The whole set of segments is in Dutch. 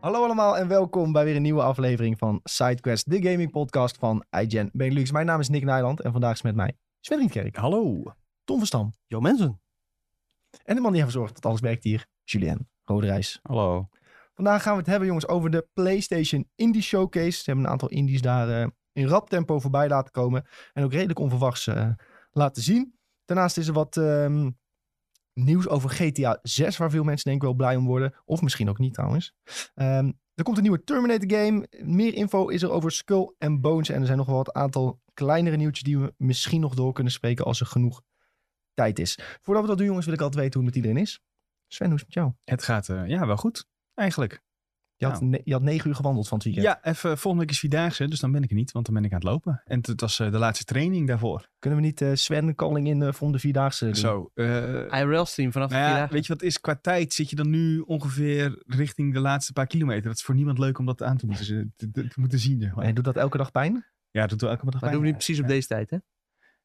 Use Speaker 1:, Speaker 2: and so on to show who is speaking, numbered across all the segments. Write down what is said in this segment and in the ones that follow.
Speaker 1: Hallo allemaal en welkom bij weer een nieuwe aflevering van SideQuest, de gaming podcast van iGen Benelux. Mijn naam is Nick Nijland en vandaag is met mij Sven Rietkerk,
Speaker 2: Hallo.
Speaker 1: Tom van Stam
Speaker 2: Yo mensen.
Speaker 1: en de man die ervoor zorgt dat alles werkt hier, Julien Roderijs.
Speaker 2: Hallo.
Speaker 1: Vandaag gaan we het hebben jongens over de PlayStation Indie Showcase. Ze hebben een aantal indies daar eh, in rap tempo voorbij laten komen en ook redelijk onverwachts eh, laten zien. Daarnaast is er wat ehm, nieuws over GTA 6, waar veel mensen denk ik wel blij om worden. Of misschien ook niet trouwens. Ehm, er komt een nieuwe Terminator game. Meer info is er over Skull and Bones. En er zijn nog wel wat aantal kleinere nieuwtjes die we misschien nog door kunnen spreken als er genoeg tijd is. Voordat we dat doen jongens, wil ik altijd weten hoe het met iedereen is. Sven, hoe is het met jou?
Speaker 2: Het gaat eh, ja, wel goed, eigenlijk.
Speaker 1: Je had, ne- je had negen uur gewandeld van het
Speaker 2: Ja,
Speaker 1: weekend.
Speaker 2: even, volgende week is Vierdaagse, dus dan ben ik er niet, want dan ben ik aan het lopen. En het was eh, de laatste training daarvoor.
Speaker 1: Kunnen we niet eh, Sven calling in eh voor om de Vierdaagse doen?
Speaker 2: Zo.
Speaker 3: Ah,
Speaker 2: eh,
Speaker 3: IRL stream vanaf
Speaker 2: nou ja,
Speaker 3: vandaag.
Speaker 2: weet je wat het is? Qua tijd zit je dan nu ongeveer richting de laatste paar kilometer. Dat is voor niemand leuk om dat aan te moeten, ze- te- te- te moeten zien, zeg maar.
Speaker 1: En doet dat elke dag pijn?
Speaker 2: Ja, dat doet wel elke dag
Speaker 3: maar
Speaker 2: pijn.
Speaker 3: doen we niet precies op deze tijd, hè?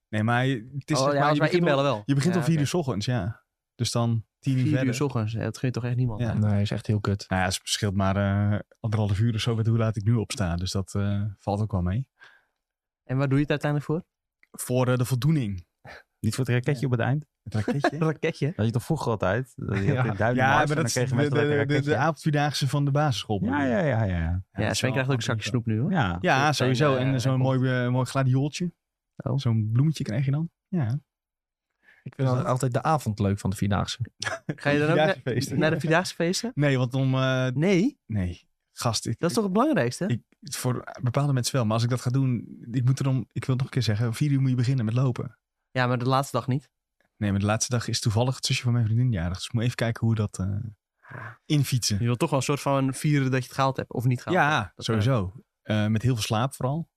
Speaker 2: Nee, maar je- het is
Speaker 3: oh,
Speaker 2: zeg
Speaker 3: ja,
Speaker 2: maar,
Speaker 3: als
Speaker 2: je
Speaker 3: wij
Speaker 2: begint om-
Speaker 3: inbellen wel.
Speaker 2: Je begint
Speaker 3: ja,
Speaker 2: om vier
Speaker 3: oké.
Speaker 2: uur s ochtends, ja. Dus dan tien uur
Speaker 3: Vier
Speaker 2: verder.
Speaker 3: uur 's ochtends. Ja, dat gun je toch echt niemand.
Speaker 2: Ja.
Speaker 1: Nee, is echt heel kut.
Speaker 2: Nou ja, het verschilt maar eh, anderhalf uur of zo met hoe laat ik nu opsta. Dus dat eh, valt ook wel mee.
Speaker 3: En waar doe je het uiteindelijk voor?
Speaker 2: Voor eh, de voldoening.
Speaker 4: Niet voor het raketje
Speaker 2: Ja.
Speaker 4: op het eind.
Speaker 2: Het raketje.
Speaker 3: Een raketje.
Speaker 4: Dat je toch vroeger altijd. Dat je
Speaker 1: Ja.
Speaker 4: had in Duinen
Speaker 2: ja,
Speaker 4: was
Speaker 2: maar
Speaker 4: en
Speaker 2: dat
Speaker 4: dan
Speaker 2: is de,
Speaker 4: kregen
Speaker 2: de,
Speaker 4: mensen lekker
Speaker 2: de, de,
Speaker 4: raketje.
Speaker 2: avondvierdaagse van de basisschool.
Speaker 4: Ja, ja, ja, ja.
Speaker 2: dat
Speaker 3: Ja,
Speaker 2: is
Speaker 3: Sven
Speaker 2: wel
Speaker 3: krijgt ook een zakje
Speaker 2: anders
Speaker 3: snoep nu, hoor.
Speaker 4: Ja,
Speaker 2: Ja,
Speaker 3: Dat zijn,
Speaker 2: sowieso.
Speaker 3: eh,
Speaker 2: en zo'n
Speaker 3: komt-
Speaker 2: mooi, eh, mooi gladiooltje.
Speaker 3: Oh.
Speaker 2: Zo'n bloemetje krijg je dan. Ja.
Speaker 1: Ik vind al- altijd de avond leuk van de Vierdaagse.
Speaker 3: Ga je dan ook na-
Speaker 2: Vierdaagse
Speaker 3: naar de Vierdaagse feesten?
Speaker 2: Nee, want om... eh,
Speaker 3: Nee,
Speaker 2: nee, gast. Ik,
Speaker 3: dat is toch het belangrijkste?
Speaker 2: ik- voor bepaalde mensen wel. Maar als ik dat ga doen... Ik moet erom... Ik wil het nog een keer zeggen. Om vier uur moet je beginnen met lopen.
Speaker 3: Ja, maar de laatste dag niet.
Speaker 2: Nee, maar de laatste dag is toevallig het zusje van mijn vriendin jarig. Dus ik moet even kijken hoe dat... eh infietsen.
Speaker 3: Je wilt toch wel een soort van vieren dat je het gehaald hebt. Of niet gehaald hebt.
Speaker 2: Ja,
Speaker 3: Dat,
Speaker 2: sowieso. Eh, met heel veel slaap vooral.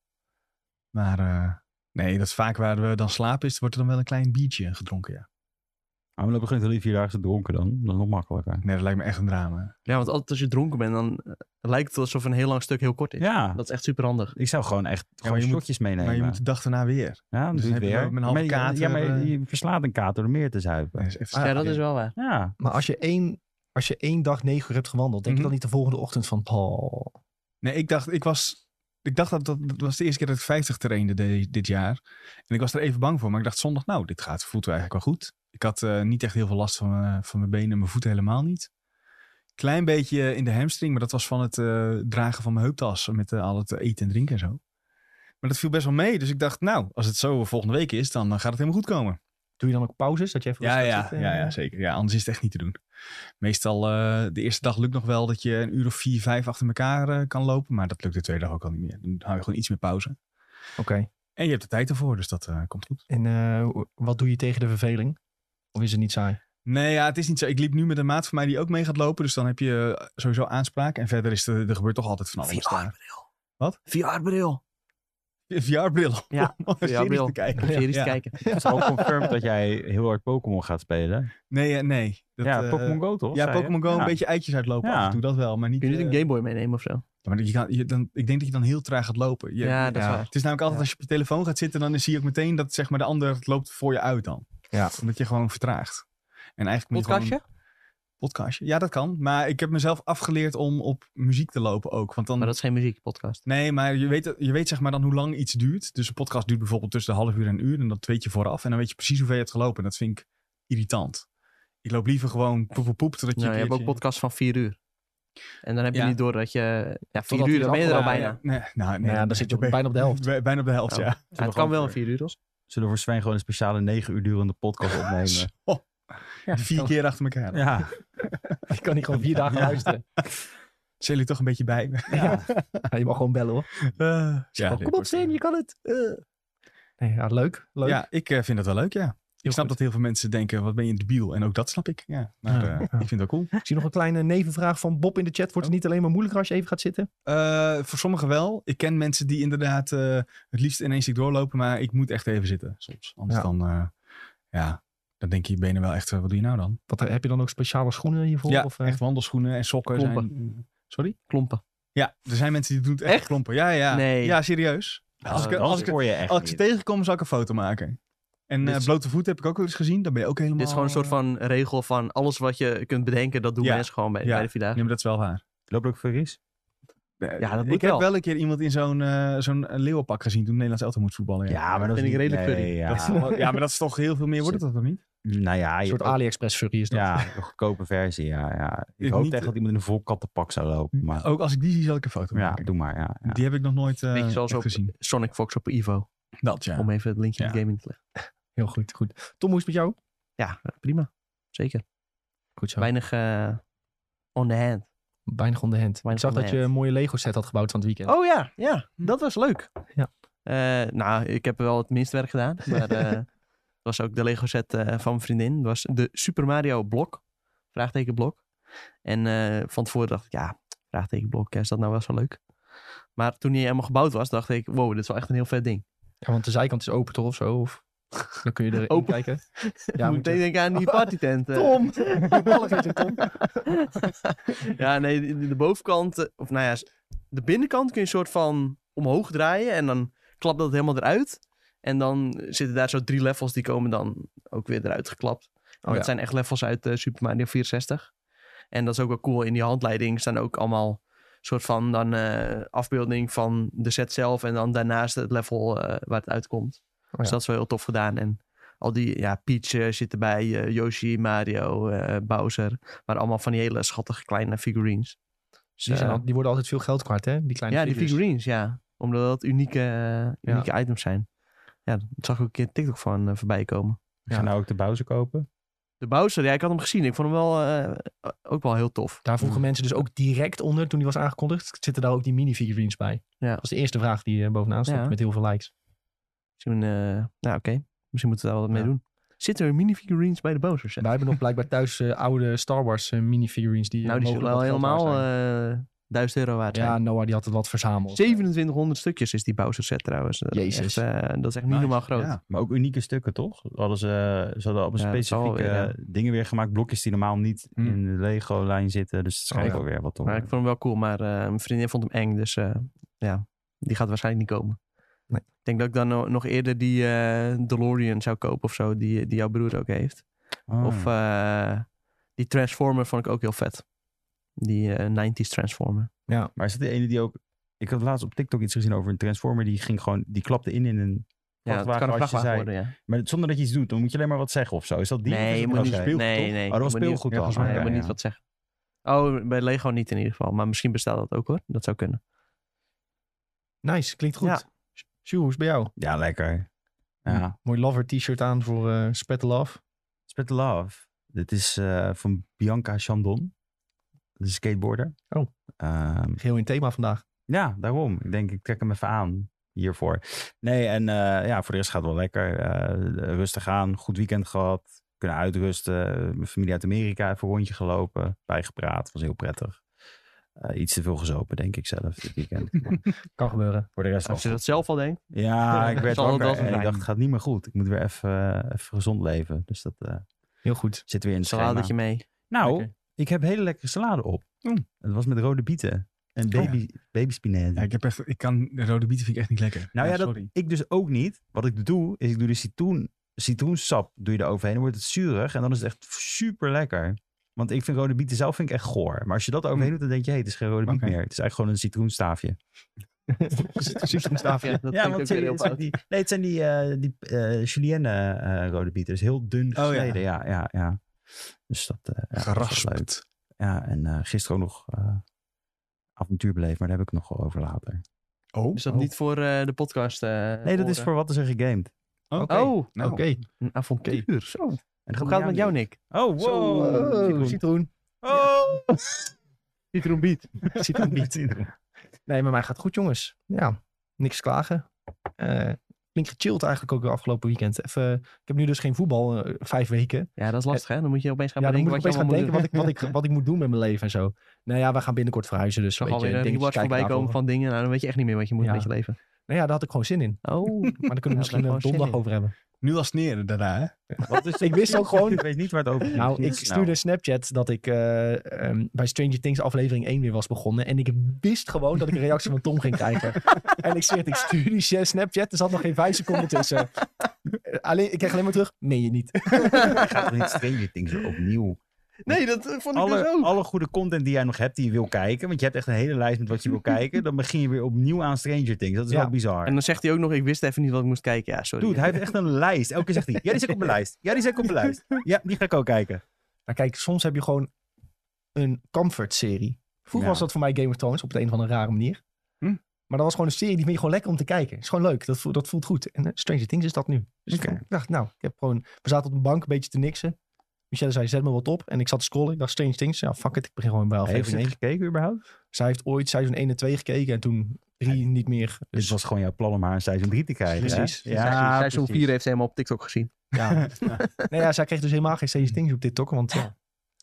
Speaker 2: Maar eh, nee, dat is vaak waar we dan slapen is, wordt er dan wel een klein biertje gedronken, ja.
Speaker 4: Maar dan begint jullie vierdaagse dronken dan. Dat is nog makkelijker.
Speaker 2: Nee, dat lijkt me echt een drama.
Speaker 3: Ja, want altijd als je dronken bent, dan eh, lijkt het alsof een heel lang stuk heel kort is.
Speaker 4: Ja,
Speaker 3: Dat is echt superhandig.
Speaker 4: ik zou gewoon echt gewoon
Speaker 2: maar je moet-
Speaker 4: shotjes meenemen.
Speaker 2: Maar je moet de dag daarna weer.
Speaker 4: Ja, dan
Speaker 2: dus
Speaker 4: doe je
Speaker 2: heb
Speaker 4: het
Speaker 2: je
Speaker 4: weer.
Speaker 2: wel met een halve
Speaker 4: Maar je-
Speaker 2: kater,
Speaker 4: Ja, maar
Speaker 2: eh,
Speaker 4: je, je verslaat een kater door meer te
Speaker 2: Nee,
Speaker 4: zuipen.
Speaker 2: dat is echt
Speaker 3: Ja, dat is wel waar.
Speaker 4: Ja.
Speaker 1: Maar als je één, als je één dag negen uur hebt gewandeld, denk
Speaker 2: Mhm.
Speaker 1: je dan niet de volgende ochtend van... Oh,
Speaker 2: Nee, ik dacht, ik was, ik dacht dat, dat dat was de eerste keer dat ik 50 trainde de- dit jaar. En ik was er even bang voor, maar ik dacht zondag, nou, dit gaat, voelt eigenlijk wel goed. Ik had eh, niet echt heel veel last van, mijn- van mijn benen en mijn voeten helemaal niet. Klein beetje in de hamstring, maar dat was van het eh, dragen van mijn heuptas met eh, al het eten en drinken en zo. Maar dat viel best wel mee, dus ik dacht, nou, als het zo volgende week is, dan eh, gaat het helemaal goed komen.
Speaker 1: doe je dan ook pauzes? Dat je even
Speaker 2: Ja,
Speaker 1: rustig
Speaker 2: ja,
Speaker 1: zit, eh?
Speaker 2: ja, ja, zeker. Ja, anders is het echt niet te doen. Meestal eh, de eerste dag lukt nog wel dat je een uur of vier, vijf achter elkaar eh, kan lopen. Maar dat lukt de tweede dag ook al niet meer. Dan hou je gewoon iets meer pauze.
Speaker 1: Oké.
Speaker 2: En je hebt de tijd ervoor, dus dat eh, komt goed.
Speaker 1: En eh, hoe- wat doe je tegen de verveling? Of is het niet saai?
Speaker 2: Nee, ja, het is niet zo. Ik liep nu met een maat van mij die ook mee gaat lopen. Dus dan heb je eh, sowieso aanspraak. En verder is er, er gebeurt toch altijd van alles daar.
Speaker 3: VR-bril.
Speaker 2: Wat?
Speaker 3: VR-bril.
Speaker 2: VR-bril.
Speaker 3: Ja,
Speaker 2: Om een serie
Speaker 3: VR-bril.
Speaker 2: te kijken.
Speaker 3: Om series
Speaker 2: Ja.
Speaker 3: te kijken.
Speaker 4: Het is ook confirmed dat jij heel hard Pokémon gaat spelen.
Speaker 2: Nee, eh, nee. Dat,
Speaker 4: ja,
Speaker 2: eh,
Speaker 4: Pokémon Go toch?
Speaker 2: Ja,
Speaker 4: zei je?
Speaker 2: Pokémon Go. Een
Speaker 4: Ja.
Speaker 2: beetje eitjes uitlopen
Speaker 4: Ja.
Speaker 2: af en toe. Dat wel, maar niet...
Speaker 3: Kun je niet
Speaker 2: eh,
Speaker 3: een Gameboy meenemen of zo?
Speaker 2: Ja, Maar je gaat- je, dan, ik denk dat je dan heel traag gaat lopen. Je-
Speaker 3: Ja, dat is waar.
Speaker 2: Het is namelijk altijd als je op je telefoon gaat zitten, dan zie je ook meteen dat zeg maar, de ander het loopt voor je uit dan.
Speaker 1: Ja.
Speaker 2: Omdat je gewoon vertraagt. En eigenlijk moet je gewoon-
Speaker 3: Podcastje?
Speaker 2: podcastje? Ja, dat kan. Maar ik heb mezelf afgeleerd om op muziek te lopen ook. Want dan,
Speaker 3: Maar dat is geen muziekpodcast.
Speaker 2: Nee, maar je weet, je weet zeg maar dan hoe lang iets duurt. Dus een podcast duurt bijvoorbeeld tussen de half uur en een uur. En dat weet je vooraf. En dan weet je precies hoeveel je hebt gelopen. En dat vind ik irritant. Ik loop liever gewoon poep, poep, poep, totdat je
Speaker 3: Nou,
Speaker 2: een
Speaker 3: je hebt ook
Speaker 2: keertje-
Speaker 3: podcasts van vier uur. En dan heb je
Speaker 2: Ja.
Speaker 3: niet door dat je... Ja, vier
Speaker 1: Totdat
Speaker 3: uur,
Speaker 1: hij
Speaker 3: dan ben je er al
Speaker 1: afgelopen
Speaker 3: bijna.
Speaker 2: Ja, nee, nou, nee,
Speaker 1: Nou ja, dan zit je op, bijna op de helft.
Speaker 2: Bij- Bijna op de helft,
Speaker 3: Oh.
Speaker 2: ja.
Speaker 3: Ja, het kan wel een vier uur, toch?
Speaker 4: Zullen we voor Sven gewoon een speciale negen uur durende
Speaker 2: Oh,
Speaker 4: podcast opnemen?
Speaker 2: Zo.
Speaker 1: Ja.
Speaker 2: Vier keer achter elkaar.
Speaker 4: ja.
Speaker 1: Je kan niet gewoon vier dagen
Speaker 4: Ja.
Speaker 1: luisteren.
Speaker 2: Zijn jullie toch een beetje bij me?
Speaker 4: ja.
Speaker 1: Ja, je mag gewoon bellen hoor.
Speaker 2: ja,
Speaker 1: Gewoon,
Speaker 2: dit
Speaker 1: oh, Kom op
Speaker 2: wordt-
Speaker 1: Sven, je kan het. Eh. Nee, ja, leuk. leuk.
Speaker 2: Ja, ik eh, vind dat wel leuk, ja. ik
Speaker 1: Heel
Speaker 2: snap
Speaker 1: goed.
Speaker 2: dat heel veel mensen denken, wat ben je debiel? En ook dat snap ik, ja. Maar
Speaker 1: Ja.
Speaker 2: eh, ik vind dat cool.
Speaker 1: Ik zie nog een kleine nevenvraag van Bob in de chat.
Speaker 2: Oh.
Speaker 1: Wordt het niet alleen maar moeilijker als je even gaat zitten?
Speaker 2: Eh, voor sommigen wel. Ik ken mensen die inderdaad eh, het liefst in één stuk doorlopen, maar ik moet echt even zitten soms. Anders
Speaker 1: Ja.
Speaker 2: dan, eh, ja, dan denk je je benen wel echt, eh, wat doe je nou dan?
Speaker 1: Wat, heb je dan ook speciale schoenen hiervoor?
Speaker 2: ja,
Speaker 1: of, eh?
Speaker 2: echt wandelschoenen en sokken.
Speaker 3: Klompen.
Speaker 2: Zijn, sorry?
Speaker 3: Klompen.
Speaker 2: Ja, er zijn mensen die doen het echt,
Speaker 3: Echt?
Speaker 2: klompen. Ja, ja.
Speaker 3: Nee.
Speaker 2: Ja, serieus. Als ik-
Speaker 4: dat
Speaker 2: als ik-
Speaker 4: hoor je echt
Speaker 2: Als ik ze
Speaker 4: niet.
Speaker 2: tegenkom, zal ik een foto maken. En
Speaker 3: Dit
Speaker 2: eh,
Speaker 3: is-
Speaker 2: blote voeten heb ik ook wel eens gezien. Dan ben je ook helemaal...
Speaker 3: Oh. Dit is gewoon een soort van regel van alles wat je kunt bedenken, dat doen
Speaker 2: Ja.
Speaker 3: mensen gewoon bij,
Speaker 2: Ja.
Speaker 3: bij de Vierdaagse.
Speaker 2: Nee, maar dat is wel waar.
Speaker 4: Loopt ook veel ris?
Speaker 3: Ja, dat
Speaker 2: ik
Speaker 3: moet
Speaker 2: heb
Speaker 3: wel.
Speaker 2: wel een keer iemand in zo'n eh, zo'n leeuwenpak gezien toen Nederlands elftal moet voetballen. Ja.
Speaker 3: dat vind ik redelijk furry.
Speaker 4: nee, ja.
Speaker 2: Dat is wel- ja, maar dat is toch heel veel meer wordt het dat toch niet?
Speaker 4: Nou ja,
Speaker 1: Een
Speaker 4: je
Speaker 1: soort
Speaker 4: hebt ook-
Speaker 1: AliExpress furry is dat.
Speaker 4: ja, een goedkope versie. Ja, ja. Ik
Speaker 2: Ik
Speaker 4: hoop
Speaker 2: niet,
Speaker 4: echt
Speaker 2: eh,
Speaker 4: dat iemand in een vol kattenpak zou lopen. Maar
Speaker 2: Ook als ik die zie, zal ik een foto
Speaker 4: ja,
Speaker 2: maken.
Speaker 4: doe maar. Ja, ja.
Speaker 2: Die heb ik nog nooit eh,
Speaker 3: Beetje zoals
Speaker 2: echt
Speaker 3: op-
Speaker 2: gezien.
Speaker 3: Sonic Fox op Evo.
Speaker 2: Dat ja.
Speaker 3: Om even het linkje in de
Speaker 2: Ja.
Speaker 3: game in te leggen.
Speaker 1: Heel goed, goed. Tom, hoe is het met jou?
Speaker 3: Ja, eh, prima. Zeker.
Speaker 1: Goed zo.
Speaker 3: Weinig eh, on the hand.
Speaker 1: Weinig on the hand.
Speaker 3: Weinig
Speaker 1: ik
Speaker 3: on
Speaker 1: zag
Speaker 3: the
Speaker 1: dat je
Speaker 3: hand.
Speaker 1: een mooie Lego set had gebouwd van het weekend.
Speaker 3: Oh ja, ja. Dat was leuk.
Speaker 1: Ja.
Speaker 3: Eh, nou, ik heb wel het minst werk gedaan. Maar eh, het was ook de Lego set eh, van mijn vriendin. Het was de Super Mario blok. Vraagtekenblok. En eh, van tevoren dacht ik, ja, vraagtekenblok, is dat nou wel zo leuk? Maar toen hij helemaal gebouwd was, dacht ik, wow, dit is wel echt een heel vet ding.
Speaker 1: Ja, want de zijkant is open toch of zo? Of... Dan kun je er
Speaker 3: Open.
Speaker 1: kijken. Dus
Speaker 3: Ja,
Speaker 1: Ja,
Speaker 3: moet
Speaker 1: moet je-
Speaker 3: meteen denken aan die partytent. eh.
Speaker 1: Tom! Balletje, Tom.
Speaker 3: ja, nee, de, de bovenkant, eh, of nou ja, s- de binnenkant kun je een soort van omhoog draaien en dan klapt dat helemaal eruit. En dan zitten daar zo drie levels, die komen dan ook weer eruit geklapt. En
Speaker 1: Oh,
Speaker 3: dat
Speaker 1: ja.
Speaker 3: zijn echt levels uit eh, Super Mario 64. En dat is ook wel cool. In die handleiding staan ook allemaal soort van dan eh, afbeelding van de set zelf en dan daarnaast het level eh, waar het uitkomt. Dus
Speaker 1: ja.
Speaker 3: dat is wel heel tof gedaan. En al die, ja, Peach eh, zit erbij, eh, Yoshi, Mario, eh, Bowser. Maar allemaal van die hele schattige kleine figurines. Dus,
Speaker 1: Die, zijn
Speaker 3: eh,
Speaker 1: al- die worden altijd veel geld kwijt, hè? Die kleine
Speaker 3: ja, die
Speaker 1: figures.
Speaker 3: figurines, ja. Omdat dat unieke, eh, unieke items zijn. Ja, dat zag ik ook een keer TikTok van eh, voorbij komen.
Speaker 4: Ga nou ook de Bowser kopen?
Speaker 3: De Bowser, ja, ik had hem gezien. Ik vond hem wel, eh, ook wel heel tof.
Speaker 1: Daar vroegen mensen dus ook direct onder, toen die was aangekondigd, zitten daar ook die mini-figurines bij.
Speaker 3: Ja.
Speaker 1: Dat was de eerste vraag die eh, bovenaan stond,
Speaker 3: Ja.
Speaker 1: met heel veel likes.
Speaker 3: Misschien, eh, nou oké, misschien moeten we daar wat mee
Speaker 1: Ja.
Speaker 3: doen. Zitten er minifigurines bij de Bowser set?
Speaker 1: Wij hebben nog blijkbaar thuis eh, oude Star Wars eh, mini-figurines. Die, eh,
Speaker 3: nou, die zullen
Speaker 1: mogelijk
Speaker 3: wel
Speaker 1: wat geld waard
Speaker 3: helemaal
Speaker 1: zijn.
Speaker 3: eh 1000 euro waard zijn.
Speaker 1: ja, Noah die had het wat verzameld.
Speaker 3: 2700 stukjes is die Bowser set trouwens. Dat is
Speaker 1: Jezus.
Speaker 3: echt, eh, dat is echt niet
Speaker 2: Nice.
Speaker 3: normaal groot.
Speaker 2: Ja.
Speaker 4: Maar ook unieke stukken, toch? Hadden ze, ze hadden allemaal
Speaker 3: Ja, dat zal
Speaker 4: specifieke
Speaker 3: wel weer,
Speaker 4: eh, dingen weer gemaakt. Blokjes die normaal niet
Speaker 2: Hmm.
Speaker 4: in de Lego-lijn zitten. Dus het schijnt
Speaker 1: Oh, ja.
Speaker 4: wel weer wat om.
Speaker 3: Maar ik vond hem wel cool, maar eh, mijn vriendin vond hem eng. Dus eh, ja, die gaat waarschijnlijk niet komen.
Speaker 1: Nee.
Speaker 3: Ik denk dat ik dan no- nog eerder die eh, DeLorean zou kopen of zo, die, die jouw broer ook heeft.
Speaker 4: Oh,
Speaker 3: Of eh, die Transformer vond ik ook heel vet. Die eh, 90s Transformer.
Speaker 4: Maar is dat de ene die ook... Ik had laatst op TikTok iets gezien over een transformer. Die ging gewoon... Die klapte in in een...
Speaker 3: Ja,
Speaker 4: Vrachtwagen,
Speaker 3: het kan een
Speaker 4: als je
Speaker 3: vrachtwagen
Speaker 4: zei-
Speaker 3: worden, ja.
Speaker 4: Maar zonder dat je iets doet. Dan moet je alleen maar wat zeggen of zo. Is dat die? Of
Speaker 3: nee,
Speaker 4: is
Speaker 3: je
Speaker 4: het
Speaker 3: moet
Speaker 4: ook
Speaker 3: niet
Speaker 4: zo'n
Speaker 3: speelgoed, nee,
Speaker 4: toch?
Speaker 3: nee.
Speaker 4: Oh, dat was
Speaker 3: je moet niet-
Speaker 4: speelgoed
Speaker 2: ja,
Speaker 4: dan.
Speaker 2: volgens mij,
Speaker 3: Nee,
Speaker 4: Oké,
Speaker 3: je moet
Speaker 4: ja.
Speaker 3: niet wat zeggen. Oh, bij Lego niet in ieder geval. Maar misschien bestaat dat ook hoor. Dat zou kunnen.
Speaker 1: Nice, klinkt goed.
Speaker 3: Ja.
Speaker 1: Sjoe, hoe is het bij jou?
Speaker 4: Ja, lekker. Ja.
Speaker 3: Hm.
Speaker 1: Mooi lover t-shirt aan voor eh Spread the Love.
Speaker 4: Spread the Love. Dit is eh, van Bianca Chandon. Dat is een skateboarder.
Speaker 1: Oh.
Speaker 4: Ehm,
Speaker 1: Geheel in thema vandaag.
Speaker 4: ja, daarom. Ik denk, ik trek hem even aan hiervoor. Nee, en eh, ja, voor de rest gaat het wel lekker. Eh, rustig aan. Goed weekend gehad. Kunnen uitrusten. Mijn familie uit Amerika even een rondje gelopen. Bijgepraat. Was heel prettig. Eh, iets te veel gezopen, denk ik zelf, dit weekend. Maar
Speaker 1: Kan gebeuren.
Speaker 4: voor de rest
Speaker 3: Als
Speaker 4: was
Speaker 3: je dat zelf al denkt.
Speaker 4: Ja, ik werd
Speaker 3: Zal het wel
Speaker 4: wakker
Speaker 3: zo
Speaker 4: en ik
Speaker 3: zijn.
Speaker 4: dacht, het gaat niet meer goed. Ik moet weer even, eh, even gezond leven. Dus dat eh,
Speaker 1: Heel goed.
Speaker 4: zit weer in het schema.
Speaker 3: Saladetje mee.
Speaker 4: Nou,
Speaker 1: Lekker.
Speaker 4: ik heb hele lekkere salade op.
Speaker 2: Mm.
Speaker 4: Het was met rode bieten en
Speaker 2: Oh,
Speaker 4: baby, baby spinazie.
Speaker 2: Ja, ik, heb echt, ik kan rode bieten vind ik echt niet lekker.
Speaker 4: nou ja, dat
Speaker 2: sorry.
Speaker 4: ik dus ook niet. Wat ik doe, is ik doe de citroen, citroensap doe je eroverheen. Dan wordt het zuurig en dan is het echt super lekker. Want ik vind rode bieten zelf vind ik echt goor. Maar als je dat overheen doet, dan denk je, hé, het is geen rode biet
Speaker 2: Oké.
Speaker 4: meer. Het is eigenlijk gewoon een citroenstaafje.
Speaker 1: Staafje.
Speaker 3: dat klinkt
Speaker 4: ja, want
Speaker 3: ook
Speaker 4: het
Speaker 3: weer
Speaker 4: zijn,
Speaker 3: heel
Speaker 4: het zijn
Speaker 3: fout.
Speaker 4: die, nee, het zijn die, eh, die eh, julienne eh, rode bieten. Dus heel dun
Speaker 2: ja.
Speaker 4: gesneden. ja. ja, ja, Dus dat, eh, ja, dat is wel leuk.
Speaker 2: Gerasperd.
Speaker 4: Ja, en eh, gisteren ook nog eh, avontuur beleefd, maar daar heb ik nog wel over later.
Speaker 2: Oh,
Speaker 3: Is dat
Speaker 2: Oh.
Speaker 3: niet voor eh, de podcast? eh,
Speaker 4: Nee, dat is
Speaker 3: horen?
Speaker 4: voor wat is er gegamed.
Speaker 2: Oké.
Speaker 3: Oh,
Speaker 2: Nou,
Speaker 1: Oké.
Speaker 3: een avontuur. Zo. Hoe
Speaker 4: En
Speaker 3: gaat het met jou, Nick?
Speaker 4: Oh,
Speaker 1: Zo,
Speaker 4: wow.
Speaker 1: citroen.
Speaker 4: Oh.
Speaker 3: Citroen Beat.
Speaker 1: Citroen niet. Nee, maar mij gaat goed, jongens. Ja, niks klagen. Eh flink gechilled eigenlijk ook de afgelopen weekend. Even, ik heb nu dus geen voetbal, eh, vijf weken.
Speaker 3: Ja, dat is lastig hè. Dan moet je opeens gaan
Speaker 1: Eh, ja, dan moet
Speaker 3: bedenken
Speaker 1: ik
Speaker 3: wat je
Speaker 1: opeens gaan
Speaker 3: allemaal
Speaker 1: denken
Speaker 3: moet doen.
Speaker 1: wat ik, wat, ik, wat ik moet doen met mijn leven en zo. Nou ja, we gaan binnenkort verhuizen, dus
Speaker 3: Zo
Speaker 1: weet
Speaker 3: gaan
Speaker 1: je,
Speaker 3: weer een
Speaker 1: dingetjes
Speaker 3: rewards
Speaker 1: kijken
Speaker 3: voorbij komen
Speaker 1: daarvoor.
Speaker 3: van dingen. Nou, dan weet je echt niet meer wat je moet
Speaker 1: Ja.
Speaker 3: met je leven.
Speaker 1: Nou ja, daar had ik gewoon zin in. Maar
Speaker 3: Oh,
Speaker 1: daar kunnen we
Speaker 3: Ja, daar
Speaker 1: misschien een
Speaker 3: gewoon zin
Speaker 1: donderdag
Speaker 3: in.
Speaker 1: over hebben.
Speaker 2: Nu als neer daarna, hè?
Speaker 4: Wat is
Speaker 1: Ik wist ook gewoon...
Speaker 4: Ik weet niet waar het over ging.
Speaker 1: Nou, ik
Speaker 4: Nou,
Speaker 1: stuurde een Snapchat dat ik eh, ehm, bij Stranger Things aflevering 1 weer was begonnen. En ik wist gewoon dat ik een reactie van Tom ging krijgen. en ik zeg, ik stuur die sh- Snapchat. Er zat nog geen vijf seconden tussen. Eh, Alleen, ik kreeg alleen maar terug, meen je niet.
Speaker 4: Gaat er niet Stranger Things opnieuw
Speaker 3: Nee, dat eh, vond ik dus
Speaker 4: alle,
Speaker 3: ook.
Speaker 4: alle goede content die jij nog hebt, die je wil kijken. Want je hebt echt een hele lijst met wat je wil kijken. Dan begin je weer opnieuw aan Stranger Things. Dat is
Speaker 1: Ja.
Speaker 4: wel bizar.
Speaker 3: En dan zegt hij ook nog, ik wist even niet wat ik moest kijken. Ja, sorry.
Speaker 4: Dude, hij heeft echt een lijst. Elke keer zegt hij, ja, die zit op mijn lijst. Ja, die zit op mijn lijst. Ja, die ga ik ook kijken.
Speaker 1: Maar Nou, kijk, soms heb je gewoon een comfort-serie. Vroeger
Speaker 4: Ja.
Speaker 1: was dat voor mij Game of Thrones op de een of andere rare manier.
Speaker 2: Hm.
Speaker 1: Maar dat was gewoon een serie die vind je gewoon lekker om te kijken. Is gewoon leuk. Dat voelt, dat voelt goed. En eh, Stranger Things is dat nu. Dus
Speaker 4: Oké.
Speaker 1: ik dacht, nou, ik heb gewoon... We zaten op een bank een beetje te niksen. Michelle zei, zet me wat op. En ik zat te scrollen. Ik dacht, Stranger Things. Ja, fuck it. Ik begin gewoon bij
Speaker 4: Heeft ze
Speaker 1: aflevering
Speaker 4: het
Speaker 1: 1.
Speaker 4: gekeken überhaupt?
Speaker 1: Zij heeft ooit seizoen 1 en 2 gekeken. En toen 3 niet meer.
Speaker 4: Dit
Speaker 1: Dus
Speaker 4: was gewoon jouw plan om haar een seizoen 3 te krijgen. hè?
Speaker 1: Precies.
Speaker 4: Ja,
Speaker 3: Seizoen- Seizoen
Speaker 4: precies.
Speaker 3: 4 heeft ze helemaal op TikTok gezien.
Speaker 1: ja. nee, ja, zij kreeg dus helemaal geen Stranger Things op TikTok. Want ja,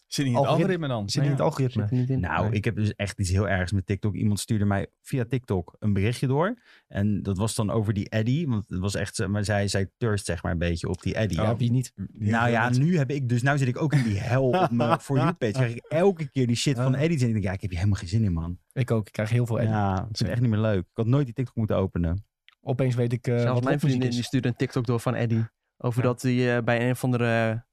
Speaker 2: Zit niet in het
Speaker 1: Algoritme.
Speaker 2: algoritme dan.
Speaker 1: zit niet in het
Speaker 3: Zit
Speaker 1: algoritme.
Speaker 3: er niet in.
Speaker 4: Nou,
Speaker 3: Nee.
Speaker 4: ik heb dus echt iets heel ergs met TikTok. Iemand stuurde mij via TikTok een berichtje door. En dat was dan over die Eddy. Want het was echt, eh, maar zij, zij thirst zeg maar een beetje op die Eddy.
Speaker 1: Ja, wie niet?
Speaker 4: Nou ja,
Speaker 2: nu
Speaker 4: nu heb ik dus, nou zit ik ook in die hel op mijn For You page. Krijg ik elke keer die shit van
Speaker 1: Ja.
Speaker 4: Eddy. En ik denk, ja, ik heb hier helemaal geen zin in, man.
Speaker 1: Ik ook. Ik krijg heel veel. en
Speaker 4: Ja, ik vind het echt niet meer leuk. Ik had nooit die TikTok moeten openen.
Speaker 1: Opeens weet ik eh,
Speaker 3: Zelfs
Speaker 1: wat
Speaker 3: mijn
Speaker 1: popmuziek
Speaker 3: vriendin
Speaker 1: is.
Speaker 3: die stuurde een TikTok door van Eddie. Over
Speaker 1: Ja.
Speaker 3: dat hij eh, bij een of andere...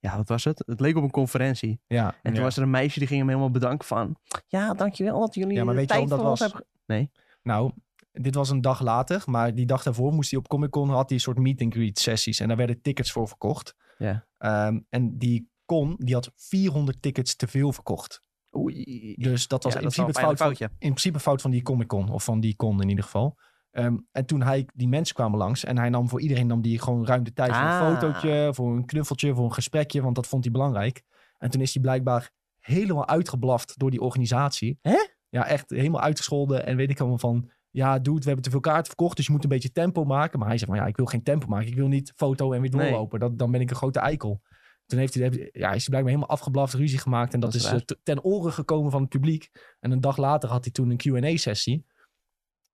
Speaker 3: Ja, wat was het? Het leek op een conferentie.
Speaker 1: Ja.
Speaker 3: En toen
Speaker 2: Ja.
Speaker 3: was er een meisje die ging hem helemaal bedanken van... Ja, dankjewel dat jullie
Speaker 1: Ja, maar
Speaker 3: de
Speaker 1: weet je
Speaker 3: tijd
Speaker 1: waarom
Speaker 3: voor
Speaker 1: dat
Speaker 3: ons
Speaker 1: was?
Speaker 3: hebben... ge-"
Speaker 1: Nou, dit was een dag later, maar die dag daarvoor moest hij op Comic Con, had hij een soort meet and greet sessies en daar werden tickets voor verkocht.
Speaker 3: Ja.
Speaker 1: Ehm, en die Con, die had 400 tickets te veel verkocht.
Speaker 3: Oei.
Speaker 1: Dus dat was
Speaker 3: Ja,
Speaker 1: in,
Speaker 3: dat
Speaker 1: principe
Speaker 3: is
Speaker 1: het
Speaker 3: wel
Speaker 1: fout
Speaker 3: een pijnlijk
Speaker 1: van,
Speaker 3: foutje.
Speaker 1: in principe fout van die Comic Con, of van die Con in ieder geval. Ehm, en toen hij, die mensen kwamen langs en hij nam voor iedereen nam die gewoon ruim de tijd voor een
Speaker 3: Ah.
Speaker 1: fotootje, voor een knuffeltje, voor een gesprekje, want dat vond hij belangrijk. En toen is hij blijkbaar helemaal uitgeblaft door die organisatie.
Speaker 3: Hè?
Speaker 1: Ja, echt helemaal uitgescholden en weet ik allemaal van, ja dude, we hebben te veel kaarten verkocht, dus je moet een beetje tempo maken. Maar hij zegt van, ja, ik wil geen tempo maken, ik wil niet foto en weer
Speaker 3: Nee.
Speaker 1: doorlopen, dat, dan ben ik een grote eikel. Toen heeft hij, heb- ja, is hij blijkbaar helemaal afgeblaft, ruzie gemaakt. En dat,
Speaker 3: Dat is
Speaker 1: is
Speaker 3: raar.
Speaker 1: eh, te- ten oren gekomen van het publiek. En een dag later had hij toen een Q&A-sessie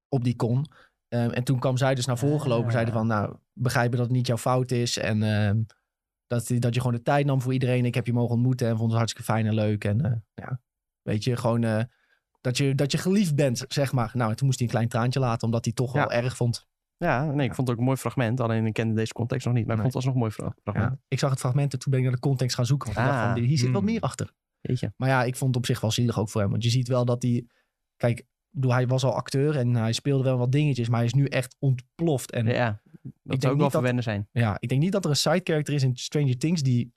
Speaker 1: op die con. Ehm, en toen kwam zij dus naar voren gelopen.
Speaker 3: Ah.
Speaker 1: Zeiden van, nou, begrijpen dat het niet jouw fout is. En ehm, dat, dat je gewoon de tijd nam voor iedereen. Ik heb je mogen ontmoeten en vond het hartstikke fijn en leuk. En eh, ja, weet je, gewoon eh, dat, je, dat je geliefd bent, zeg maar. Nou, en toen moest hij een klein traantje laten, omdat hij het toch
Speaker 3: Ja.
Speaker 1: wel erg vond.
Speaker 3: Ja, nee, ik vond het ook een mooi fragment. Alleen ik kende deze context nog niet. Maar ik
Speaker 1: Nee.
Speaker 3: vond het alsnog een mooi fra- fragment.
Speaker 1: Ja. Ik zag het fragment en toen ben ik naar de context gaan zoeken. Want ik dacht
Speaker 3: Ah,
Speaker 1: van, hier zit wat
Speaker 2: hmm.
Speaker 1: meer achter.
Speaker 3: Weet je.
Speaker 1: Maar ja, ik vond het op zich wel zielig ook voor hem. Want je ziet wel dat hij... Kijk, ik bedoel, hij was al acteur en hij speelde wel wat dingetjes. Maar hij is nu echt ontploft. En ja,
Speaker 3: Ja, dat
Speaker 1: Mm. denk niet
Speaker 3: zou ook wel
Speaker 1: dat-
Speaker 3: verwennen zijn.
Speaker 1: ik denk niet dat er een side character is in Stranger Things... die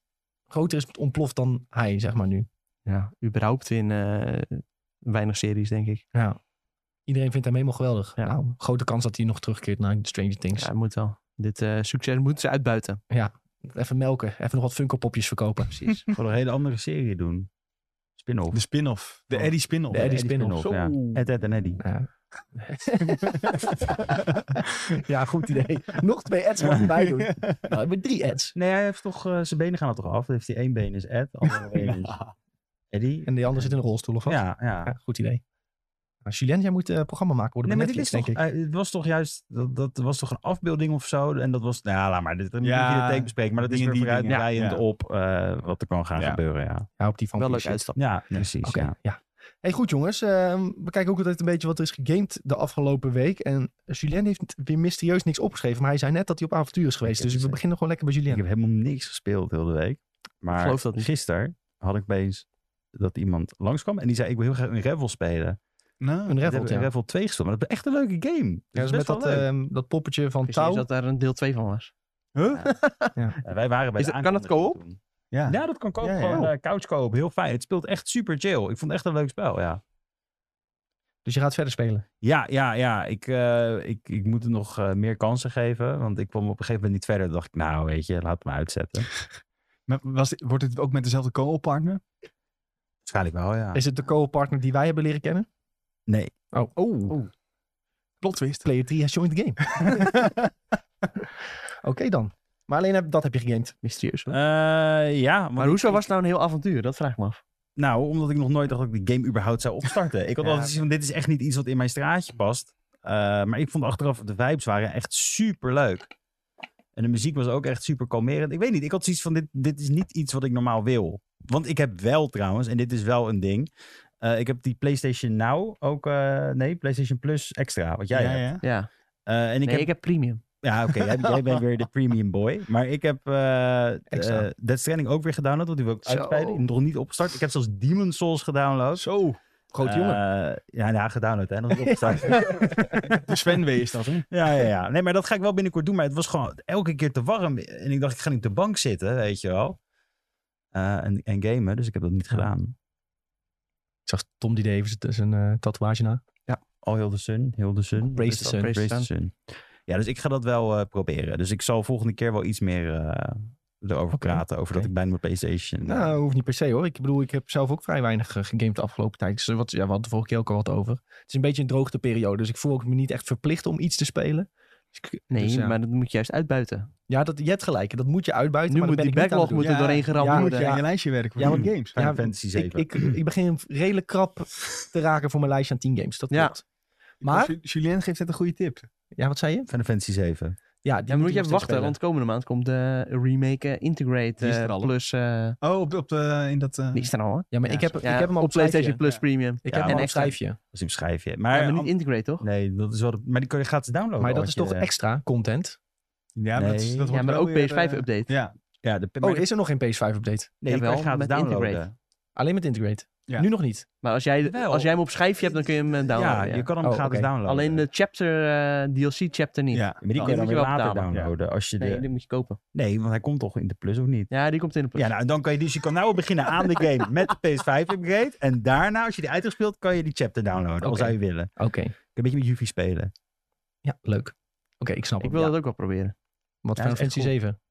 Speaker 1: groter is ontploft dan hij, zeg maar nu.
Speaker 3: Ja, überhaupt in eh, weinig series, denk ik.
Speaker 1: Ja. Iedereen vindt hem helemaal geweldig.
Speaker 3: Ja.
Speaker 1: Nou, grote kans dat hij nog terugkeert naar Stranger Things.
Speaker 3: Ja, moet wel. Dit eh, succes moeten ze uitbuiten.
Speaker 1: Even melken. Even nog wat Funko Popjes verkopen.
Speaker 3: Precies.
Speaker 4: Gewoon een hele andere serie doen. Spin-off.
Speaker 2: De spin-off. De
Speaker 1: Oh.
Speaker 2: Eddie spin-off.
Speaker 1: De Eddie spin-off.
Speaker 4: spin-off, ja. Ed, Ed en Eddy.
Speaker 1: Ja. ja, goed idee. Nog twee ads mag erbij doen. Nou, we hebben drie ads.
Speaker 4: Nee, hij heeft toch, eh, zijn benen gaan er toch af. Dan heeft hij één been is Ed, andere been is Eddy.
Speaker 1: En die ander zit in een rolstoel of wat?
Speaker 4: Ja, ja.
Speaker 1: Ja, goed idee. Nou, Julien, jij moet eh, programma maken worden
Speaker 4: Nee,
Speaker 1: bij
Speaker 4: maar dit is
Speaker 1: Netflix,
Speaker 4: toch,
Speaker 1: denk ik.
Speaker 4: eh, het was toch juist, dat, dat was toch een afbeelding of zo? En dat was, nou ja, laat maar, dit moet
Speaker 2: Ja,
Speaker 4: je de take bespreken. Maar dat is
Speaker 2: dingen
Speaker 4: weer
Speaker 2: die dingen.
Speaker 4: vooruitdraaiend
Speaker 2: Ja.
Speaker 4: op eh, wat er kan gaan
Speaker 2: Ja.
Speaker 4: gebeuren, ja.
Speaker 1: Ja, op die van
Speaker 3: Wel leuk
Speaker 1: Piece.
Speaker 3: uitstap.
Speaker 4: Ja, precies,
Speaker 1: Oké,
Speaker 4: ja.
Speaker 1: ja. Hey, goed jongens. Ehm, we kijken ook altijd een beetje wat er is gegamed de afgelopen week. En Julien heeft weer mysterieus niks opgeschreven. Maar hij zei net dat hij op avontuur is geweest.
Speaker 4: heb
Speaker 1: Dus
Speaker 4: het,
Speaker 1: we
Speaker 4: eh,
Speaker 1: beginnen gewoon lekker bij Julien.
Speaker 4: Ik heb helemaal niks gespeeld heel de week. Maar
Speaker 3: geloof dat niet.
Speaker 4: gisteren had ik opeens dat iemand langskwam en die zei, ik wil heel graag een Revel spelen.
Speaker 2: Nou,
Speaker 1: Een
Speaker 4: Ik
Speaker 1: Revel,
Speaker 4: heb
Speaker 1: ja.
Speaker 4: een Revel dus 2 gespeeld, maar dat is echt een leuke game.
Speaker 1: Ja, dat is met dat, ehm, dat poppetje van
Speaker 3: Ik wist niet
Speaker 1: touw.
Speaker 3: eens dat daar een deel 2 van was.
Speaker 2: huh?
Speaker 4: eh, wij waren bij
Speaker 3: Is
Speaker 4: de
Speaker 3: dat- kan dat
Speaker 4: aankondiging
Speaker 3: co-op?
Speaker 4: toen.
Speaker 2: Ja.
Speaker 4: Ja, dat kan kopen.
Speaker 2: Ja, ja.
Speaker 4: Gewoon eh, couch kopen. Heel fijn. Het speelt echt super chill. Ik vond het echt een leuk spel, ja.
Speaker 1: Dus je gaat verder spelen.
Speaker 4: Ja, ja, ja. Ik, eh, ik, ik moet het nog eh, meer kansen geven. Want ik kwam op een gegeven moment niet verder. Toen dacht ik, nou weet je, laat het maar uitzetten.
Speaker 2: Maar was, wordt het ook met dezelfde co-op partner?
Speaker 4: Waarschijnlijk wel, ja.
Speaker 1: Is het de co-partner die wij hebben leren kennen?
Speaker 4: Ah. Nee.
Speaker 1: Oh, oh.
Speaker 2: Plot twist.
Speaker 1: Player 3 has joined the game. Oké dan. Maar alleen heb, dat heb je gegamed.
Speaker 3: Mysterieus. hoor.
Speaker 4: Eh, ja, want
Speaker 3: maar
Speaker 4: ik-
Speaker 3: hoezo
Speaker 4: ik-
Speaker 3: was het nou een heel avontuur? Dat vraag ik me af.
Speaker 4: Nou, omdat ik nog nooit dacht dat ik die game überhaupt zou opstarten. Ik had
Speaker 1: Ja.
Speaker 4: altijd zoiets van, dit is echt niet iets wat in mijn straatje past. Eh, maar ik vond achteraf, de vibes waren echt super leuk. En de muziek was ook echt super kalmerend. Ik weet niet, ik had zoiets van, dit, dit is niet iets wat ik normaal wil. Want ik heb wel trouwens, en dit is wel een ding. eh, ik heb die PlayStation Now ook, eh, nee, PlayStation Plus extra, wat jij
Speaker 2: ja,
Speaker 4: hebt.
Speaker 2: ja.
Speaker 3: Ja.
Speaker 4: Eh, en ik
Speaker 3: nee,
Speaker 4: heb,
Speaker 3: ik heb premium.
Speaker 4: Ja, oké. jij, jij bent weer de premium boy. Maar ik heb eh
Speaker 1: Extra.
Speaker 4: eh Death Stranding ook weer gedownload. Want die wil ik
Speaker 1: Zo.
Speaker 4: uitbreiden. Nog niet opgestart. Ik heb zelfs Demon Souls gedownload.
Speaker 2: Zo, groot jongen.
Speaker 4: Eh, ja, ja, gedownload hè. Nog niet opgestart.
Speaker 2: De Svenwee is dat, hè?
Speaker 4: ja, ja, ja. Nee, maar dat ga ik wel binnenkort doen. Maar het was gewoon elke keer te warm. En ik dacht, ik ga niet op de bank zitten, weet je wel. Eh, en, en gamen. Dus ik heb dat niet gedaan.
Speaker 1: Ik zag Tom die deed even zijn- zijn eh, tatoeage na.
Speaker 4: All Hail the Sun. Hail the Sun. Dus
Speaker 1: Praise
Speaker 4: Dat
Speaker 1: the
Speaker 4: is
Speaker 1: sun.
Speaker 4: wel
Speaker 3: Praise the
Speaker 4: sun. Ja, dus ik ga dat wel eh, proberen. Dus ik zal volgende keer wel iets meer eh, erover
Speaker 1: Oké,
Speaker 4: praten. Over
Speaker 1: oké.
Speaker 4: dat ik bij mijn PlayStation... eh,
Speaker 1: Nou, hoeft niet per se hoor. Ik bedoel, ik heb zelf ook vrij weinig eh, gegamed de afgelopen tijd. Dus eh, wat, ja, we hadden de vorige keer ook al wat over. Het is een beetje een droogteperiode, dus ik voel ook me niet echt verplicht om iets te spelen. Dus ik-
Speaker 3: Nee,
Speaker 1: dus ja.
Speaker 3: maar dat moet je juist uitbuiten.
Speaker 1: Ja, dat, je hebt gelijk. Dat moet je uitbuiten.
Speaker 3: Nu
Speaker 1: maar
Speaker 3: moet
Speaker 1: dat
Speaker 3: die
Speaker 1: ben ik niet
Speaker 3: backlog
Speaker 1: aan het
Speaker 3: moet
Speaker 1: doen.
Speaker 2: Ja,
Speaker 3: er doorheen
Speaker 1: ja,
Speaker 3: geramd
Speaker 2: moet eh,
Speaker 3: worden.
Speaker 2: je aan je lijstje werken voor
Speaker 1: Ja,
Speaker 2: ja,
Speaker 1: want-
Speaker 2: games.
Speaker 4: Final
Speaker 1: Ja,
Speaker 4: Fantasy 7.
Speaker 1: Ik, ik, ik begin redelijk krap te raken voor mijn lijstje aan 10 games. Dat
Speaker 3: Ja.
Speaker 1: klopt. Maar-
Speaker 2: Ju- Julien geeft net een goede tip.
Speaker 1: Ja, wat zei je?
Speaker 4: Final Fantasy 7.
Speaker 1: Ja, die
Speaker 3: Ja, maar moet je
Speaker 1: nog
Speaker 3: even
Speaker 1: steeds
Speaker 3: wachten, want komende maand komt de remake eh, Integrate
Speaker 2: Die is
Speaker 3: eh,
Speaker 2: er al, hè?
Speaker 3: plus. eh
Speaker 2: Oh, op, op eh, in dat... eh,
Speaker 3: die is er al, hè?
Speaker 1: Ja, maar
Speaker 2: Ja,
Speaker 1: ik, heb,
Speaker 3: Ja,
Speaker 1: ik heb hem al
Speaker 3: op PlayStation Plus
Speaker 2: Ja.
Speaker 3: Premium.
Speaker 1: Ik
Speaker 4: Ja,
Speaker 1: heb hem
Speaker 3: en
Speaker 1: al een
Speaker 3: extra.
Speaker 1: schrijfje.
Speaker 4: Dat is een schrijfje.
Speaker 3: Ja,
Speaker 4: Maar,
Speaker 3: maar niet Integrate, toch?
Speaker 4: nee, dat is wel de- maar die kun je gratis downloaden.
Speaker 1: Maar dat
Speaker 4: als
Speaker 1: is
Speaker 4: je
Speaker 1: toch
Speaker 4: de-
Speaker 1: extra content?
Speaker 2: Ja, maar dat, is-
Speaker 4: Nee.
Speaker 2: dat
Speaker 3: ja,
Speaker 2: wordt
Speaker 3: maar
Speaker 2: wel
Speaker 3: ook
Speaker 2: weer, eh,
Speaker 3: PS5-update.
Speaker 2: Ja,
Speaker 4: Ja, de, maar
Speaker 1: Oh,
Speaker 4: dat-
Speaker 1: is er nog geen PS5-update?
Speaker 4: nee, die kun je
Speaker 3: jawel,
Speaker 4: gratis
Speaker 3: met
Speaker 4: downloaden.
Speaker 3: Integrate.
Speaker 1: Alleen met Integrate?
Speaker 2: Ja.
Speaker 1: Nu nog niet?
Speaker 3: Maar als jij,
Speaker 4: Wel.
Speaker 3: als jij hem op schijfje hebt, dan kun je hem eh,
Speaker 4: Ja,
Speaker 3: downloaden. ja.
Speaker 4: je kan hem
Speaker 1: Oh,
Speaker 4: gratis
Speaker 1: oké.
Speaker 4: downloaden.
Speaker 3: Alleen de chapter, eh, DLC chapter niet.
Speaker 2: ja.
Speaker 4: Maar die kun
Speaker 3: die
Speaker 4: je
Speaker 3: moet
Speaker 4: dan weer
Speaker 3: je wel
Speaker 4: later
Speaker 3: betalen.
Speaker 4: downloaden. Als je de...
Speaker 3: Nee, die moet je kopen.
Speaker 4: nee, want hij komt toch in de plus, of niet?
Speaker 3: Ja, die komt in de plus.
Speaker 4: Ja, nou, dan kan je dus je kan nou al beginnen aan de game met de PS5-upgrade. En daarna, als je die uitgespeeld, kan je die chapter downloaden. Al
Speaker 1: Oké.
Speaker 4: zou je willen.
Speaker 1: Oké.
Speaker 4: Kun je Een beetje met Yuffie spelen.
Speaker 1: Ja, leuk. Oké, ik snap
Speaker 3: ik
Speaker 1: het.
Speaker 3: wil
Speaker 1: Ja.
Speaker 3: dat ook wel proberen.
Speaker 1: Wat
Speaker 4: Ja,
Speaker 1: Final
Speaker 4: dat is echt
Speaker 1: Fantasy 7?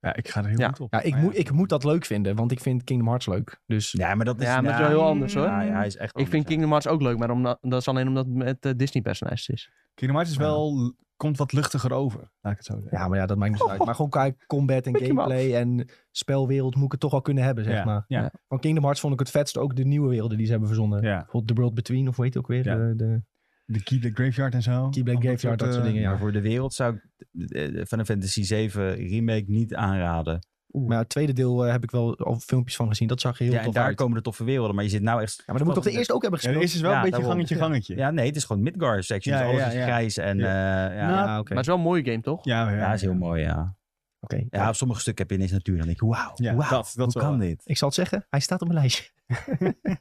Speaker 2: Ja, ik ga er heel
Speaker 3: Ja.
Speaker 2: goed op.
Speaker 1: Ja, ik,
Speaker 2: Maar
Speaker 1: moet, ik moet dat leuk vinden, want ik vind Kingdom Hearts leuk. Dus
Speaker 4: Ja, maar dat is...
Speaker 3: Ja, maar dat is wel heel anders, hoor.
Speaker 4: Ja, ja, hij is echt
Speaker 3: Ik vind
Speaker 4: anders,
Speaker 3: Kingdom Hearts ook leuk, maar omdat, dat is alleen omdat het met eh, Disney-personages is.
Speaker 2: Kingdom Hearts is wel, komt wat luchtiger over, laat ik het zo zeggen.
Speaker 1: Ja, maar ja, dat maakt niet zo uit. Maar gewoon qua combat en
Speaker 3: Pik hem af.
Speaker 1: gameplay en spelwereld moet ik het toch wel kunnen hebben, zeg
Speaker 2: ja.
Speaker 1: maar.
Speaker 2: Ja,
Speaker 1: Van Kingdom Hearts vond ik het vetst ook de nieuwe werelden die ze hebben verzonnen.
Speaker 2: ja.
Speaker 1: Bijvoorbeeld The World Between, of weet je ook weer?
Speaker 2: Ja.
Speaker 1: De, de
Speaker 2: De Keyblade Graveyard en zo.
Speaker 1: Keyblade
Speaker 2: Allemaal
Speaker 1: Graveyard, dat soort
Speaker 2: eh,
Speaker 1: dingen,
Speaker 4: ja.
Speaker 1: ja.
Speaker 4: Maar voor de wereld zou ik eh, Final Fantasy 7 remake niet aanraden.
Speaker 1: Maar ja, het tweede deel eh, heb ik wel al filmpjes van gezien. Dat zag er heel
Speaker 4: Ja, en
Speaker 1: tof
Speaker 4: daar
Speaker 1: uit.
Speaker 4: komen de toffe werelden. Maar je zit nou echt...
Speaker 1: Ja, maar dan moet toch de eerste ook hebben
Speaker 2: Ja,
Speaker 1: gespeeld?
Speaker 2: er is dus wel
Speaker 4: Ja,
Speaker 2: een beetje
Speaker 4: daarom.
Speaker 2: gangetje, gangetje.
Speaker 4: Ja, nee, het is gewoon Midgar section.
Speaker 2: Ja,
Speaker 4: dus alles
Speaker 2: ja,
Speaker 4: is
Speaker 2: ja.
Speaker 4: grijs en
Speaker 2: Ja.
Speaker 4: eh, ja.
Speaker 2: Nou,
Speaker 4: ja.
Speaker 1: Ja, oké.
Speaker 3: Maar het is wel een mooie game, toch?
Speaker 2: Ja, ja,
Speaker 4: dat is heel mooi, ja.
Speaker 1: Oké.
Speaker 4: Ja, op sommige stukken heb je ineens natuur. Dan denk ik, wauw,
Speaker 2: Ja,
Speaker 4: wauw,
Speaker 2: dat- dat
Speaker 4: hoe
Speaker 2: wel.
Speaker 4: kan dit?
Speaker 1: Ik zal het zeggen, hij staat op mijn lijstje.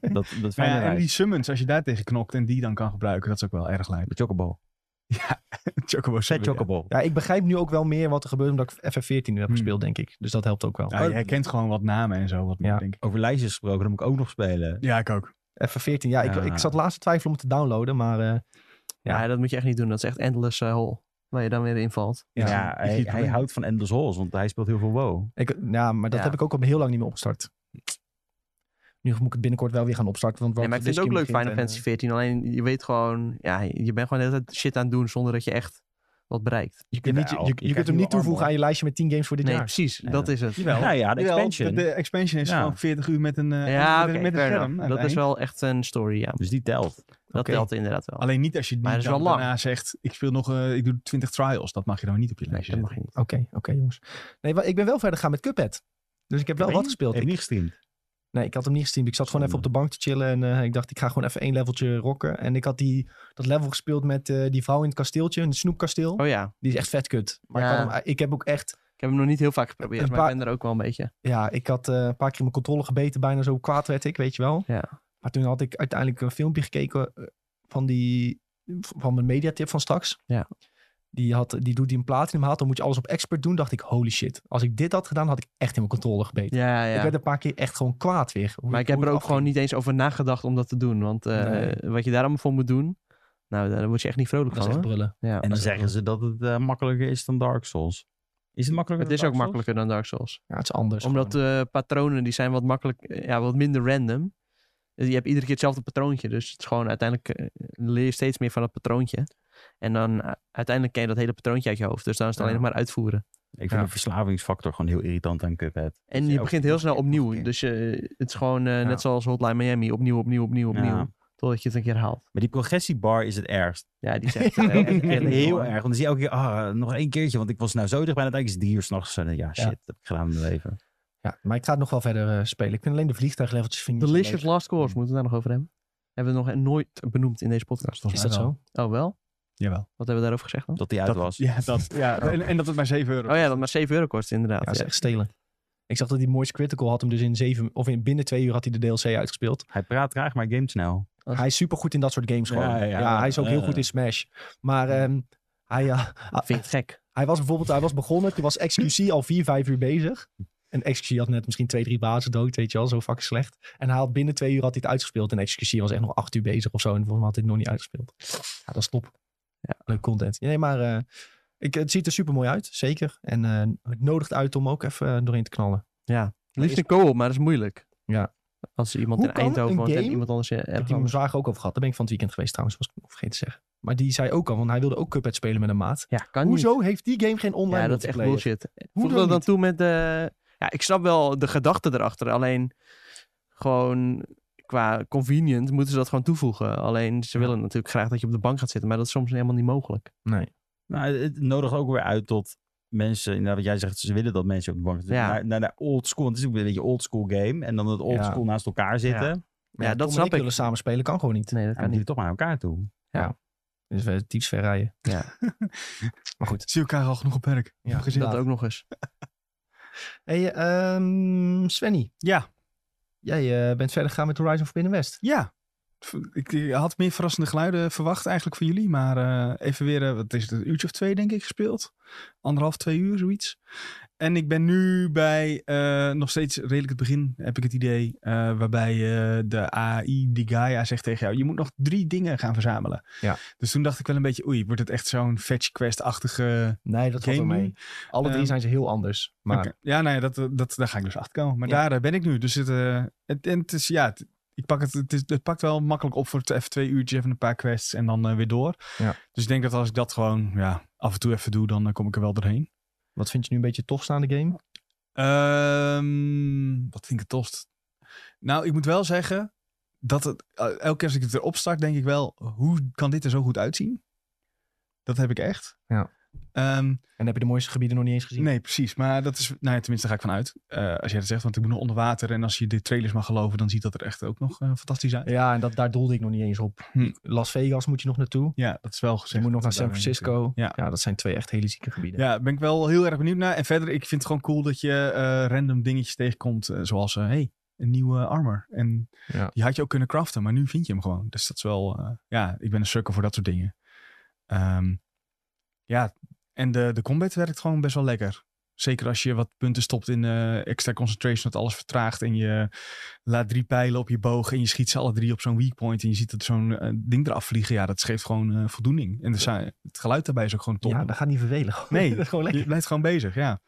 Speaker 4: Dat, dat
Speaker 2: Maar
Speaker 4: fijne
Speaker 2: ja, en
Speaker 4: wijs.
Speaker 2: die summons, als je daar tegen knokt en die dan kan gebruiken, dat is ook wel erg lijp.
Speaker 4: De chocobo.
Speaker 2: Chocobo
Speaker 4: Zet
Speaker 2: summon, ja.
Speaker 4: chocobo.
Speaker 1: Ja, ik begrijp nu ook wel meer wat er gebeurt omdat ik FF14 nu heb
Speaker 2: Hmm.
Speaker 1: gespeeld, denk ik. Dus dat helpt ook wel.
Speaker 2: Ja,
Speaker 3: Oh.
Speaker 2: je herkent gewoon wat namen en zo, wat
Speaker 1: Ja.
Speaker 2: meer, denk ik.
Speaker 4: Over lijstjes gesproken, dat moet ik ook nog spelen.
Speaker 2: Ja, ik ook.
Speaker 1: FF14, ja, ik,
Speaker 4: Ja.
Speaker 1: ik zat laatst te twijfelen om het te downloaden, maar... eh,
Speaker 3: Ja, dat moet je echt niet doen. Dat is echt endless eh, hole. Waar je dan weer in valt.
Speaker 4: Ja,
Speaker 2: Ja, ik zie
Speaker 4: hij,
Speaker 2: het
Speaker 4: hij
Speaker 2: probleem.
Speaker 4: houdt van Endless Halls, want hij speelt heel veel WoW.
Speaker 1: Ik, ja, maar dat
Speaker 3: Ja.
Speaker 1: heb ik ook al heel lang niet meer opgestart. Nu moet ik het binnenkort wel weer gaan opstarten. Want
Speaker 3: Nee, maar ik vind het ook leuk
Speaker 1: Fijn
Speaker 3: Final Fantasy 14. Alleen je weet gewoon, ja, je bent gewoon de hele tijd shit aan het doen zonder dat je echt wat bereikt.
Speaker 1: je kunt, niet, je,
Speaker 4: Jawel,
Speaker 1: je
Speaker 4: je
Speaker 1: kunt
Speaker 4: krijgt
Speaker 1: hem niet
Speaker 4: nieuwe
Speaker 1: toevoegen
Speaker 4: armor.
Speaker 1: aan je lijstje met 10 games voor dit
Speaker 3: Nee,
Speaker 1: jaar.
Speaker 3: precies.
Speaker 4: Ja.
Speaker 3: dat is het.
Speaker 2: Jawel.
Speaker 4: Nou ja, de
Speaker 2: Jawel,
Speaker 4: expansion.
Speaker 2: De, de expansion is
Speaker 4: Ja.
Speaker 2: gewoon 40 uur met een, eh,
Speaker 3: Ja,
Speaker 2: met,
Speaker 3: oké,
Speaker 2: een- met een
Speaker 3: fair
Speaker 2: scherm.
Speaker 3: enough.
Speaker 2: aan
Speaker 3: Dat
Speaker 2: het
Speaker 3: is
Speaker 2: eind.
Speaker 3: wel echt een story, ja.
Speaker 4: Dus die telt.
Speaker 3: Dat
Speaker 1: Oké.
Speaker 3: telt inderdaad wel.
Speaker 2: Alleen niet als je
Speaker 3: Maar
Speaker 2: die
Speaker 3: dat is
Speaker 2: dan
Speaker 3: wel lang.
Speaker 2: daarna zegt, ik speel nog, eh, ik doe 20 trials. Dat mag je dan niet op je
Speaker 3: nee,
Speaker 2: lijstje
Speaker 3: dat
Speaker 2: zetten.
Speaker 3: mag je niet.
Speaker 1: Oké, oké jongens. Nee, wa- ik ben wel verder gegaan met Cuphead. Dus ik heb wel
Speaker 4: Heb
Speaker 1: wat
Speaker 4: je-
Speaker 1: gespeeld.
Speaker 4: Heb
Speaker 1: Ik,
Speaker 4: je niet gestreamd.
Speaker 1: nee, ik had hem niet gesteamd. Ik zat gewoon even op de bank te chillen. En eh, ik dacht, ik ga gewoon even één leveltje rocken. En ik had die, dat level gespeeld met eh, die vrouw in het kasteeltje. In het snoepkasteel.
Speaker 3: Oh ja,
Speaker 1: Die is echt vet kut. Maar
Speaker 3: Ja.
Speaker 1: ik, had hem- eh, ik heb ook echt...
Speaker 3: ik heb hem nog niet heel vaak geprobeerd,
Speaker 1: Een
Speaker 3: maar
Speaker 1: paar-
Speaker 3: ik ben er ook wel een beetje.
Speaker 1: Ja, ik had eh, een paar keer mijn controle gebeten. Bijna zo kwaad werd ik, weet je wel.
Speaker 3: Ja.
Speaker 1: Maar toen had ik uiteindelijk een filmpje gekeken eh, van die van mijn mediatip van straks.
Speaker 3: Ja.
Speaker 1: Die, had, die doet die een platinum haalt, dan moet je alles op expert doen. Dacht ik, holy shit. Als ik dit had gedaan, had ik echt in mijn controle gebeten.
Speaker 3: Ja, ja.
Speaker 1: Ik werd een paar keer echt gewoon kwaad weer. Hoe-
Speaker 3: maar ik heb
Speaker 1: hoe
Speaker 3: er
Speaker 1: het
Speaker 3: ook gewoon
Speaker 1: afging.
Speaker 3: niet eens over nagedacht om dat te doen. Want eh,
Speaker 1: Nee.
Speaker 3: wat je daar allemaal voor moet doen, nou, daar word je echt niet vrolijk
Speaker 1: Dat is
Speaker 3: van.
Speaker 1: echt
Speaker 3: hoor.
Speaker 1: brullen.
Speaker 3: Ja.
Speaker 4: En dan zeggen ze dat het eh, makkelijker is dan Dark Souls. Is het makkelijker
Speaker 3: Het is
Speaker 4: dan
Speaker 3: ook
Speaker 4: Dark Souls?
Speaker 3: makkelijker dan Dark Souls.
Speaker 1: Ja, het is anders.
Speaker 3: Omdat
Speaker 1: gewoon.
Speaker 3: de patronen, die zijn wat makkelijk, eh, ja, wat minder random. Dus Je hebt iedere keer hetzelfde patroontje. Dus het is gewoon uiteindelijk eh, leer je steeds meer van dat patroontje. En dan eh, uiteindelijk ken je dat hele patroontje uit je hoofd. Dus dan is het alleen
Speaker 1: Ja.
Speaker 3: nog maar uitvoeren.
Speaker 4: Ik vind
Speaker 1: Ja.
Speaker 4: de verslavingsfactor gewoon heel irritant aan Cuphead.
Speaker 3: En
Speaker 4: Ja,
Speaker 3: je
Speaker 4: ook
Speaker 3: begint heel
Speaker 4: nog
Speaker 3: snel
Speaker 4: een Dus keer, nog
Speaker 3: opnieuw.
Speaker 4: een
Speaker 3: Dus eh, het is gewoon eh, net zoals Hotline Miami. Opnieuw, opnieuw, opnieuw,
Speaker 4: Ja.
Speaker 3: opnieuw. Totdat je het een keer haalt.
Speaker 4: Maar die progressiebar is het ergst.
Speaker 3: Ja, die zegt echt, eh, echt
Speaker 4: Echt
Speaker 3: eerlijk,
Speaker 4: heel
Speaker 3: hoor.
Speaker 4: erg. Want dan zie je elke keer, ah, nog één keertje. Want ik was nou zo dicht bij. En uiteindelijk is het drie uur s'nachts. eh, Ja, shit, dat heb ik gedaan in mijn leven.
Speaker 1: Ja, maar ik ga het nog wel verder eh, spelen. Ik vind alleen de vliegtuigleveltjes vind ik niet zo
Speaker 3: Delicious
Speaker 1: leuk.
Speaker 3: Last Course, moeten we het daar nog over hebben? Hebben we nog nooit benoemd in deze podcast.
Speaker 2: Volgens
Speaker 1: Is
Speaker 2: mij
Speaker 1: dat
Speaker 2: wel.
Speaker 1: zo?
Speaker 3: Oh wel?
Speaker 2: Jawel.
Speaker 3: Wat hebben we daarover gezegd dan?
Speaker 4: Dat die uit was.
Speaker 2: Ja, dat, ja. En, en dat het maar 7 euro
Speaker 3: Oh ja, dat maar 7 euro kost inderdaad.
Speaker 1: Ja,
Speaker 3: Ja,
Speaker 1: dat is echt stelen. Ik zag dat die Morse Critical had hem dus in zeven, of in binnen twee uur had hij de DLC uitgespeeld.
Speaker 4: Hij praat traag, maar gamet snel.
Speaker 1: Hij is supergoed in dat soort games gewoon.
Speaker 4: Ja,
Speaker 1: Ja,
Speaker 4: ja,
Speaker 1: hij is ook heel
Speaker 4: eh.
Speaker 1: goed in Smash. Maar ehm, hij, ja,
Speaker 3: Vind ik gek.
Speaker 1: hij was bijvoorbeeld, hij was begonnen, toen was XQC al vier, vijf uur bezig. En XQC had net misschien twee, drie bazen dood, weet je wel, zo fucking slecht. En hij had binnen twee uur had hij het uitgespeeld. En XQC was echt nog acht uur bezig of zo. En volgens mij had hij het nog niet uitgespeeld. Ja, dat is top.
Speaker 3: Ja.
Speaker 1: Leuk content. Nee, maar eh, ik, het ziet er super mooi uit, zeker. En eh, het nodigt uit om ook even eh, doorheen te knallen.
Speaker 3: Ja. Liefst
Speaker 1: is-
Speaker 3: een co-op, maar dat is moeilijk.
Speaker 1: Ja.
Speaker 3: Als iemand
Speaker 1: Hoe
Speaker 3: in
Speaker 1: kan
Speaker 3: Eindhoven
Speaker 1: een
Speaker 3: woont en
Speaker 1: game-
Speaker 3: iemand anders in
Speaker 1: Ik heb die
Speaker 3: Erlangen.
Speaker 1: mijn zwager ook over gehad. Daar ben ik van het weekend geweest trouwens, was ik nog vergeten te zeggen. Maar die zei ook al, want hij wilde ook Cuphead spelen met een maat.
Speaker 3: Ja, kan Ah, niet.
Speaker 1: Hoezo heeft die game geen online
Speaker 3: Ja, dat is echt
Speaker 1: multiplayer?
Speaker 3: bullshit.
Speaker 1: Hoe
Speaker 3: Voeg
Speaker 1: dan
Speaker 3: dat dan
Speaker 1: niet?
Speaker 3: toe met de... Ja, ik snap wel de gedachte erachter. Alleen gewoon qua convenient moeten ze dat gewoon toevoegen. Alleen ze willen natuurlijk graag dat je op de bank gaat zitten. Maar dat is soms helemaal niet mogelijk.
Speaker 1: Nee.
Speaker 4: Nou, het nodigt ook weer uit tot mensen, inderdaad wat jij zegt, ze willen dat mensen op de bank zitten.
Speaker 3: Ja.
Speaker 4: Naar, naar de old school, want het is ook een beetje old school game. En dan het old
Speaker 1: Ja.
Speaker 4: school naast elkaar
Speaker 3: Ja.
Speaker 4: zitten.
Speaker 1: Maar
Speaker 3: Ja,
Speaker 1: ja,
Speaker 3: dat
Speaker 1: Tom en
Speaker 3: snap
Speaker 1: ik
Speaker 3: ik.
Speaker 1: willen samen spelen kan gewoon niet.
Speaker 3: Nee, dat
Speaker 4: Ja,
Speaker 3: kan
Speaker 4: dan moet je
Speaker 3: niet.
Speaker 4: toch maar naar elkaar toe.
Speaker 1: Dus we tyfus ver rijden.
Speaker 3: Ja.
Speaker 1: maar goed.
Speaker 2: Zie elkaar al genoeg op werk.
Speaker 1: Ja,
Speaker 2: Op gezin.
Speaker 3: Dat ook nog eens.
Speaker 1: Hey, ehm Svenny.
Speaker 2: Ja.
Speaker 1: Jij eh, bent verder gegaan met Horizon Forbidden West.
Speaker 2: Ja. V- Ik, ik had meer verrassende geluiden verwacht eigenlijk van jullie. Maar eh, even weer, eh, wat is het, een uurtje of twee denk ik gespeeld. Anderhalf, twee uur, zoiets. En ik ben nu bij, eh, nog steeds redelijk het begin, heb ik het idee. eh, waarbij eh, de AI, die Gaia, zegt tegen jou, je moet nog drie dingen gaan verzamelen.
Speaker 1: Ja.
Speaker 2: Dus toen dacht ik wel een beetje, oei, wordt het echt zo'n fetch quest-achtige
Speaker 1: Nee, dat valt
Speaker 2: game
Speaker 1: wel
Speaker 2: nu?
Speaker 1: mee. Alle drie
Speaker 2: Ehm,
Speaker 1: zijn ze heel anders. Maar
Speaker 2: Oké. Ja, nou ja, dat, dat, daar ga ik dus achter komen. Maar
Speaker 1: Ja.
Speaker 2: daar eh, ben ik nu. Dus het, eh, het, en het is, ja, het, ik pak het, het, is- het pakt wel makkelijk op voor het even twee uurtjes, even een paar quests en dan eh, weer door.
Speaker 1: Ja.
Speaker 2: Dus ik denk dat als ik dat gewoon ja, af en toe even doe, dan eh, kom ik er wel doorheen.
Speaker 1: wat vind je nu een beetje tof aan de game?
Speaker 2: Ehm, wat vind ik het tost? Nou, ik moet wel zeggen dat het, eh, elke keer als ik het erop start, denk ik wel, hoe kan dit er zo goed uitzien? Dat heb ik echt.
Speaker 1: Ja.
Speaker 2: Ehm,
Speaker 1: En heb je de mooiste gebieden nog niet eens gezien?
Speaker 2: Nee, precies. Maar dat is, nou ja, tenminste, daar ga ik van uit. Eh, als jij dat zegt, want ik moet nog onder water. En als je de trailers mag geloven, dan ziet dat er echt ook nog eh, fantastisch uit.
Speaker 1: Ja, en dat, daar doelde ik nog niet eens op.
Speaker 2: Hm.
Speaker 1: Las Vegas moet je nog naartoe.
Speaker 2: Ja, dat is wel
Speaker 1: Dus
Speaker 2: gezegd.
Speaker 1: je moet nog
Speaker 2: dat
Speaker 1: naar
Speaker 2: we
Speaker 1: San
Speaker 2: daar heen moeten.
Speaker 1: Francisco.
Speaker 2: Ja.
Speaker 1: ja, dat zijn twee echt hele zieke gebieden.
Speaker 2: Ja, ben ik wel heel erg benieuwd naar. En verder, ik vind het gewoon cool dat je eh, random dingetjes tegenkomt. eh, zoals, hé, hey, een nieuwe armor. En
Speaker 1: Ja.
Speaker 2: die had je ook kunnen craften, maar nu vind je hem gewoon. Dus dat is wel, eh, ja, ik ben een sukker voor dat soort dingen. Ehm, ja, en de, de combat werkt gewoon best wel lekker. Zeker als je wat punten stopt in eh, extra concentration, dat alles vertraagt. En je laat drie pijlen op je boog en je schiet ze alle drie op zo'n weak point. En je ziet dat zo'n eh, ding eraf vliegen. Ja, dat geeft gewoon eh, voldoening. En de sa- het geluid daarbij is ook gewoon top.
Speaker 1: Ja, dat gaat niet vervelen.
Speaker 2: Nee,
Speaker 1: Dat is gewoon lekker.
Speaker 2: je blijft gewoon bezig, ja.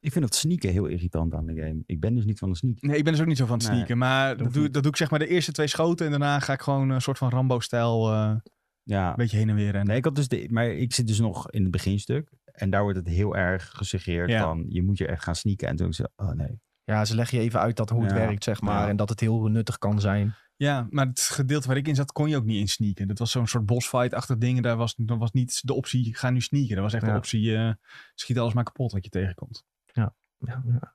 Speaker 4: Ik vind dat sneaken heel irritant aan de game. Ik ben dus niet van de sneak.
Speaker 2: Nee, ik ben dus ook niet zo van het
Speaker 4: Nee,
Speaker 2: sneaken. Maar dat
Speaker 1: hoeft
Speaker 2: doe,
Speaker 1: niet.
Speaker 2: dat doe ik zeg maar de eerste twee schoten. En daarna ga ik gewoon een soort van Rambo-stijl eh,
Speaker 4: Ja.
Speaker 2: een beetje heen en weer. En,
Speaker 4: Nee, ik had dus de, maar ik zit dus nog in het beginstuk. En daar wordt het heel erg gesuggereerd
Speaker 2: Ja.
Speaker 4: van, je moet je echt gaan sneaken. En toen zei ik, oh nee.
Speaker 1: Ja, ze leggen je even uit dat hoe het
Speaker 4: Ja.
Speaker 1: werkt, zeg maar.
Speaker 4: Ja.
Speaker 1: En dat het heel nuttig kan zijn.
Speaker 2: Ja, maar het gedeelte waar ik in zat kon je ook niet in sneaken. Dat was zo'n soort bossfight-achtig ding. en Daar was, dat was niet de optie, ga nu sneaken. Dat was echt de
Speaker 1: Ja.
Speaker 2: optie, eh, schiet alles maar kapot wat je tegenkomt.
Speaker 1: Ja, ja.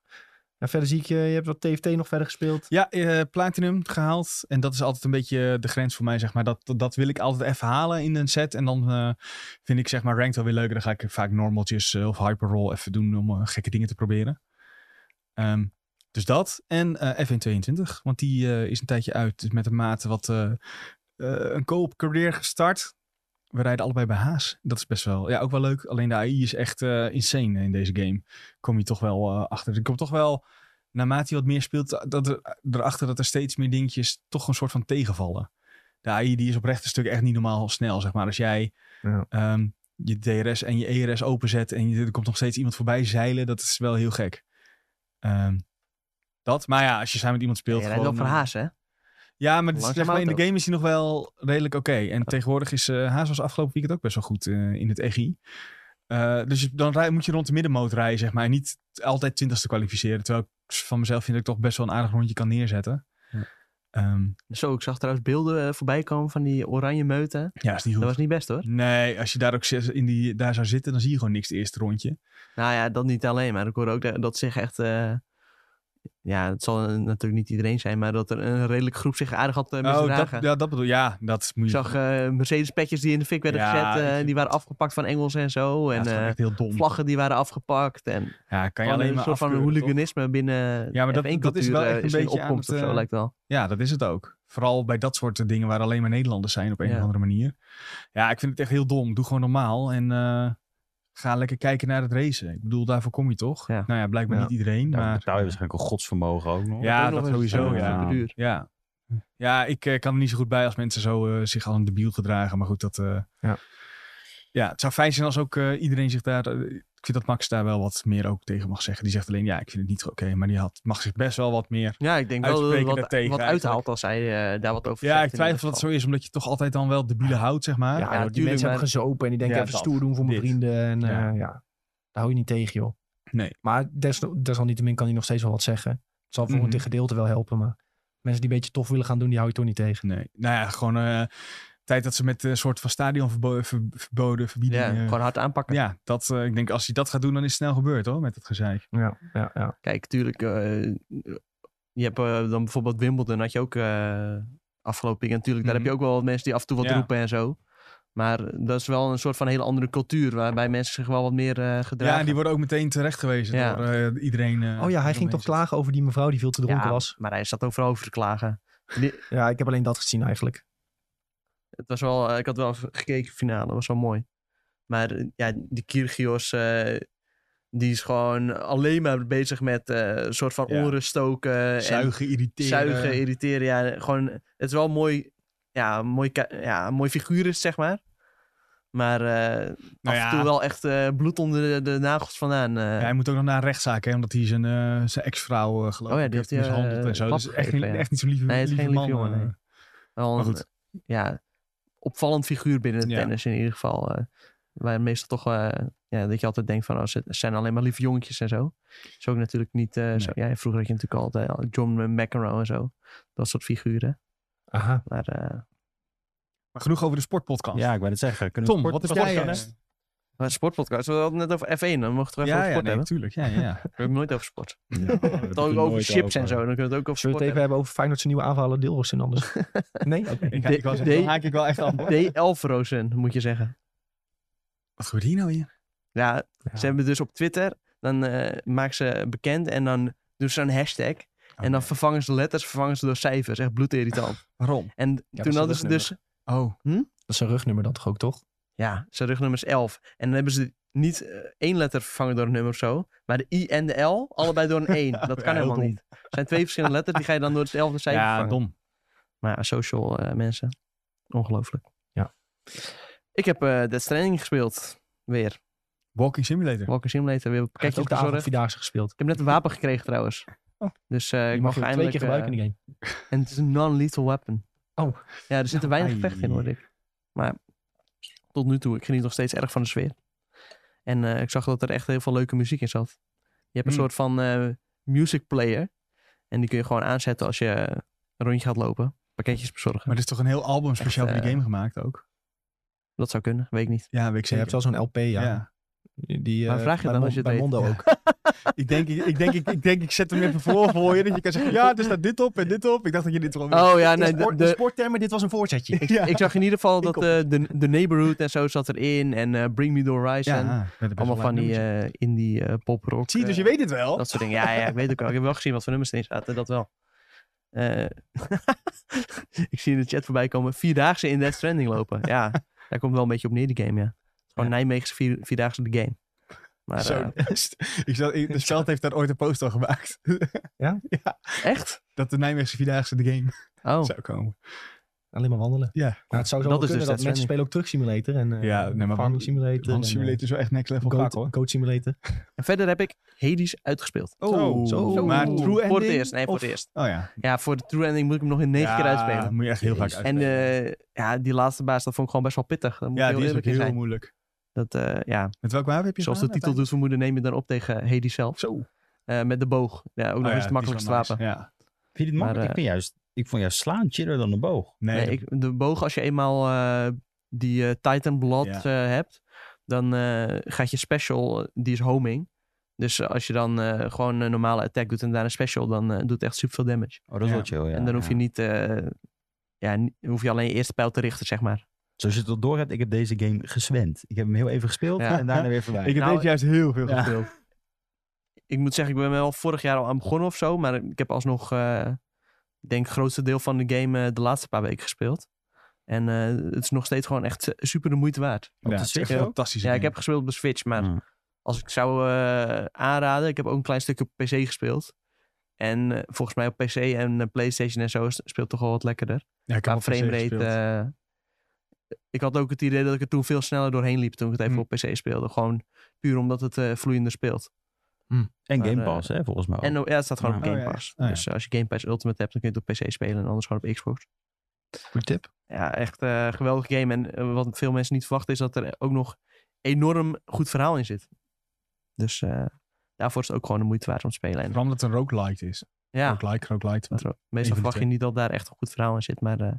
Speaker 1: Ja, verder zie ik, eh, je hebt wat TFT nog verder gespeeld.
Speaker 2: Ja, eh, platinum gehaald. En dat is altijd een beetje de grens voor mij, zeg maar. Dat, dat, dat wil ik altijd even halen in een set. En dan eh, vind ik, zeg maar, ranked wel weer leuker. Dan ga ik vaak normaltjes eh, of hyperroll even doen om eh, gekke dingen te proberen. Ehm, dus dat. En eh, F122, want die eh, is een tijdje uit. Dus met een mate wat eh, eh, een co-op career gestart. We rijden allebei bij Haas. Dat is best wel, ja, ook wel leuk. Alleen de AI is echt eh, insane in deze game. Kom je toch wel eh, achter. Dus ik kom toch wel naarmate je wat meer speelt, dat er, erachter dat er steeds meer dingetjes toch een soort van tegenvallen. De AI die is op rechte stuk echt niet normaal snel, zeg maar. Als jij
Speaker 1: Ja.
Speaker 2: ehm, je DRS en je ERS openzet en je, er komt nog steeds iemand voorbij zeilen, dat is wel heel gek. Ehm, dat, maar ja, als je samen met iemand
Speaker 3: Ja,
Speaker 2: speelt...
Speaker 3: je rijdt wel
Speaker 2: gewoon,
Speaker 3: voor
Speaker 1: eh,
Speaker 3: haas, hè?
Speaker 2: Ja, maar, het is
Speaker 3: Langzaam
Speaker 2: zeg maar in de
Speaker 3: auto.
Speaker 2: game is hij nog wel redelijk oké. En tegenwoordig is eh Haas was afgelopen weekend ook best wel goed eh, in het EGI. Eh, dus je- dan rij- moet je rond de middenmoot rijden, zeg maar. En niet altijd twintigste kwalificeren. Terwijl ik van mezelf vind dat ik toch best wel een aardig rondje kan neerzetten.
Speaker 4: Ja.
Speaker 2: Ehm,
Speaker 3: Zo, ik zag trouwens beelden eh, voorbij komen van die oranje meuten.
Speaker 2: ja, is niet
Speaker 3: Dat
Speaker 2: goed.
Speaker 3: was niet best, hoor.
Speaker 2: Nee, als je daar ook zes- in die, daar zou zitten, dan zie je gewoon niks het eerste rondje.
Speaker 3: Nou ja, dat niet alleen. Maar ik hoorde ook dat, dat zich echt... eh, ja, het zal eh, natuurlijk niet iedereen zijn, maar dat er een redelijk groep zich aardig had eh,
Speaker 2: Oh, dat,
Speaker 3: misdragen.
Speaker 2: ja, dat bedoel Ja, dat moet
Speaker 3: Ik
Speaker 2: je...
Speaker 3: zag eh, Mercedes-petjes die in de fik werden
Speaker 2: Ja, ik
Speaker 3: gezet, eh,
Speaker 2: vind
Speaker 3: die
Speaker 2: het-
Speaker 3: waren afgepakt van Engels en zo.
Speaker 2: ja,
Speaker 3: En
Speaker 2: het is gewoon
Speaker 3: eh,
Speaker 2: echt heel dom.
Speaker 3: vlaggen die waren afgepakt. En
Speaker 2: Ja, kan je
Speaker 3: gewoon
Speaker 2: alleen
Speaker 3: een
Speaker 2: maar
Speaker 3: soort van
Speaker 2: afkeuren, toch?
Speaker 3: hooliganisme binnen
Speaker 2: Ja, maar dat-
Speaker 3: F1
Speaker 2: dat is wel
Speaker 3: cultuur, eh,
Speaker 2: echt een
Speaker 3: in
Speaker 2: beetje aan
Speaker 3: opkomst
Speaker 2: het,
Speaker 3: of zo,
Speaker 2: eh,
Speaker 3: lijkt wel.
Speaker 2: Ja, dat is het ook. Vooral bij dat soort eh, dingen waar alleen maar Nederlanders zijn op een
Speaker 3: Ja.
Speaker 2: of andere manier. Ja, ik vind het echt heel dom. Doe gewoon normaal en eh, ga lekker kijken naar het racen. Ik bedoel, daarvoor kom je toch?
Speaker 3: Ja.
Speaker 2: Nou ja, blijkbaar
Speaker 1: Ja.
Speaker 2: niet iedereen.
Speaker 4: Daar
Speaker 2: maar eh,
Speaker 4: betaal je waarschijnlijk een godsvermogen ook nog.
Speaker 2: Ja,
Speaker 3: Ook nog
Speaker 2: dat
Speaker 3: eens
Speaker 2: sowieso,
Speaker 3: super
Speaker 2: ja.
Speaker 3: duur.
Speaker 2: ja. Ja, ik eh, kan er niet zo goed bij als mensen zo eh, zich als een debiel gedragen. Maar goed, dat... eh,
Speaker 1: Ja.
Speaker 2: ja, het zou fijn zijn als ook eh, iedereen zich daar... eh, ik vind dat Max daar wel wat meer ook tegen mag zeggen. Die zegt alleen, ja, ik vind het niet oké. maar die had, mag zich best wel wat meer...
Speaker 3: Ja, ik denk wel dat het
Speaker 2: Uitspreken
Speaker 3: wat,
Speaker 2: daartegen
Speaker 3: wat
Speaker 2: eigenlijk.
Speaker 3: uithaalt als hij eh, daar wat over zegt.
Speaker 2: Ja, ik
Speaker 3: in
Speaker 2: twijfel dat
Speaker 3: ieder
Speaker 2: het zo
Speaker 3: geval.
Speaker 2: is. Omdat je toch altijd dan wel debielen houdt, zeg maar.
Speaker 1: Ja,
Speaker 3: Ja,
Speaker 1: die
Speaker 3: natuurlijk,
Speaker 1: mensen
Speaker 3: maar-
Speaker 1: hebben gezopen en die denken
Speaker 2: Ja,
Speaker 1: even
Speaker 2: dat.
Speaker 1: stoer doen voor mijn
Speaker 2: Dit.
Speaker 1: vrienden. En eh, ja.
Speaker 2: Ja.
Speaker 1: daar hou je niet tegen, joh.
Speaker 2: Nee.
Speaker 1: Maar desal- desalniettemin kan hij nog steeds wel wat zeggen. Het zal voor
Speaker 2: Mhm.
Speaker 1: een gedeelte wel helpen, maar mensen die een beetje tof willen gaan doen, die hou je toch niet tegen.
Speaker 2: Nee. Nou ja, gewoon eh, tijd dat ze met een soort van stadion verbo- ver- verboden, verbieden.
Speaker 3: Ja,
Speaker 2: eh,
Speaker 3: gewoon hard aanpakken.
Speaker 2: ja, dat, eh, ik denk als hij dat gaat doen, dan is het snel gebeurd hoor, met het gezeik.
Speaker 1: Ja, ja, ja.
Speaker 3: Kijk, tuurlijk. eh, je hebt eh, dan bijvoorbeeld Wimbledon, had je ook eh, afgelopen weekend. Natuurlijk, daar
Speaker 2: Mhm.
Speaker 3: heb je ook wel wat mensen die af en toe wat
Speaker 2: Ja.
Speaker 3: roepen en zo. Maar dat is wel een soort van hele andere cultuur, waarbij mensen zich wel wat meer eh,
Speaker 2: Ja,
Speaker 3: gedragen.
Speaker 2: en die worden ook meteen terecht gewezen
Speaker 3: Ja.
Speaker 2: door eh, iedereen.
Speaker 1: Oh
Speaker 2: eh,
Speaker 1: ja, hij
Speaker 2: die
Speaker 1: ging
Speaker 2: eromheen
Speaker 1: toch
Speaker 2: zit.
Speaker 1: klagen over die mevrouw die veel te dronken
Speaker 3: Ja,
Speaker 1: was.
Speaker 3: Maar hij zat overal over te klagen.
Speaker 1: Ja, ik heb alleen dat gezien eigenlijk.
Speaker 3: Het was wel, eh, ik had wel even gekeken finale, dat was wel mooi. Maar eh, ja, die Kyrgios, eh, die is gewoon alleen maar bezig met eh, een soort van
Speaker 2: Ja.
Speaker 3: onrust stoken. en-
Speaker 2: Zuigen, irriteren.
Speaker 3: zuigen, irriteren. Ja, gewoon, het is wel een mooi, ja, een mooi, ka- ja, een mooi figuur is, zeg maar. Maar eh,
Speaker 2: Nou
Speaker 3: af en
Speaker 2: ja.
Speaker 3: toe wel echt eh, bloed onder de, de nagels vandaan. eh.
Speaker 2: Ja, hij moet ook nog naar een rechtszaak, hè, omdat hij zijn, eh, zijn ex-vrouw eh geloof
Speaker 3: Oh ja,
Speaker 2: ik
Speaker 3: die
Speaker 2: heeft
Speaker 3: heeft hij, eh,
Speaker 2: mishandeld en zo.
Speaker 3: klap
Speaker 2: Dat is echt,
Speaker 3: gegeven,
Speaker 2: niet-
Speaker 3: ja.
Speaker 2: echt niet zo'n lieve,
Speaker 3: Nee, het is
Speaker 2: lieve
Speaker 3: geen lieve
Speaker 2: man,
Speaker 3: jongen,
Speaker 2: eh.
Speaker 3: nee. Wel
Speaker 2: maar
Speaker 3: een,
Speaker 2: goed.
Speaker 3: Ja, opvallend figuur binnen het
Speaker 2: Ja.
Speaker 3: tennis in ieder geval. eh, waar meestal toch, eh, ja, dat je altijd denkt van, oh, ze het zijn alleen maar lieve jongetjes en zo. Is ook natuurlijk niet eh, zo. Ja, vroeger had je natuurlijk altijd al John McEnroe en zo. Dat soort figuren.
Speaker 1: Aha.
Speaker 3: Maar eh,
Speaker 2: Maar genoeg over de sportpodcast.
Speaker 4: Ja, ik wou het zeggen. Kunnen we
Speaker 2: Tom,
Speaker 4: sport-
Speaker 2: wat heb jij?
Speaker 4: sportcast?
Speaker 2: eh,
Speaker 3: maar sportpodcast, we hadden het net over F1. Dan mochten we even
Speaker 2: Ja, ja,
Speaker 3: over sport
Speaker 2: nee,
Speaker 3: hebben.
Speaker 2: natuurlijk. Ja, ja, ja. Oh,
Speaker 3: We hebben het nooit over sport.
Speaker 4: Ja, we hebben
Speaker 3: Het
Speaker 4: er
Speaker 3: ook over
Speaker 4: nooit
Speaker 3: chips en
Speaker 4: over.
Speaker 3: zo. Dan kunnen we het ook over
Speaker 1: Zullen we het
Speaker 3: sport
Speaker 1: even hebben over Feyenoord zijn nieuwe aanvallen Dilrosun anders? nee? Oké.
Speaker 2: Ik,
Speaker 3: De-
Speaker 2: ik was,
Speaker 3: de-
Speaker 2: dan haak ik wel echt aan.
Speaker 3: hebben. D. Elfrozen, moet je zeggen.
Speaker 2: Wat gebeurt hier nou weer?
Speaker 3: Ja,
Speaker 1: Ja.
Speaker 3: ze hebben dus op Twitter, dan eh maken ze bekend en dan doen ze een hashtag. En dan vervangen ze de letters, vervangen ze door cijfers. Echt bloedirritant.
Speaker 2: Waarom?
Speaker 3: En
Speaker 1: dat
Speaker 3: toen
Speaker 1: is
Speaker 3: hadden
Speaker 1: een
Speaker 3: ze dus,
Speaker 2: Oh,
Speaker 1: Dat is een rugnummer dan toch ook, toch?
Speaker 3: ja, zijn rugnummer is 11. En dan hebben ze niet eh, één letter vervangen door een nummer of zo, maar de I en de L allebei door een 1. Dat
Speaker 2: Ja,
Speaker 3: kan
Speaker 2: heel
Speaker 3: helemaal
Speaker 2: dom.
Speaker 3: niet. Het zijn twee verschillende letters, die ga je dan door hetzelfde cijfer
Speaker 2: ja,
Speaker 3: vervangen.
Speaker 2: dom.
Speaker 3: Maar ja, social eh, mensen. Ongelooflijk.
Speaker 1: Ja.
Speaker 3: Ik heb eh Death Stranding gespeeld. Weer.
Speaker 2: Walking Simulator.
Speaker 3: Walker Simulator. Weer een
Speaker 1: Hij heeft
Speaker 3: pakketje
Speaker 1: ook de
Speaker 3: opgezorgd. Ik
Speaker 1: avondvierdaagse gespeeld.
Speaker 3: heb net een wapen gekregen trouwens.
Speaker 2: Oh.
Speaker 3: Dus eh,
Speaker 1: Die
Speaker 3: ik
Speaker 1: mag je
Speaker 3: mag
Speaker 1: twee
Speaker 3: eindelijk...
Speaker 1: keer gebruiken in
Speaker 3: eh,
Speaker 1: de game.
Speaker 3: en het is een non-lethal weapon.
Speaker 1: Oh.
Speaker 3: Ja, er zitten weinig
Speaker 2: Ai.
Speaker 3: gevechten in hoor ik. Maar tot nu toe, ik geniet nog steeds erg van de sfeer. En eh, ik zag dat er echt heel veel leuke muziek in zat. Je hebt een
Speaker 2: Hmm.
Speaker 3: soort van eh, music player. En die kun je gewoon aanzetten als je eh, een rondje gaat lopen. Pakketjes bezorgen.
Speaker 2: Maar er is toch een heel album speciaal
Speaker 3: Echt,
Speaker 2: voor die
Speaker 3: eh,
Speaker 2: game gemaakt ook?
Speaker 3: Dat zou kunnen, weet ik niet.
Speaker 2: Ja, weet
Speaker 1: Je
Speaker 2: ik zeker.
Speaker 1: hebt wel zo'n LP, ja.
Speaker 2: Ja.
Speaker 1: Die,
Speaker 3: Maar
Speaker 1: eh,
Speaker 3: vraag je
Speaker 1: bij
Speaker 3: dan
Speaker 1: Mon-
Speaker 3: als je het
Speaker 1: bij
Speaker 3: weet?
Speaker 1: Mondo
Speaker 2: Ja.
Speaker 1: ook.
Speaker 2: Ik, denk, ik, ik, denk, ik, ik denk, ik zet hem even voor voor je. Dat je kan zeggen, ja, er staat dit op en dit op. Ik dacht dat je dit erop...
Speaker 3: Oh ja,
Speaker 1: Nee,
Speaker 3: nee,
Speaker 1: in,
Speaker 3: de,
Speaker 1: sport, in
Speaker 3: de-
Speaker 1: sporttermen, dit was een voorzetje.
Speaker 2: ja.
Speaker 3: ik zag in ieder geval dat
Speaker 2: op.
Speaker 3: eh, de, de Neighborhood en zo zat erin. En eh, Bring Me The Horizon.
Speaker 2: ja, met een best
Speaker 3: Allemaal
Speaker 2: wel
Speaker 3: van
Speaker 2: leuk
Speaker 3: die
Speaker 2: nummertje.
Speaker 3: eh, indie eh, poprock.
Speaker 2: Zie, dus je
Speaker 3: eh,
Speaker 2: weet het wel.
Speaker 3: Dat soort dingen. Ja, ja, ik weet ook wel. Ik heb wel gezien wat voor nummers erin zaten. Dat wel. Eh, ik zie in de chat voorbij komen. Vierdaagse in Death Stranding lopen. Ja, daar komt wel een beetje op neer, die game, ja. Gewoon Nijmeegse vier, Vierdaagse de game. Maar
Speaker 2: Zo,
Speaker 3: eh,
Speaker 2: ik zat, ik- de Speld heeft daar ooit een post al gemaakt.
Speaker 1: Ja?
Speaker 2: ja?
Speaker 3: echt?
Speaker 2: Dat de Nijmeegse Vierdaagse de game
Speaker 3: Oh,
Speaker 2: zou komen.
Speaker 1: Alleen maar wandelen.
Speaker 2: Ja.
Speaker 1: Nou, het zou zo wel
Speaker 3: Dat
Speaker 1: kunnen
Speaker 3: is
Speaker 1: dat
Speaker 3: dus Death
Speaker 1: mensen
Speaker 3: Stranding.
Speaker 1: spelen ook Truck Simulator en eh,
Speaker 2: Ja, nee, maar
Speaker 1: Farming
Speaker 2: want-
Speaker 1: Simulator.
Speaker 2: Want
Speaker 1: en,
Speaker 2: Simulator is wel echt next
Speaker 1: eh,
Speaker 2: level
Speaker 1: Goat,
Speaker 2: kak hoor.
Speaker 1: Goat Simulator.
Speaker 3: en verder heb ik Hades uitgespeeld.
Speaker 1: Oh, zo.
Speaker 2: Maar
Speaker 1: Oeh.
Speaker 2: true
Speaker 1: Voor
Speaker 2: ending?
Speaker 3: Voor het eerst. Nee, voor
Speaker 2: of-
Speaker 3: het eerst.
Speaker 2: Oh ja.
Speaker 3: Ja, voor de True Ending moet ik hem nog in negen
Speaker 2: ja,
Speaker 3: keer uitspelen.
Speaker 2: moet je echt heel vaak
Speaker 3: En
Speaker 2: uitspelen.
Speaker 3: eh, ja, die laatste baas, dat vond ik gewoon best wel pittig. Daar moet ik
Speaker 2: ja,
Speaker 3: heel
Speaker 2: die is ook
Speaker 3: eerlijk in
Speaker 2: heel
Speaker 3: zijn.
Speaker 2: moeilijk.
Speaker 3: Dat, eh, ja,
Speaker 2: Met welk wapen heb je
Speaker 3: zoals de
Speaker 2: gedaan Oh,
Speaker 3: titel doet vermoeden, neem je dan op tegen Hades zelf.
Speaker 2: Zo. Oh
Speaker 3: Eh, met de boog. Ja, ook nog eens het makkelijkste wapen.
Speaker 2: Ja.
Speaker 4: Vind je dit makkelijk?
Speaker 3: Maar, eh,
Speaker 4: ik, vind juist, ik vond juist slaan chiller dan een boog.
Speaker 2: Nee,
Speaker 3: Nee, ik, de boog, als je eenmaal eh, die eh, Titan Blood
Speaker 2: Ja.
Speaker 3: eh, hebt, dan eh, gaat je special, eh, die is homing. Dus eh, als je dan eh, gewoon een normale attack doet en daarna een special, dan eh, doet het echt superveel damage.
Speaker 4: Oh, dat is
Speaker 2: Ja.
Speaker 4: wel chill, ja.
Speaker 3: en dan hoef je
Speaker 4: ja.
Speaker 3: niet, eh, ja, ni- hoef je alleen je eerste pijl te richten, zeg maar.
Speaker 4: Zoals je het al door hebt, ik heb deze game gezwend. Ik heb hem heel even gespeeld
Speaker 3: Ja.
Speaker 4: en daarna weer voorbij.
Speaker 2: Ik heb
Speaker 3: Nou,
Speaker 2: deze juist heel veel
Speaker 4: Ja.
Speaker 2: gespeeld.
Speaker 3: Ik moet zeggen, ik ben wel vorig jaar al aan begonnen of zo, maar ik heb alsnog, eh, ik denk, het grootste deel van de game eh, de laatste paar weken gespeeld. En eh, het is nog steeds gewoon echt eh, super de moeite waard.
Speaker 4: Op
Speaker 2: Ja, het Hmm. is
Speaker 4: de
Speaker 2: echt
Speaker 4: Switch
Speaker 2: een
Speaker 4: ook?
Speaker 2: fantastische
Speaker 3: Ja, ik
Speaker 2: game.
Speaker 3: heb gespeeld op de Switch, maar
Speaker 4: Mm.
Speaker 3: als ik zou eh, aanraden, ik heb ook een klein stukje op PC gespeeld. En eh, volgens mij op PC en eh, PlayStation en zo is- speelt toch wel wat lekkerder.
Speaker 2: ja, ik heb
Speaker 3: Qua
Speaker 2: op PC
Speaker 3: framerate.
Speaker 2: gespeeld.
Speaker 3: eh, ik had ook het idee dat ik er toen veel sneller doorheen liep toen ik het even
Speaker 2: Hm.
Speaker 3: op PC speelde. Gewoon puur omdat het eh, vloeiender speelt.
Speaker 4: En
Speaker 3: Maar,
Speaker 4: Game
Speaker 3: eh,
Speaker 4: Pass, hè, volgens mij. ook.
Speaker 3: En oh, ja, het staat gewoon
Speaker 4: Ja.
Speaker 3: op Game
Speaker 2: Oh, ja.
Speaker 3: Pass.
Speaker 2: Oh, ja.
Speaker 3: Dus eh, als je Game Pass Ultimate hebt, dan kun je het op PC spelen en anders gewoon op Xbox.
Speaker 1: Goeie tip.
Speaker 3: Ja, echt eh geweldige game. En eh, wat veel mensen niet verwachten is dat er ook nog enorm goed verhaal in zit. Dus eh, daarvoor is het ook gewoon de moeite waard om te spelen. En,
Speaker 2: Vooral omdat het een roguelite is.
Speaker 3: ja,
Speaker 2: Roguelike, roguelite.
Speaker 3: Want er-
Speaker 2: van de
Speaker 3: meestal verwacht je
Speaker 2: twee.
Speaker 3: niet dat daar echt een goed verhaal in zit. Maar eh,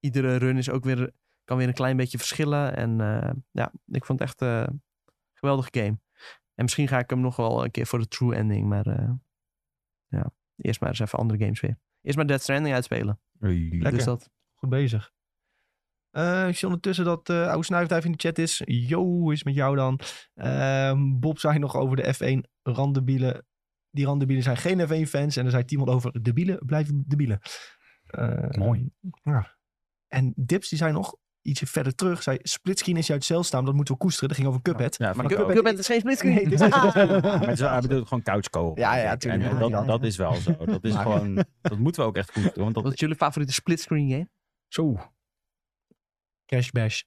Speaker 3: iedere run is ook weer, kan weer een klein beetje verschillen. En eh, ja, ik vond het echt eh, een geweldige game. En misschien ga ik hem nog wel een keer voor de true ending. Maar eh, ja, eerst maar eens even andere games weer. Eerst maar Dead Stranding uitspelen.
Speaker 4: Oei.
Speaker 1: Lekker.
Speaker 3: Dus dat,
Speaker 1: Goed bezig. Eh, ik zie ondertussen dat eh oude snuifduif in de chat is. Yo, is met jou dan. Ehm, Bob zei nog over de F1 randebielen. Die randebielen zijn geen F1-fans. En er zei iemand over debielen blijven debielen. Eh,
Speaker 2: Mooi.
Speaker 1: Ja. En Dips, die zei nog ietsje verder terug. Zei, splitscreen is uit Celstaan. Dat moeten we koesteren. Dat ging over Cuphead.
Speaker 4: Ja,
Speaker 3: maar
Speaker 4: vind ik
Speaker 3: Cuphead
Speaker 4: ook.
Speaker 3: Cuphead is geen splitscreen.
Speaker 1: Nee, dus- dit is-
Speaker 4: Ja, maar het is wel, hij bedoelt gewoon couchkoop.
Speaker 1: Ja, ja, tuurlijk.
Speaker 4: En
Speaker 1: Ja,
Speaker 4: dat,
Speaker 1: ja, ja.
Speaker 4: dat is wel zo. Dat is
Speaker 1: Maar-
Speaker 4: gewoon, dat moeten we ook echt goed doen. Want
Speaker 3: Wat
Speaker 4: dat,
Speaker 3: is jullie favoriete splitscreen game?
Speaker 2: Zo.
Speaker 1: Crash Bash.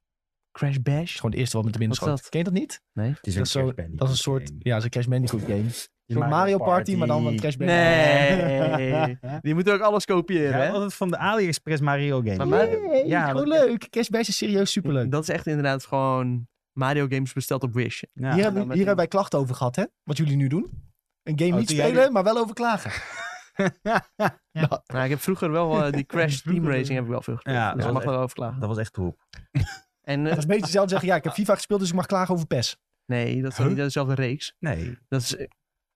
Speaker 3: Crash
Speaker 1: is
Speaker 3: Bash?
Speaker 1: gewoon het eerste wat met de binnen
Speaker 3: Wat is
Speaker 1: schoot. Ken je dat niet?
Speaker 4: het is
Speaker 1: dat
Speaker 4: een
Speaker 1: is zo-
Speaker 4: Crash Bandicoot
Speaker 1: Dat is een soort...
Speaker 4: game.
Speaker 1: Ja, dat is een Crash Bandicoot game. Een soort Mario Party, maar dan een Crash Bandicoot.
Speaker 3: Nee. Die moeten ook alles kopiëren,
Speaker 4: Ja,
Speaker 3: hè?
Speaker 4: altijd van de AliExpress Mario game.
Speaker 3: Maar
Speaker 1: Nee,
Speaker 3: Mario-
Speaker 1: ja,
Speaker 4: Ja,
Speaker 1: gewoon
Speaker 4: dat-
Speaker 1: leuk. Crash Bash is serieus superleuk.
Speaker 3: Dat is echt inderdaad gewoon Mario games besteld op Wish.
Speaker 4: Ja.
Speaker 1: hier
Speaker 3: en
Speaker 1: hebben,
Speaker 3: dan
Speaker 1: hier
Speaker 3: met
Speaker 1: hebben wij klachten over gehad, hè? Wat jullie nu doen. Een game
Speaker 4: Oh,
Speaker 1: niet
Speaker 4: toen jij
Speaker 1: spelen, maar wel over klagen.
Speaker 3: Nou, ik heb vroeger wel eh, die Crash Team
Speaker 1: Vroeger,
Speaker 3: Racing heb ik wel veel gespeeld.
Speaker 4: Ja,
Speaker 3: dus
Speaker 4: dat
Speaker 3: ik
Speaker 4: was
Speaker 3: mag wel over klagen.
Speaker 4: Dat was echt troep.
Speaker 3: En eh,
Speaker 1: Dat is een beetje hetzelfde zeggen, ja, ik heb FIFA gespeeld, dus ik mag klagen over PES.
Speaker 3: nee, dat is
Speaker 2: Huh?
Speaker 3: niet dezelfde reeks.
Speaker 4: Nee.
Speaker 3: Dat is, eh,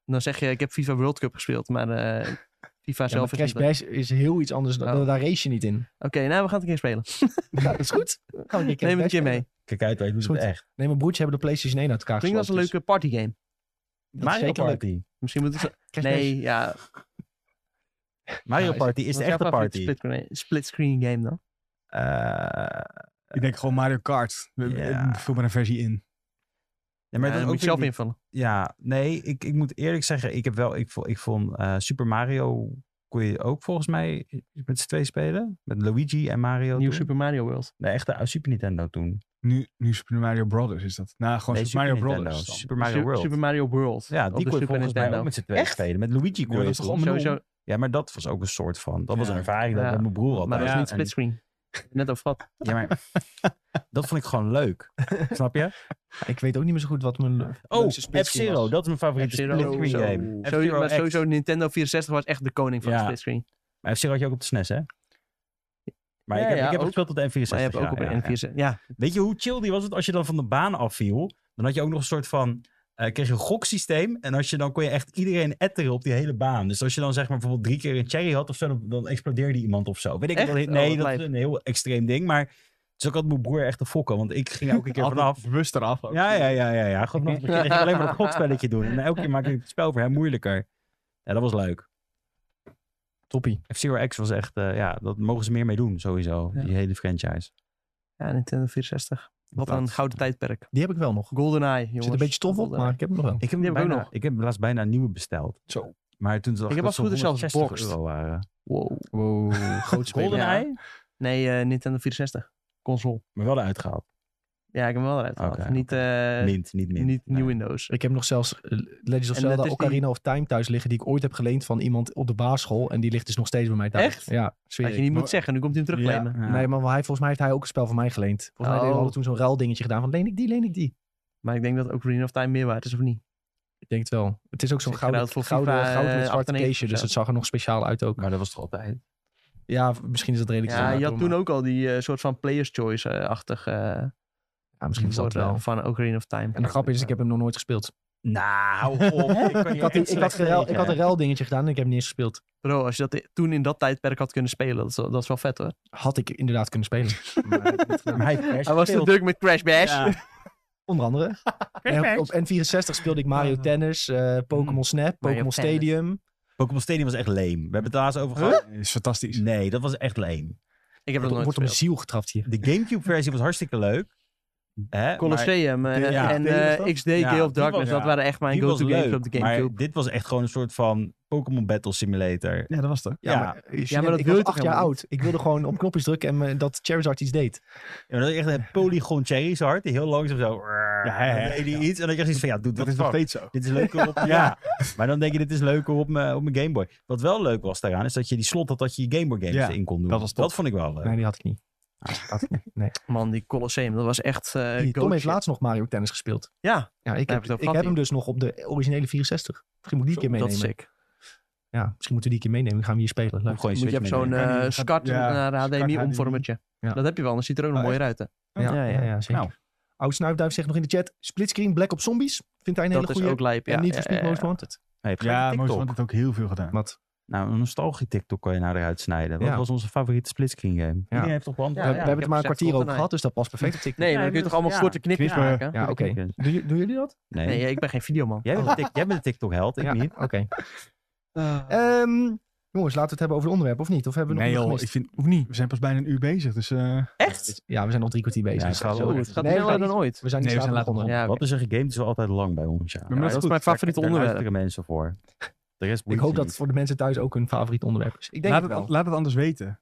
Speaker 3: dan zeg je, ik heb FIFA World Cup gespeeld, maar eh, FIFA
Speaker 1: Ja, maar
Speaker 3: zelf is
Speaker 1: Crash
Speaker 3: niet dat.
Speaker 1: Bash is heel iets anders, dan,
Speaker 3: Oh.
Speaker 1: daar race je niet in.
Speaker 3: Oké, nou, we gaan het een keer spelen.
Speaker 1: Ja, dat is goed. Gaan we een keer Crash
Speaker 3: Neem het een
Speaker 1: Bash
Speaker 3: keer mee.
Speaker 1: spelen.
Speaker 4: Kijk uit, wij doen
Speaker 1: Is
Speaker 4: het
Speaker 1: goed.
Speaker 4: echt.
Speaker 1: Nee, mijn broertjes hebben de PlayStation 1 uit elkaar
Speaker 3: Klinkt als een
Speaker 1: gesloopt,
Speaker 3: leuke partygame.
Speaker 1: dus dat is
Speaker 4: Mario
Speaker 1: zeker leuk.
Speaker 4: Party.
Speaker 3: Misschien moet het...
Speaker 1: Crash
Speaker 3: Nee,
Speaker 1: Bash.
Speaker 3: ja.
Speaker 4: Mario
Speaker 1: Ja, is-
Speaker 4: Party is
Speaker 3: wat
Speaker 4: de
Speaker 3: jouw
Speaker 4: echte
Speaker 3: favoriete
Speaker 4: party.
Speaker 3: split- Split screen game dan?
Speaker 4: Eh,
Speaker 2: Ik denk gewoon Mario Kart. We- we-
Speaker 4: Ja.
Speaker 2: Vul maar een versie in.
Speaker 4: Ja, maar
Speaker 3: Ja,
Speaker 4: dat
Speaker 3: Eh, dan
Speaker 4: is
Speaker 3: moet
Speaker 4: ook
Speaker 3: je zelf
Speaker 4: weer die-
Speaker 3: invullen.
Speaker 4: Ja, nee, ik, ik moet eerlijk zeggen, ik heb wel, ik, vo- ik vond eh, Super Mario kon je ook volgens mij met z'n twee spelen. Met Luigi en Mario.
Speaker 3: Nieuw
Speaker 4: toen.
Speaker 3: Super Mario World.
Speaker 4: Nee, echt de Super Nintendo toen.
Speaker 2: Nu, nu Super Mario Brothers is dat. Nou, gewoon
Speaker 4: nee,
Speaker 2: Super Mario
Speaker 4: Nintendo,
Speaker 2: Brothers. dan.
Speaker 4: Super Mario
Speaker 3: Su-
Speaker 4: World.
Speaker 3: Super Mario World.
Speaker 4: ja,
Speaker 3: op
Speaker 4: die
Speaker 3: de
Speaker 4: kon je
Speaker 3: Super E
Speaker 4: volgens mij ook
Speaker 3: Nintendo.
Speaker 4: met z'n twee
Speaker 3: Echt?
Speaker 4: spelen. Met Luigi kon
Speaker 2: dat
Speaker 4: je
Speaker 2: is toch
Speaker 4: toen.
Speaker 2: om-
Speaker 3: Sowieso,
Speaker 4: Ja, maar dat was ook een soort van. Dat was
Speaker 2: Ja.
Speaker 4: een ervaring dat
Speaker 3: Ja.
Speaker 4: had mijn broer had.
Speaker 3: maar dat
Speaker 2: ja,
Speaker 3: is niet
Speaker 4: en-
Speaker 3: split screen. Net over wat.
Speaker 4: Ja, maar dat vond ik gewoon leuk. Snap je?
Speaker 1: Ja, Ik weet ook niet meer zo goed wat mijn le-
Speaker 4: Oh,
Speaker 1: leukste splitscreen
Speaker 4: F-Zero.
Speaker 1: was.
Speaker 4: Oh, Dat is mijn favoriete
Speaker 3: F-Zero,
Speaker 4: split-screen
Speaker 3: zo.
Speaker 4: game.
Speaker 3: Sowieso-
Speaker 4: F-Zero
Speaker 3: maar
Speaker 4: echt.
Speaker 3: sowieso Nintendo 64 was echt de koning van
Speaker 4: Ja.
Speaker 3: de split screen.
Speaker 4: Maar F-Zero had je ook op de SNES, hè? Maar
Speaker 3: Ja,
Speaker 4: ik heb,
Speaker 3: ja,
Speaker 4: ik heb
Speaker 3: ook.
Speaker 4: gespeeld tot de N64.
Speaker 3: Maar je hebt ook
Speaker 4: ja,
Speaker 3: op
Speaker 4: ja,
Speaker 3: de
Speaker 4: ja.
Speaker 3: N64. Ja,
Speaker 4: Weet je hoe chill die was het als je dan van de baan afviel? Dan had je ook nog een soort van... eh kreeg je een goksysteem. En als je, dan kon je echt iedereen etteren op die hele baan. Dus als je dan zeg maar bijvoorbeeld drie keer een cherry had of zo... dan, dan explodeerde iemand of zo. Weet ik
Speaker 3: Echt?
Speaker 4: wel,
Speaker 3: Oh,
Speaker 4: Nee,
Speaker 3: wat
Speaker 4: dat
Speaker 3: lijp.
Speaker 4: is een heel extreem ding. Maar het is ook altijd mijn broer echt te fokken. Want ik ging elke keer
Speaker 2: Altijd
Speaker 4: vanaf.
Speaker 2: bewust eraf. ook.
Speaker 4: Ja, ja, ja, ja, ja. Gewoon vanaf het begin ging ik alleen maar dat godspelletje doen. En elke keer maakte ik het spel voor hem moeilijker. Ja, dat was leuk.
Speaker 1: Toppie.
Speaker 4: F-Zero X was echt, eh, ja, dat mogen ze meer mee doen sowieso.
Speaker 3: Ja.
Speaker 4: Die hele franchise.
Speaker 3: ja Nintendo 64. Wat
Speaker 4: Dat-
Speaker 3: een gouden tijdperk.
Speaker 1: Die heb ik wel nog. Er
Speaker 3: GoldenEye, jongens. eh,
Speaker 1: zit een beetje stof op, maar ik heb hem nog wel.
Speaker 4: Ik heb,
Speaker 3: Die heb
Speaker 4: hem
Speaker 3: ik ook
Speaker 4: bijna,
Speaker 3: nog.
Speaker 4: ik heb laatst bijna een nieuwe besteld.
Speaker 2: Zo.
Speaker 4: Maar toen zag
Speaker 3: Ik
Speaker 4: ik,
Speaker 3: heb
Speaker 4: dat
Speaker 3: als het goed
Speaker 4: ze
Speaker 3: is zelfs
Speaker 4: 160
Speaker 3: boxed.
Speaker 4: euro waren.
Speaker 3: Wow.
Speaker 1: Wow, groot spelen.
Speaker 3: Golden-
Speaker 4: GoldenEye?
Speaker 3: Nee, eh, Nintendo 64. Console.
Speaker 4: Maar wel eruit gehaald.
Speaker 3: Ja, ik heb hem wel eruit gehaald.
Speaker 4: Oké,
Speaker 3: Niet, eh,
Speaker 4: mint, niet mint.
Speaker 3: niet
Speaker 4: Nee.
Speaker 3: New Windows.
Speaker 1: Ik heb nog zelfs eh, Legends of
Speaker 3: En
Speaker 1: Zelda
Speaker 3: dat is die-
Speaker 1: Ocarina of Time thuis liggen... die ik ooit heb geleend van iemand op de basisschool. En die ligt dus nog steeds bij mij thuis.
Speaker 3: Echt?
Speaker 1: Ja, zweer
Speaker 3: Dat je
Speaker 1: ik.
Speaker 3: niet moet zeggen, nu komt hij hem terugclaimen.
Speaker 4: Ja.
Speaker 1: Nee, maar hij, volgens mij heeft hij ook een spel van mij geleend. Volgens mij deden we
Speaker 3: Oh.
Speaker 1: hadden toen zo'n ruildingetje gedaan van leen ik die, leen ik die.
Speaker 3: Maar ik denk dat ook Green of Time meer waard is, of niet?
Speaker 1: Ik denk het wel. Het is ook zo'n
Speaker 3: Is het
Speaker 1: gouden,
Speaker 3: geruild voor
Speaker 1: gouden,
Speaker 3: FIFA,
Speaker 1: gouden met
Speaker 3: eh,
Speaker 1: zwarte
Speaker 3: 98
Speaker 1: caseje,
Speaker 3: of
Speaker 1: dus
Speaker 3: zo?
Speaker 1: het zag er nog speciaal uit ook.
Speaker 4: Maar dat was toch altijd?
Speaker 1: Ja, misschien is dat redelijk.
Speaker 3: Ja,
Speaker 1: standaard,
Speaker 3: je had
Speaker 1: hoor,
Speaker 3: toen
Speaker 1: maar-
Speaker 3: ook al die eh, soort van Player's eh, Choice-achtig...
Speaker 1: Ja, misschien is dat wel.
Speaker 3: eh, Van Ocarina of Time.
Speaker 1: En de grap is, ik heb hem nog nooit gespeeld.
Speaker 4: Nou, hou op. Ik, kan
Speaker 1: Ik had, die- ik, had een rel, ik had een rel dingetje gedaan en ik heb hem niet eens gespeeld.
Speaker 3: Bro, als je dat i- toen in dat tijdperk had kunnen spelen, dat is, wel- dat is wel vet hoor.
Speaker 1: Had ik inderdaad kunnen spelen. Maar ik heb het gedaan.
Speaker 3: Hij was te druk met Crash Bash.
Speaker 1: Onder andere. En op, op N64 speelde ik Mario Tennis, eh, Pokémon Snap,
Speaker 3: Mario
Speaker 1: Pokémon
Speaker 3: Tennis.
Speaker 1: Stadium.
Speaker 4: Pokémon Stadium was echt leem. We hebben het daar eens over gehad.
Speaker 2: Is fantastisch.
Speaker 4: Nee, dat was echt leem.
Speaker 3: Ik heb
Speaker 1: Er
Speaker 3: dat nooit
Speaker 1: wordt om de
Speaker 3: gespeeld.
Speaker 1: ziel getrapt hier.
Speaker 4: De Gamecube-versie was hartstikke leuk. Hè, maar
Speaker 3: Colosseum eh,
Speaker 4: De- ja.
Speaker 3: en
Speaker 2: XD was
Speaker 3: eh,
Speaker 2: dat?
Speaker 3: XD,
Speaker 4: Ja,
Speaker 3: Gale of
Speaker 4: die
Speaker 3: Darkness,
Speaker 4: was-
Speaker 3: dat
Speaker 4: ja.
Speaker 3: waren echt mijn
Speaker 4: die was
Speaker 3: go-to games
Speaker 4: leuk,
Speaker 3: op de Gamecube.
Speaker 4: Maar dit was echt gewoon een soort van Pokémon Battle Simulator.
Speaker 2: Ja, dat was het.
Speaker 1: Ja,
Speaker 4: Ja.
Speaker 1: maar, eh,
Speaker 3: maar dat
Speaker 1: ik
Speaker 3: wil je
Speaker 1: was
Speaker 3: toch
Speaker 1: acht jaar
Speaker 3: helemaal
Speaker 1: oud. Ik wilde gewoon op knopjes drukken en eh, dat Charizard iets deed.
Speaker 4: Ja, maar dat is echt een polygon Charizard die heel langzaam zo...
Speaker 2: ja, ja.
Speaker 4: dan deed hij iets en dan dacht je zoiets van, ja, doe
Speaker 2: Dat
Speaker 4: dat
Speaker 2: is nog
Speaker 4: fuck.
Speaker 2: steeds zo.
Speaker 4: Dit is leuker op... ja. Maar dan denk je, dit is leuker op mijn, op mijn Game Boy. Wat wel leuk was daaraan, is dat je die slot had dat je je Game Boy games
Speaker 2: Ja,
Speaker 4: in kon doen.
Speaker 2: dat was top.
Speaker 4: vond ik wel eh, leuk.
Speaker 1: Nee, die had ik niet. Had ik niet. Nee.
Speaker 3: Man, die Colosseum, dat was echt eh
Speaker 1: Die Tom
Speaker 3: goat
Speaker 1: heeft
Speaker 3: shit.
Speaker 1: laatst nog Mario Tennis gespeeld.
Speaker 3: Ja,
Speaker 1: Ja, ik
Speaker 3: Daar
Speaker 1: heb,
Speaker 3: heb je het over
Speaker 1: ik
Speaker 3: gehad
Speaker 1: heb hem
Speaker 3: hier.
Speaker 1: dus nog op de originele 64. Misschien moet ik die een keer
Speaker 3: dat is
Speaker 1: meenemen.
Speaker 3: sick.
Speaker 1: Ja, misschien moeten we die een keer meenemen. Dan gaan we hier spelen. Leuk.
Speaker 4: Gewoon je
Speaker 3: Moet je
Speaker 4: Switch
Speaker 3: hebt zo'n
Speaker 4: meenemen.
Speaker 2: meenemen.
Speaker 3: eh,
Speaker 2: Gaat-
Speaker 3: SCART
Speaker 2: ja,
Speaker 3: naar HDMI
Speaker 2: SCART
Speaker 3: omvormertje.
Speaker 1: Ja.
Speaker 3: Dat heb je wel, dan ziet er ook nog
Speaker 2: Oh,
Speaker 3: mooier uit. Hè.
Speaker 1: Ja, ja, ja.
Speaker 3: eh,
Speaker 1: zeker.
Speaker 2: Nou.
Speaker 1: Oud Snuifduif zegt nog in de chat. Splitscreen Black op Zombies. Vindt hij een
Speaker 3: Dat
Speaker 1: hele
Speaker 3: is
Speaker 1: goede.
Speaker 3: ook lijp. Ja,
Speaker 1: en niet
Speaker 3: ja,
Speaker 1: voor Speed
Speaker 3: ja,
Speaker 1: Most
Speaker 3: ja.
Speaker 1: Wanted.
Speaker 4: Hey, heb je
Speaker 2: Ja,
Speaker 4: geen
Speaker 2: Moos
Speaker 4: TikTok?
Speaker 2: had het ook heel veel gedaan.
Speaker 1: Wat?
Speaker 4: Nou, een nostalgie TikTok kon je nou eruit snijden. Wat
Speaker 1: Ja.
Speaker 4: was onze favoriete splitscreen game? Iedereen heeft toch
Speaker 1: we
Speaker 3: Ja,
Speaker 1: we
Speaker 3: ja,
Speaker 4: beantwoord?
Speaker 1: hebben het
Speaker 3: ik
Speaker 1: maar
Speaker 3: heb
Speaker 1: een
Speaker 3: gezegd
Speaker 1: kwartier over
Speaker 3: Fortnite.
Speaker 1: gehad, dus dat past perfect op TikTok.
Speaker 3: Nee, maar
Speaker 4: Ja,
Speaker 3: dan kun je
Speaker 4: dat
Speaker 3: toch allemaal
Speaker 4: is-
Speaker 3: korte knipjes
Speaker 2: Knippen.
Speaker 3: maken?
Speaker 1: Ja, oké. Doen, ju- doen jullie dat?
Speaker 4: Nee.
Speaker 3: Nee, ik ben geen videoman.
Speaker 4: Jij bent, de tik- jij bent de TikTok-held, ik
Speaker 1: ja,
Speaker 4: niet.
Speaker 1: Oké. Ehm, jongens, laten we het hebben over de onderwerp, of niet? Of hebben we nog
Speaker 2: Nee
Speaker 1: wat
Speaker 2: joh, ik
Speaker 1: gemist?
Speaker 2: vind, of niet. We zijn pas bijna een uur bezig, dus... eh,
Speaker 3: Echt?
Speaker 1: Ja, we zijn nog drie kwartier bezig.
Speaker 4: Ja, het gaat
Speaker 1: Zo.
Speaker 4: wel
Speaker 3: Oeh, het
Speaker 4: echt.
Speaker 3: gaat
Speaker 1: Nee,
Speaker 3: sneller
Speaker 1: we gaan-
Speaker 3: dan ooit.
Speaker 1: We zijn niet
Speaker 2: Nee, we zijn
Speaker 1: later
Speaker 2: later
Speaker 1: begonnen.
Speaker 3: Ja, oké.
Speaker 4: Wat is er gegamed is wel altijd lang bij ons. Ja.
Speaker 2: maar
Speaker 3: dat
Speaker 2: dat
Speaker 3: is
Speaker 2: is goed.
Speaker 3: mijn favoriete
Speaker 4: Daar
Speaker 3: onderwerp.
Speaker 4: luisteren mensen voor. De rest
Speaker 1: Ik
Speaker 4: boeit
Speaker 1: hoop
Speaker 4: ze
Speaker 1: dat het
Speaker 4: niet.
Speaker 1: voor de mensen thuis ook hun favoriet onderwerp is. Ik denk
Speaker 2: laat,
Speaker 1: het
Speaker 2: het,
Speaker 1: wel.
Speaker 2: laat het anders weten.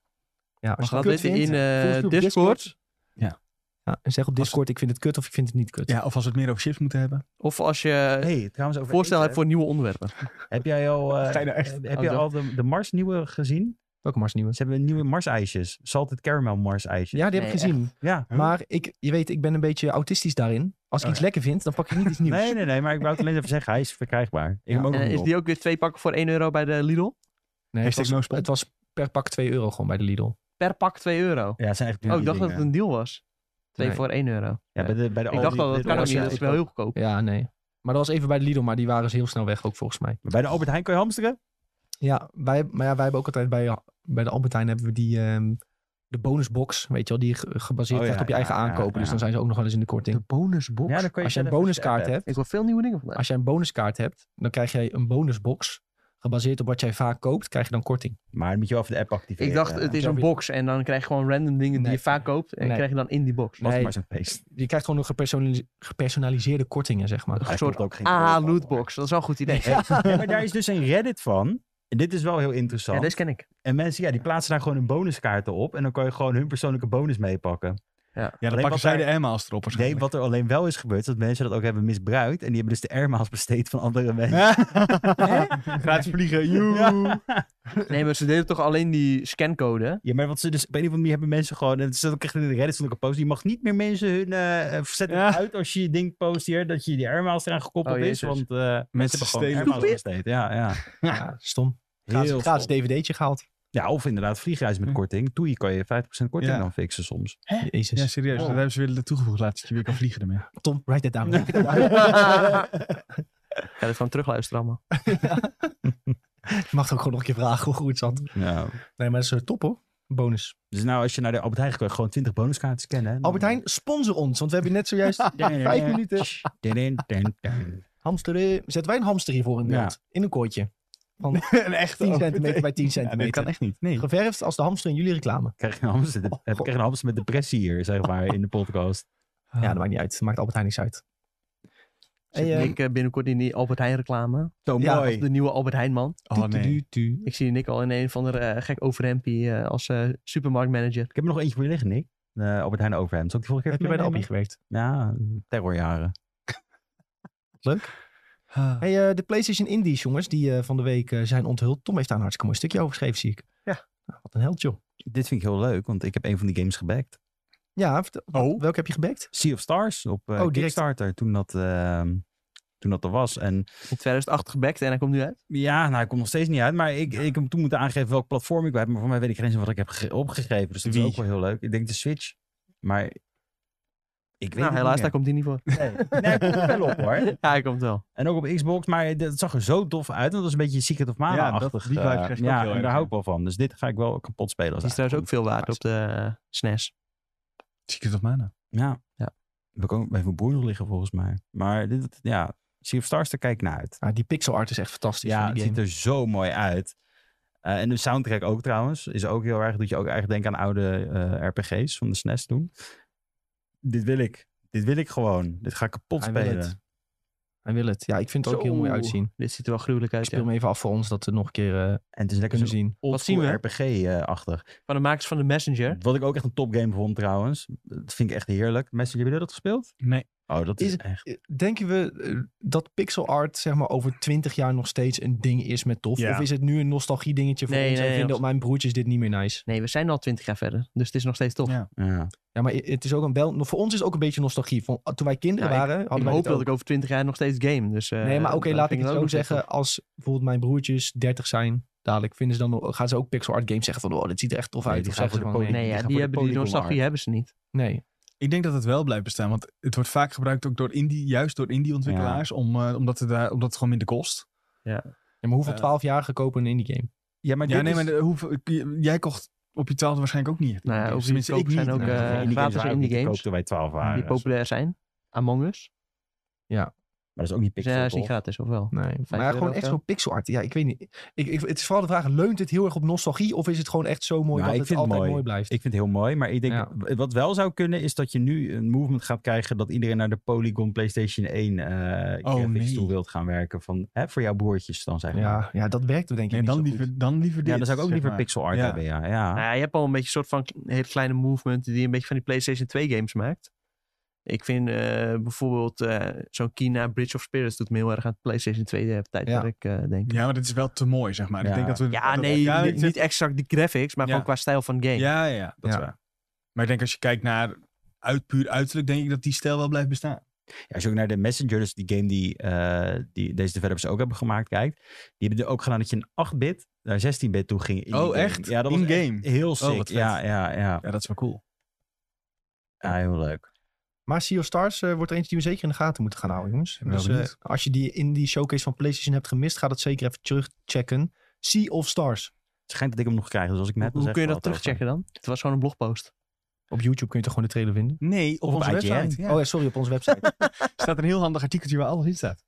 Speaker 1: Ja, als je
Speaker 3: Laat
Speaker 1: het kut
Speaker 3: weten
Speaker 1: vindt,
Speaker 3: in eh,
Speaker 1: volg je op
Speaker 3: Discord.
Speaker 1: Ja, en zeg op Discord, ik vind het kut of ik vind het niet kut.
Speaker 2: Ja, of als we het meer over chips moeten hebben.
Speaker 3: Of als je
Speaker 4: Hey, trouwens over
Speaker 3: Eh, voorstel
Speaker 4: eten.
Speaker 3: hebt voor nieuwe onderwerpen.
Speaker 4: Heb jij al, eh,
Speaker 2: Ga je nou echt-
Speaker 4: heb
Speaker 3: Oh,
Speaker 4: je
Speaker 3: dat-
Speaker 4: al de, de Mars nieuwe gezien?
Speaker 1: Welke Mars nieuwe?
Speaker 4: Ze hebben nieuwe Mars ijsjes. Salted caramel Mars ijsjes.
Speaker 1: Ja, die heb ik
Speaker 3: Nee,
Speaker 1: gezien.
Speaker 4: Ja.
Speaker 2: Huh?
Speaker 1: Maar ik, je weet, ik ben een beetje autistisch daarin. Als ik
Speaker 2: Oh,
Speaker 1: iets lekker vind, dan pak ik niet iets nieuws.
Speaker 4: Nee, nee, nee. Maar ik wou het alleen even zeggen. Hij is verkrijgbaar. Ik heb hem ook
Speaker 3: En
Speaker 4: nog
Speaker 3: is
Speaker 4: niet
Speaker 3: die ook weer twee pakken voor 1 euro bij de Lidl?
Speaker 1: Nee, het,
Speaker 2: Hashtag
Speaker 1: was,
Speaker 2: no spon.
Speaker 1: het was per pak 2 euro gewoon bij de Lidl.
Speaker 3: Per pak 2 euro.
Speaker 4: op. Ja, het zijn
Speaker 3: Oh,
Speaker 4: echt
Speaker 3: ik dacht dat
Speaker 4: dure
Speaker 3: het
Speaker 4: dingen.
Speaker 3: een deal was. 2
Speaker 1: Nee.
Speaker 3: voor 1 euro.
Speaker 4: Ja, bij de, bij de
Speaker 3: Ik
Speaker 4: Aldi-
Speaker 3: dacht al, dat
Speaker 4: bij de
Speaker 3: kan ook
Speaker 4: Mars
Speaker 3: niet. Dat
Speaker 4: ijs.
Speaker 3: is wel heel goedkoop.
Speaker 1: Ja, nee. Maar dat was even bij de Lidl, maar die waren ze heel snel weg ook volgens mij.
Speaker 4: Maar Bij de Albert Heijn kan je hamsteren?
Speaker 1: Ja, wij, maar ja, wij hebben ook altijd bij, bij de Albert Heijn hebben we die ehm, de bonusbox, weet je wel, die ge- gebaseerd
Speaker 4: Oh,
Speaker 1: echt
Speaker 4: ja,
Speaker 1: op je eigen
Speaker 4: ja, ja,
Speaker 1: aankopen. Dus
Speaker 4: ja.
Speaker 1: dan zijn ze ook nog wel eens in de korting.
Speaker 3: bonusbox?
Speaker 4: dan kan
Speaker 1: als je een
Speaker 4: zelf even
Speaker 1: bonuskaart
Speaker 4: appen.
Speaker 1: hebt,
Speaker 3: Ik wil veel nieuwe dingen vandaag.
Speaker 1: als je een bonuskaart hebt, dan krijg jij een bonusbox. Gebaseerd op wat jij vaak koopt, krijg je dan korting.
Speaker 4: Maar dan moet je wel even de app activeren.
Speaker 3: Ik dacht, het is een box en dan krijg je gewoon random dingen die
Speaker 1: Nee.
Speaker 3: je vaak koopt. En
Speaker 1: Nee.
Speaker 3: krijg je dan in die box.
Speaker 4: Was
Speaker 1: nee.
Speaker 4: maar zo'n feest.
Speaker 1: Je krijgt gewoon een gepersonalise- gepersonaliseerde kortingen, zeg maar.
Speaker 4: Hij
Speaker 3: soort
Speaker 4: komt ook geen
Speaker 3: Ah,
Speaker 4: call.
Speaker 3: lootbox. Dat is wel een goed idee. Ja,
Speaker 4: Ja, maar daar is dus een Reddit van. En dit is wel heel interessant.
Speaker 3: deze ken ik.
Speaker 4: En mensen, ja, die plaatsen daar gewoon hun bonuskaarten op. En dan kan je gewoon hun persoonlijke bonus meepakken.
Speaker 2: Ja, dan
Speaker 4: Alleen
Speaker 2: pakken
Speaker 4: wat
Speaker 2: zij de
Speaker 4: daar-
Speaker 2: Airmaals erop
Speaker 4: Nee,
Speaker 2: waarschijnlijk.
Speaker 4: wat er alleen wel is gebeurd, is dat mensen dat ook hebben misbruikt. En die hebben dus de airmaals besteed van andere mensen.
Speaker 2: Gratis vliegen,
Speaker 4: Ja.
Speaker 3: Nee, maar ze deden toch alleen die scancode? hè?
Speaker 4: Ja, maar wat ze dus op een of andere manier hebben mensen gewoon. En ze echt in de Reddit stond ook een post. Je mag niet meer mensen hun. eh, eh, zet het
Speaker 2: Ja.
Speaker 4: uit als je je ding post hier. Dat je die airmaals eraan gekoppeld
Speaker 3: Oh,
Speaker 4: is.
Speaker 3: jezus.
Speaker 4: Want eh, mensen, hebben gewoon
Speaker 2: stelen.
Speaker 4: airmaals besteed. Ja, ja.
Speaker 1: Ja, stom.
Speaker 4: Heel
Speaker 1: Gratis, gratis
Speaker 4: stom.
Speaker 1: dvd'tje gehaald.
Speaker 4: ja, of inderdaad vliegreis met
Speaker 2: Hm.
Speaker 4: korting. Toei kan je 50% korting
Speaker 2: Ja.
Speaker 4: dan fixen soms.
Speaker 1: Jezus.
Speaker 2: Ja, serieus. Dat hebben ze weer toegevoegd laatst, dat je weer kan vliegen ermee.
Speaker 1: Tom, write that down.
Speaker 3: Ik ga dit gewoon terugluisteren allemaal.
Speaker 1: Je mag ook gewoon nog een keer vragen hoe goed het zat.
Speaker 4: Ja.
Speaker 1: Nee, maar dat is eh, top hoor. Bonus.
Speaker 4: Dus nou, als je naar de Albert Heijn gaat, gewoon 20 bonuskaarten scannen.
Speaker 1: Albert Heijn, sponsor ons. Want we hebben net zojuist vijf minuten. Hamsteren. Zetten eh, wij een hamster hiervoor in beeld?
Speaker 4: Ja.
Speaker 1: In een kooitje. Van
Speaker 2: Een echte
Speaker 1: 10 centimeter bij 10
Speaker 4: Ja, dat kan
Speaker 1: centimeter.
Speaker 4: echt niet. Nee. Ik
Speaker 1: Geverfd als de hamster in jullie reclame.
Speaker 4: krijg een hamster, de- ik krijg een hamster met depressie hier, zeg maar, in de podcast.
Speaker 1: Ja, dat maakt niet uit. Dat maakt Albert Heijn niks uit.
Speaker 3: Zit
Speaker 1: Hey, eh,
Speaker 3: Nick eh, binnenkort in die Albert Heijn reclame.
Speaker 4: Zo
Speaker 1: Ja,
Speaker 4: mooi.
Speaker 3: Of de nieuwe Albert Heijnman.
Speaker 2: Oh nee.
Speaker 3: Ik zie Nick al in een van de gek overhempie eh, als eh, supermarktmanager.
Speaker 4: Ik heb er nog eentje voor je liggen, Nick. Eh, Albert Heijn Overhemd. Zal ik die vorige
Speaker 1: Heb
Speaker 4: keer
Speaker 1: je bij de Albie
Speaker 4: meenemen?
Speaker 1: gewerkt?
Speaker 4: Ja, terrorjaren.
Speaker 1: Hey, eh, de PlayStation Indies, jongens, die eh, van de week eh, zijn onthuld. Tom heeft daar een hartstikke mooi stukje over geschreven, zie ik.
Speaker 3: Ja.
Speaker 1: Nou, Wat een held, joh.
Speaker 4: Dit vind ik heel leuk, want ik heb een van die games gebackt.
Speaker 1: Ja, vertel-
Speaker 2: Oh.
Speaker 1: welke heb je gebekt?
Speaker 4: Sea of Stars op eh,
Speaker 1: Oh, direct.
Speaker 4: Kickstarter, toen dat, ehm, toen dat er was. En
Speaker 3: In 2008 gebackt en hij komt nu uit.
Speaker 4: ja, nou, ik kom nog steeds niet uit, maar ik, ik heb toen moeten aangeven welk platform ik bij heb. Maar voor mij weet ik geen eens wat ik heb ge- opgegeven, dus dat is
Speaker 2: Wie?
Speaker 4: ook wel heel leuk. Ik denk de Switch, maar Ik weet
Speaker 3: Nou,
Speaker 4: het
Speaker 3: helaas, daar
Speaker 4: niet
Speaker 3: komt hij niet voor.
Speaker 4: meer. Nee, nee komt wel op hoor.
Speaker 3: Ja, hij komt wel.
Speaker 4: En ook op Xbox, maar dat zag er zo tof uit. Dat was een beetje Secret of
Speaker 2: Ja, dat-
Speaker 4: Mana-achtig.
Speaker 2: die vibe
Speaker 4: eh,
Speaker 2: krijg ik ook
Speaker 4: ja,
Speaker 2: heel
Speaker 4: en
Speaker 2: erg,
Speaker 4: daar hou ik
Speaker 2: ja.
Speaker 4: wel van. Dus dit ga ik wel kapot spelen. als
Speaker 3: Die is trouwens ook
Speaker 4: uitkomt.
Speaker 3: veel waard op de eh, SNES.
Speaker 2: Secret of Mana.
Speaker 4: Ja.
Speaker 3: Ja.
Speaker 4: We komen bij mijn broer nog liggen volgens mij. Maar dit, ja, Sea of Stars, daar kijk ik naar uit.
Speaker 1: Ah, die pixel art is echt fantastisch.
Speaker 4: ja,
Speaker 1: van
Speaker 4: het
Speaker 1: die
Speaker 4: ziet
Speaker 1: game.
Speaker 4: er zo mooi uit. Eh, en de soundtrack ook trouwens. Is ook heel erg, doet je ook eigenlijk denken aan oude eh, RPG's van de SNES toen. Dit wil ik. Dit wil ik gewoon. Dit ga ik kapot
Speaker 1: Hij wil het.
Speaker 4: spelen.
Speaker 1: Hij wil het. Ja, ik vind het ook
Speaker 3: Zo.
Speaker 1: heel mooi uitzien.
Speaker 3: Dit ziet er wel gruwelijk uit.
Speaker 1: Ik speel
Speaker 3: Ja.
Speaker 1: hem even af voor ons dat we nog een keer eh,
Speaker 4: En het is lekker
Speaker 1: kunnen
Speaker 4: zo'n
Speaker 1: zien.
Speaker 3: zien
Speaker 4: oldschool
Speaker 3: we?
Speaker 4: eh, RPG-achtig.
Speaker 3: Van de makers van de Messenger.
Speaker 4: Wat ik ook echt een topgame vond trouwens. Dat vind ik echt heerlijk. Mensen, hebben jullie dat gespeeld?
Speaker 2: Nee.
Speaker 4: Oh, dat is,
Speaker 1: Is-
Speaker 4: echt...
Speaker 1: Eh, Denken we eh, dat pixel art zeg maar over 20 jaar nog steeds een ding is met tof?
Speaker 2: Ja.
Speaker 1: Of is het nu een nostalgie dingetje voor
Speaker 3: Nee,
Speaker 1: ons en
Speaker 3: nee,
Speaker 1: vinden
Speaker 3: nog-
Speaker 1: op mijn broertjes dit niet meer nice?
Speaker 3: Nee, we zijn al twintig jaar verder. Dus het is nog steeds tof.
Speaker 2: Ja.
Speaker 4: Ja.
Speaker 1: Ja, maar het is ook een wel, voor ons is het ook een beetje nostalgie. Van, toen wij kinderen
Speaker 3: Ja,
Speaker 1: waren, hadden
Speaker 3: Nou, Ik
Speaker 1: wij
Speaker 3: hoop
Speaker 1: dit
Speaker 3: dat
Speaker 1: ook.
Speaker 3: ik over twintig jaar nog steeds game. Dus, eh,
Speaker 1: Nee, maar oké,
Speaker 3: dan
Speaker 1: laat ik
Speaker 3: vind
Speaker 1: het
Speaker 3: ook
Speaker 1: zo
Speaker 3: nog steeds
Speaker 1: zeggen. Als bijvoorbeeld mijn broertjes 30 zijn, dadelijk vinden ze dan, nog- gaan ze ook pixel art games zeggen van, oh, dit ziet er echt tof
Speaker 4: Nee,
Speaker 1: uit.
Speaker 4: die
Speaker 1: Of
Speaker 4: gaan
Speaker 1: zeggen
Speaker 4: voor
Speaker 1: ze van,
Speaker 3: tof.
Speaker 4: de poli-
Speaker 1: nee,
Speaker 3: Nee, ja,
Speaker 4: gaan
Speaker 3: die,
Speaker 4: voor de
Speaker 3: hebben, die
Speaker 4: polygon
Speaker 3: nostalgie
Speaker 4: art.
Speaker 3: hebben ze niet.
Speaker 1: nee.
Speaker 2: Ik denk dat het wel blijft bestaan, want het wordt vaak gebruikt ook door indie, juist door indie-ontwikkelaars, om, eh, omdat, het daar, omdat het gewoon minder kost.
Speaker 1: Ja, maar hoeveel
Speaker 2: Eh.
Speaker 1: 12-jarigen kopen een indie game?
Speaker 4: Ja, maar
Speaker 2: Ja,
Speaker 4: dit
Speaker 2: nee,
Speaker 4: is-
Speaker 2: maar de- hoeveel- j- jij kocht op je twaalfde waarschijnlijk ook niet. echt
Speaker 3: Nou ja,
Speaker 2: indies.
Speaker 3: ook
Speaker 2: Tenminste,
Speaker 3: goedkoop zijn ook,
Speaker 2: Nee.
Speaker 3: eh,
Speaker 4: indie games
Speaker 3: gratis
Speaker 4: waren ook
Speaker 3: indie
Speaker 4: niet te
Speaker 3: games.
Speaker 4: koop toen wij 12 waren.
Speaker 3: Die populair zijn. Among Us.
Speaker 4: Maar dat is ook niet
Speaker 3: Dus,
Speaker 4: pixel.
Speaker 3: ja, is niet
Speaker 4: toch?
Speaker 3: gratis, of wel?
Speaker 1: Nee,
Speaker 3: euro
Speaker 1: maar gewoon
Speaker 3: of
Speaker 1: echt
Speaker 3: zo?
Speaker 1: zo'n pixel art. Ja, ik weet niet. Ik, ik, het is vooral de vraag, leunt dit heel erg op nostalgie of is het gewoon echt zo mooi
Speaker 4: Nou,
Speaker 1: dat
Speaker 4: ik
Speaker 1: het
Speaker 4: vind het
Speaker 1: altijd mooi.
Speaker 4: mooi.
Speaker 1: blijft?
Speaker 4: Ik vind het heel mooi, maar ik denk
Speaker 1: Ja.
Speaker 4: w- wat wel zou kunnen is dat je nu een movement gaat krijgen dat iedereen naar de Polygon PlayStation 1 eh graphics
Speaker 2: nee.
Speaker 4: toe wilt gaan werken van hè, voor jouw broertjes dan zeg maar. Ja,
Speaker 1: ja, ja, dat werkt denk ik
Speaker 2: Nee,
Speaker 1: niet
Speaker 2: dan
Speaker 1: zo goed.
Speaker 2: liever, dan liever dit.
Speaker 4: dan zou ik ook
Speaker 2: zeg
Speaker 4: liever
Speaker 2: maar.
Speaker 4: pixel art
Speaker 2: Ja.
Speaker 4: hebben, ja. ja.
Speaker 3: Nou ja, je hebt al een beetje een soort van k- hele kleine movement die een beetje van die PlayStation 2 games maakt. Ik vind eh, bijvoorbeeld eh, zo'n Kina Bridge of Spirits doet me heel erg aan het PlayStation 2 de tijdperk, eh, denk ik.
Speaker 2: Ja, maar dit is wel te mooi, zeg maar. Ik
Speaker 4: Ja.
Speaker 2: denk dat we,
Speaker 3: Ja,
Speaker 2: dat-
Speaker 3: nee,
Speaker 2: ja,
Speaker 3: ni-
Speaker 2: ik
Speaker 3: niet,
Speaker 2: zeg-
Speaker 3: exact die graphics, maar
Speaker 2: Ja.
Speaker 3: gewoon qua stijl van game.
Speaker 2: Ja, ja, ja, dat
Speaker 1: Ja.
Speaker 2: is waar. Maar ik denk als je kijkt naar uit, puur uiterlijk, denk ik dat die stijl wel blijft bestaan.
Speaker 4: Ja, Als je ook naar de Messenger, dus die game die, eh, die deze developers ook hebben gemaakt, kijkt. Die hebben er ook gedaan dat je een 8-bit naar 16-bit toe ging. in die
Speaker 2: Oh,
Speaker 4: game.
Speaker 2: echt?
Speaker 4: Ja, dat was echt
Speaker 2: In-game?
Speaker 4: Heel sick.
Speaker 2: wat vet.
Speaker 4: ja, ja, ja,
Speaker 2: Ja, dat is wel cool.
Speaker 4: ja. Heel leuk.
Speaker 1: Maar Sea of Stars eh, wordt er eentje die we zeker in de gaten moeten gaan houden, jongens.
Speaker 2: ben wel
Speaker 1: Dus eh,
Speaker 2: benieuwd.
Speaker 1: als je die in die showcase van PlayStation hebt gemist, ga dat zeker even terugchecken. Sea of Stars.
Speaker 4: Het schijnt dat ik hem nog krijg, dus als ik net
Speaker 3: Hoe kun je dat terugchecken dan? Het was gewoon een blogpost.
Speaker 1: Op YouTube kun je toch gewoon de trailer vinden?
Speaker 2: Nee, op,
Speaker 4: Of op
Speaker 2: onze
Speaker 4: IGN.
Speaker 2: website. Ja.
Speaker 1: Oh ja, sorry, op onze website.
Speaker 2: staat een heel handig artikeltje waar alles in staat.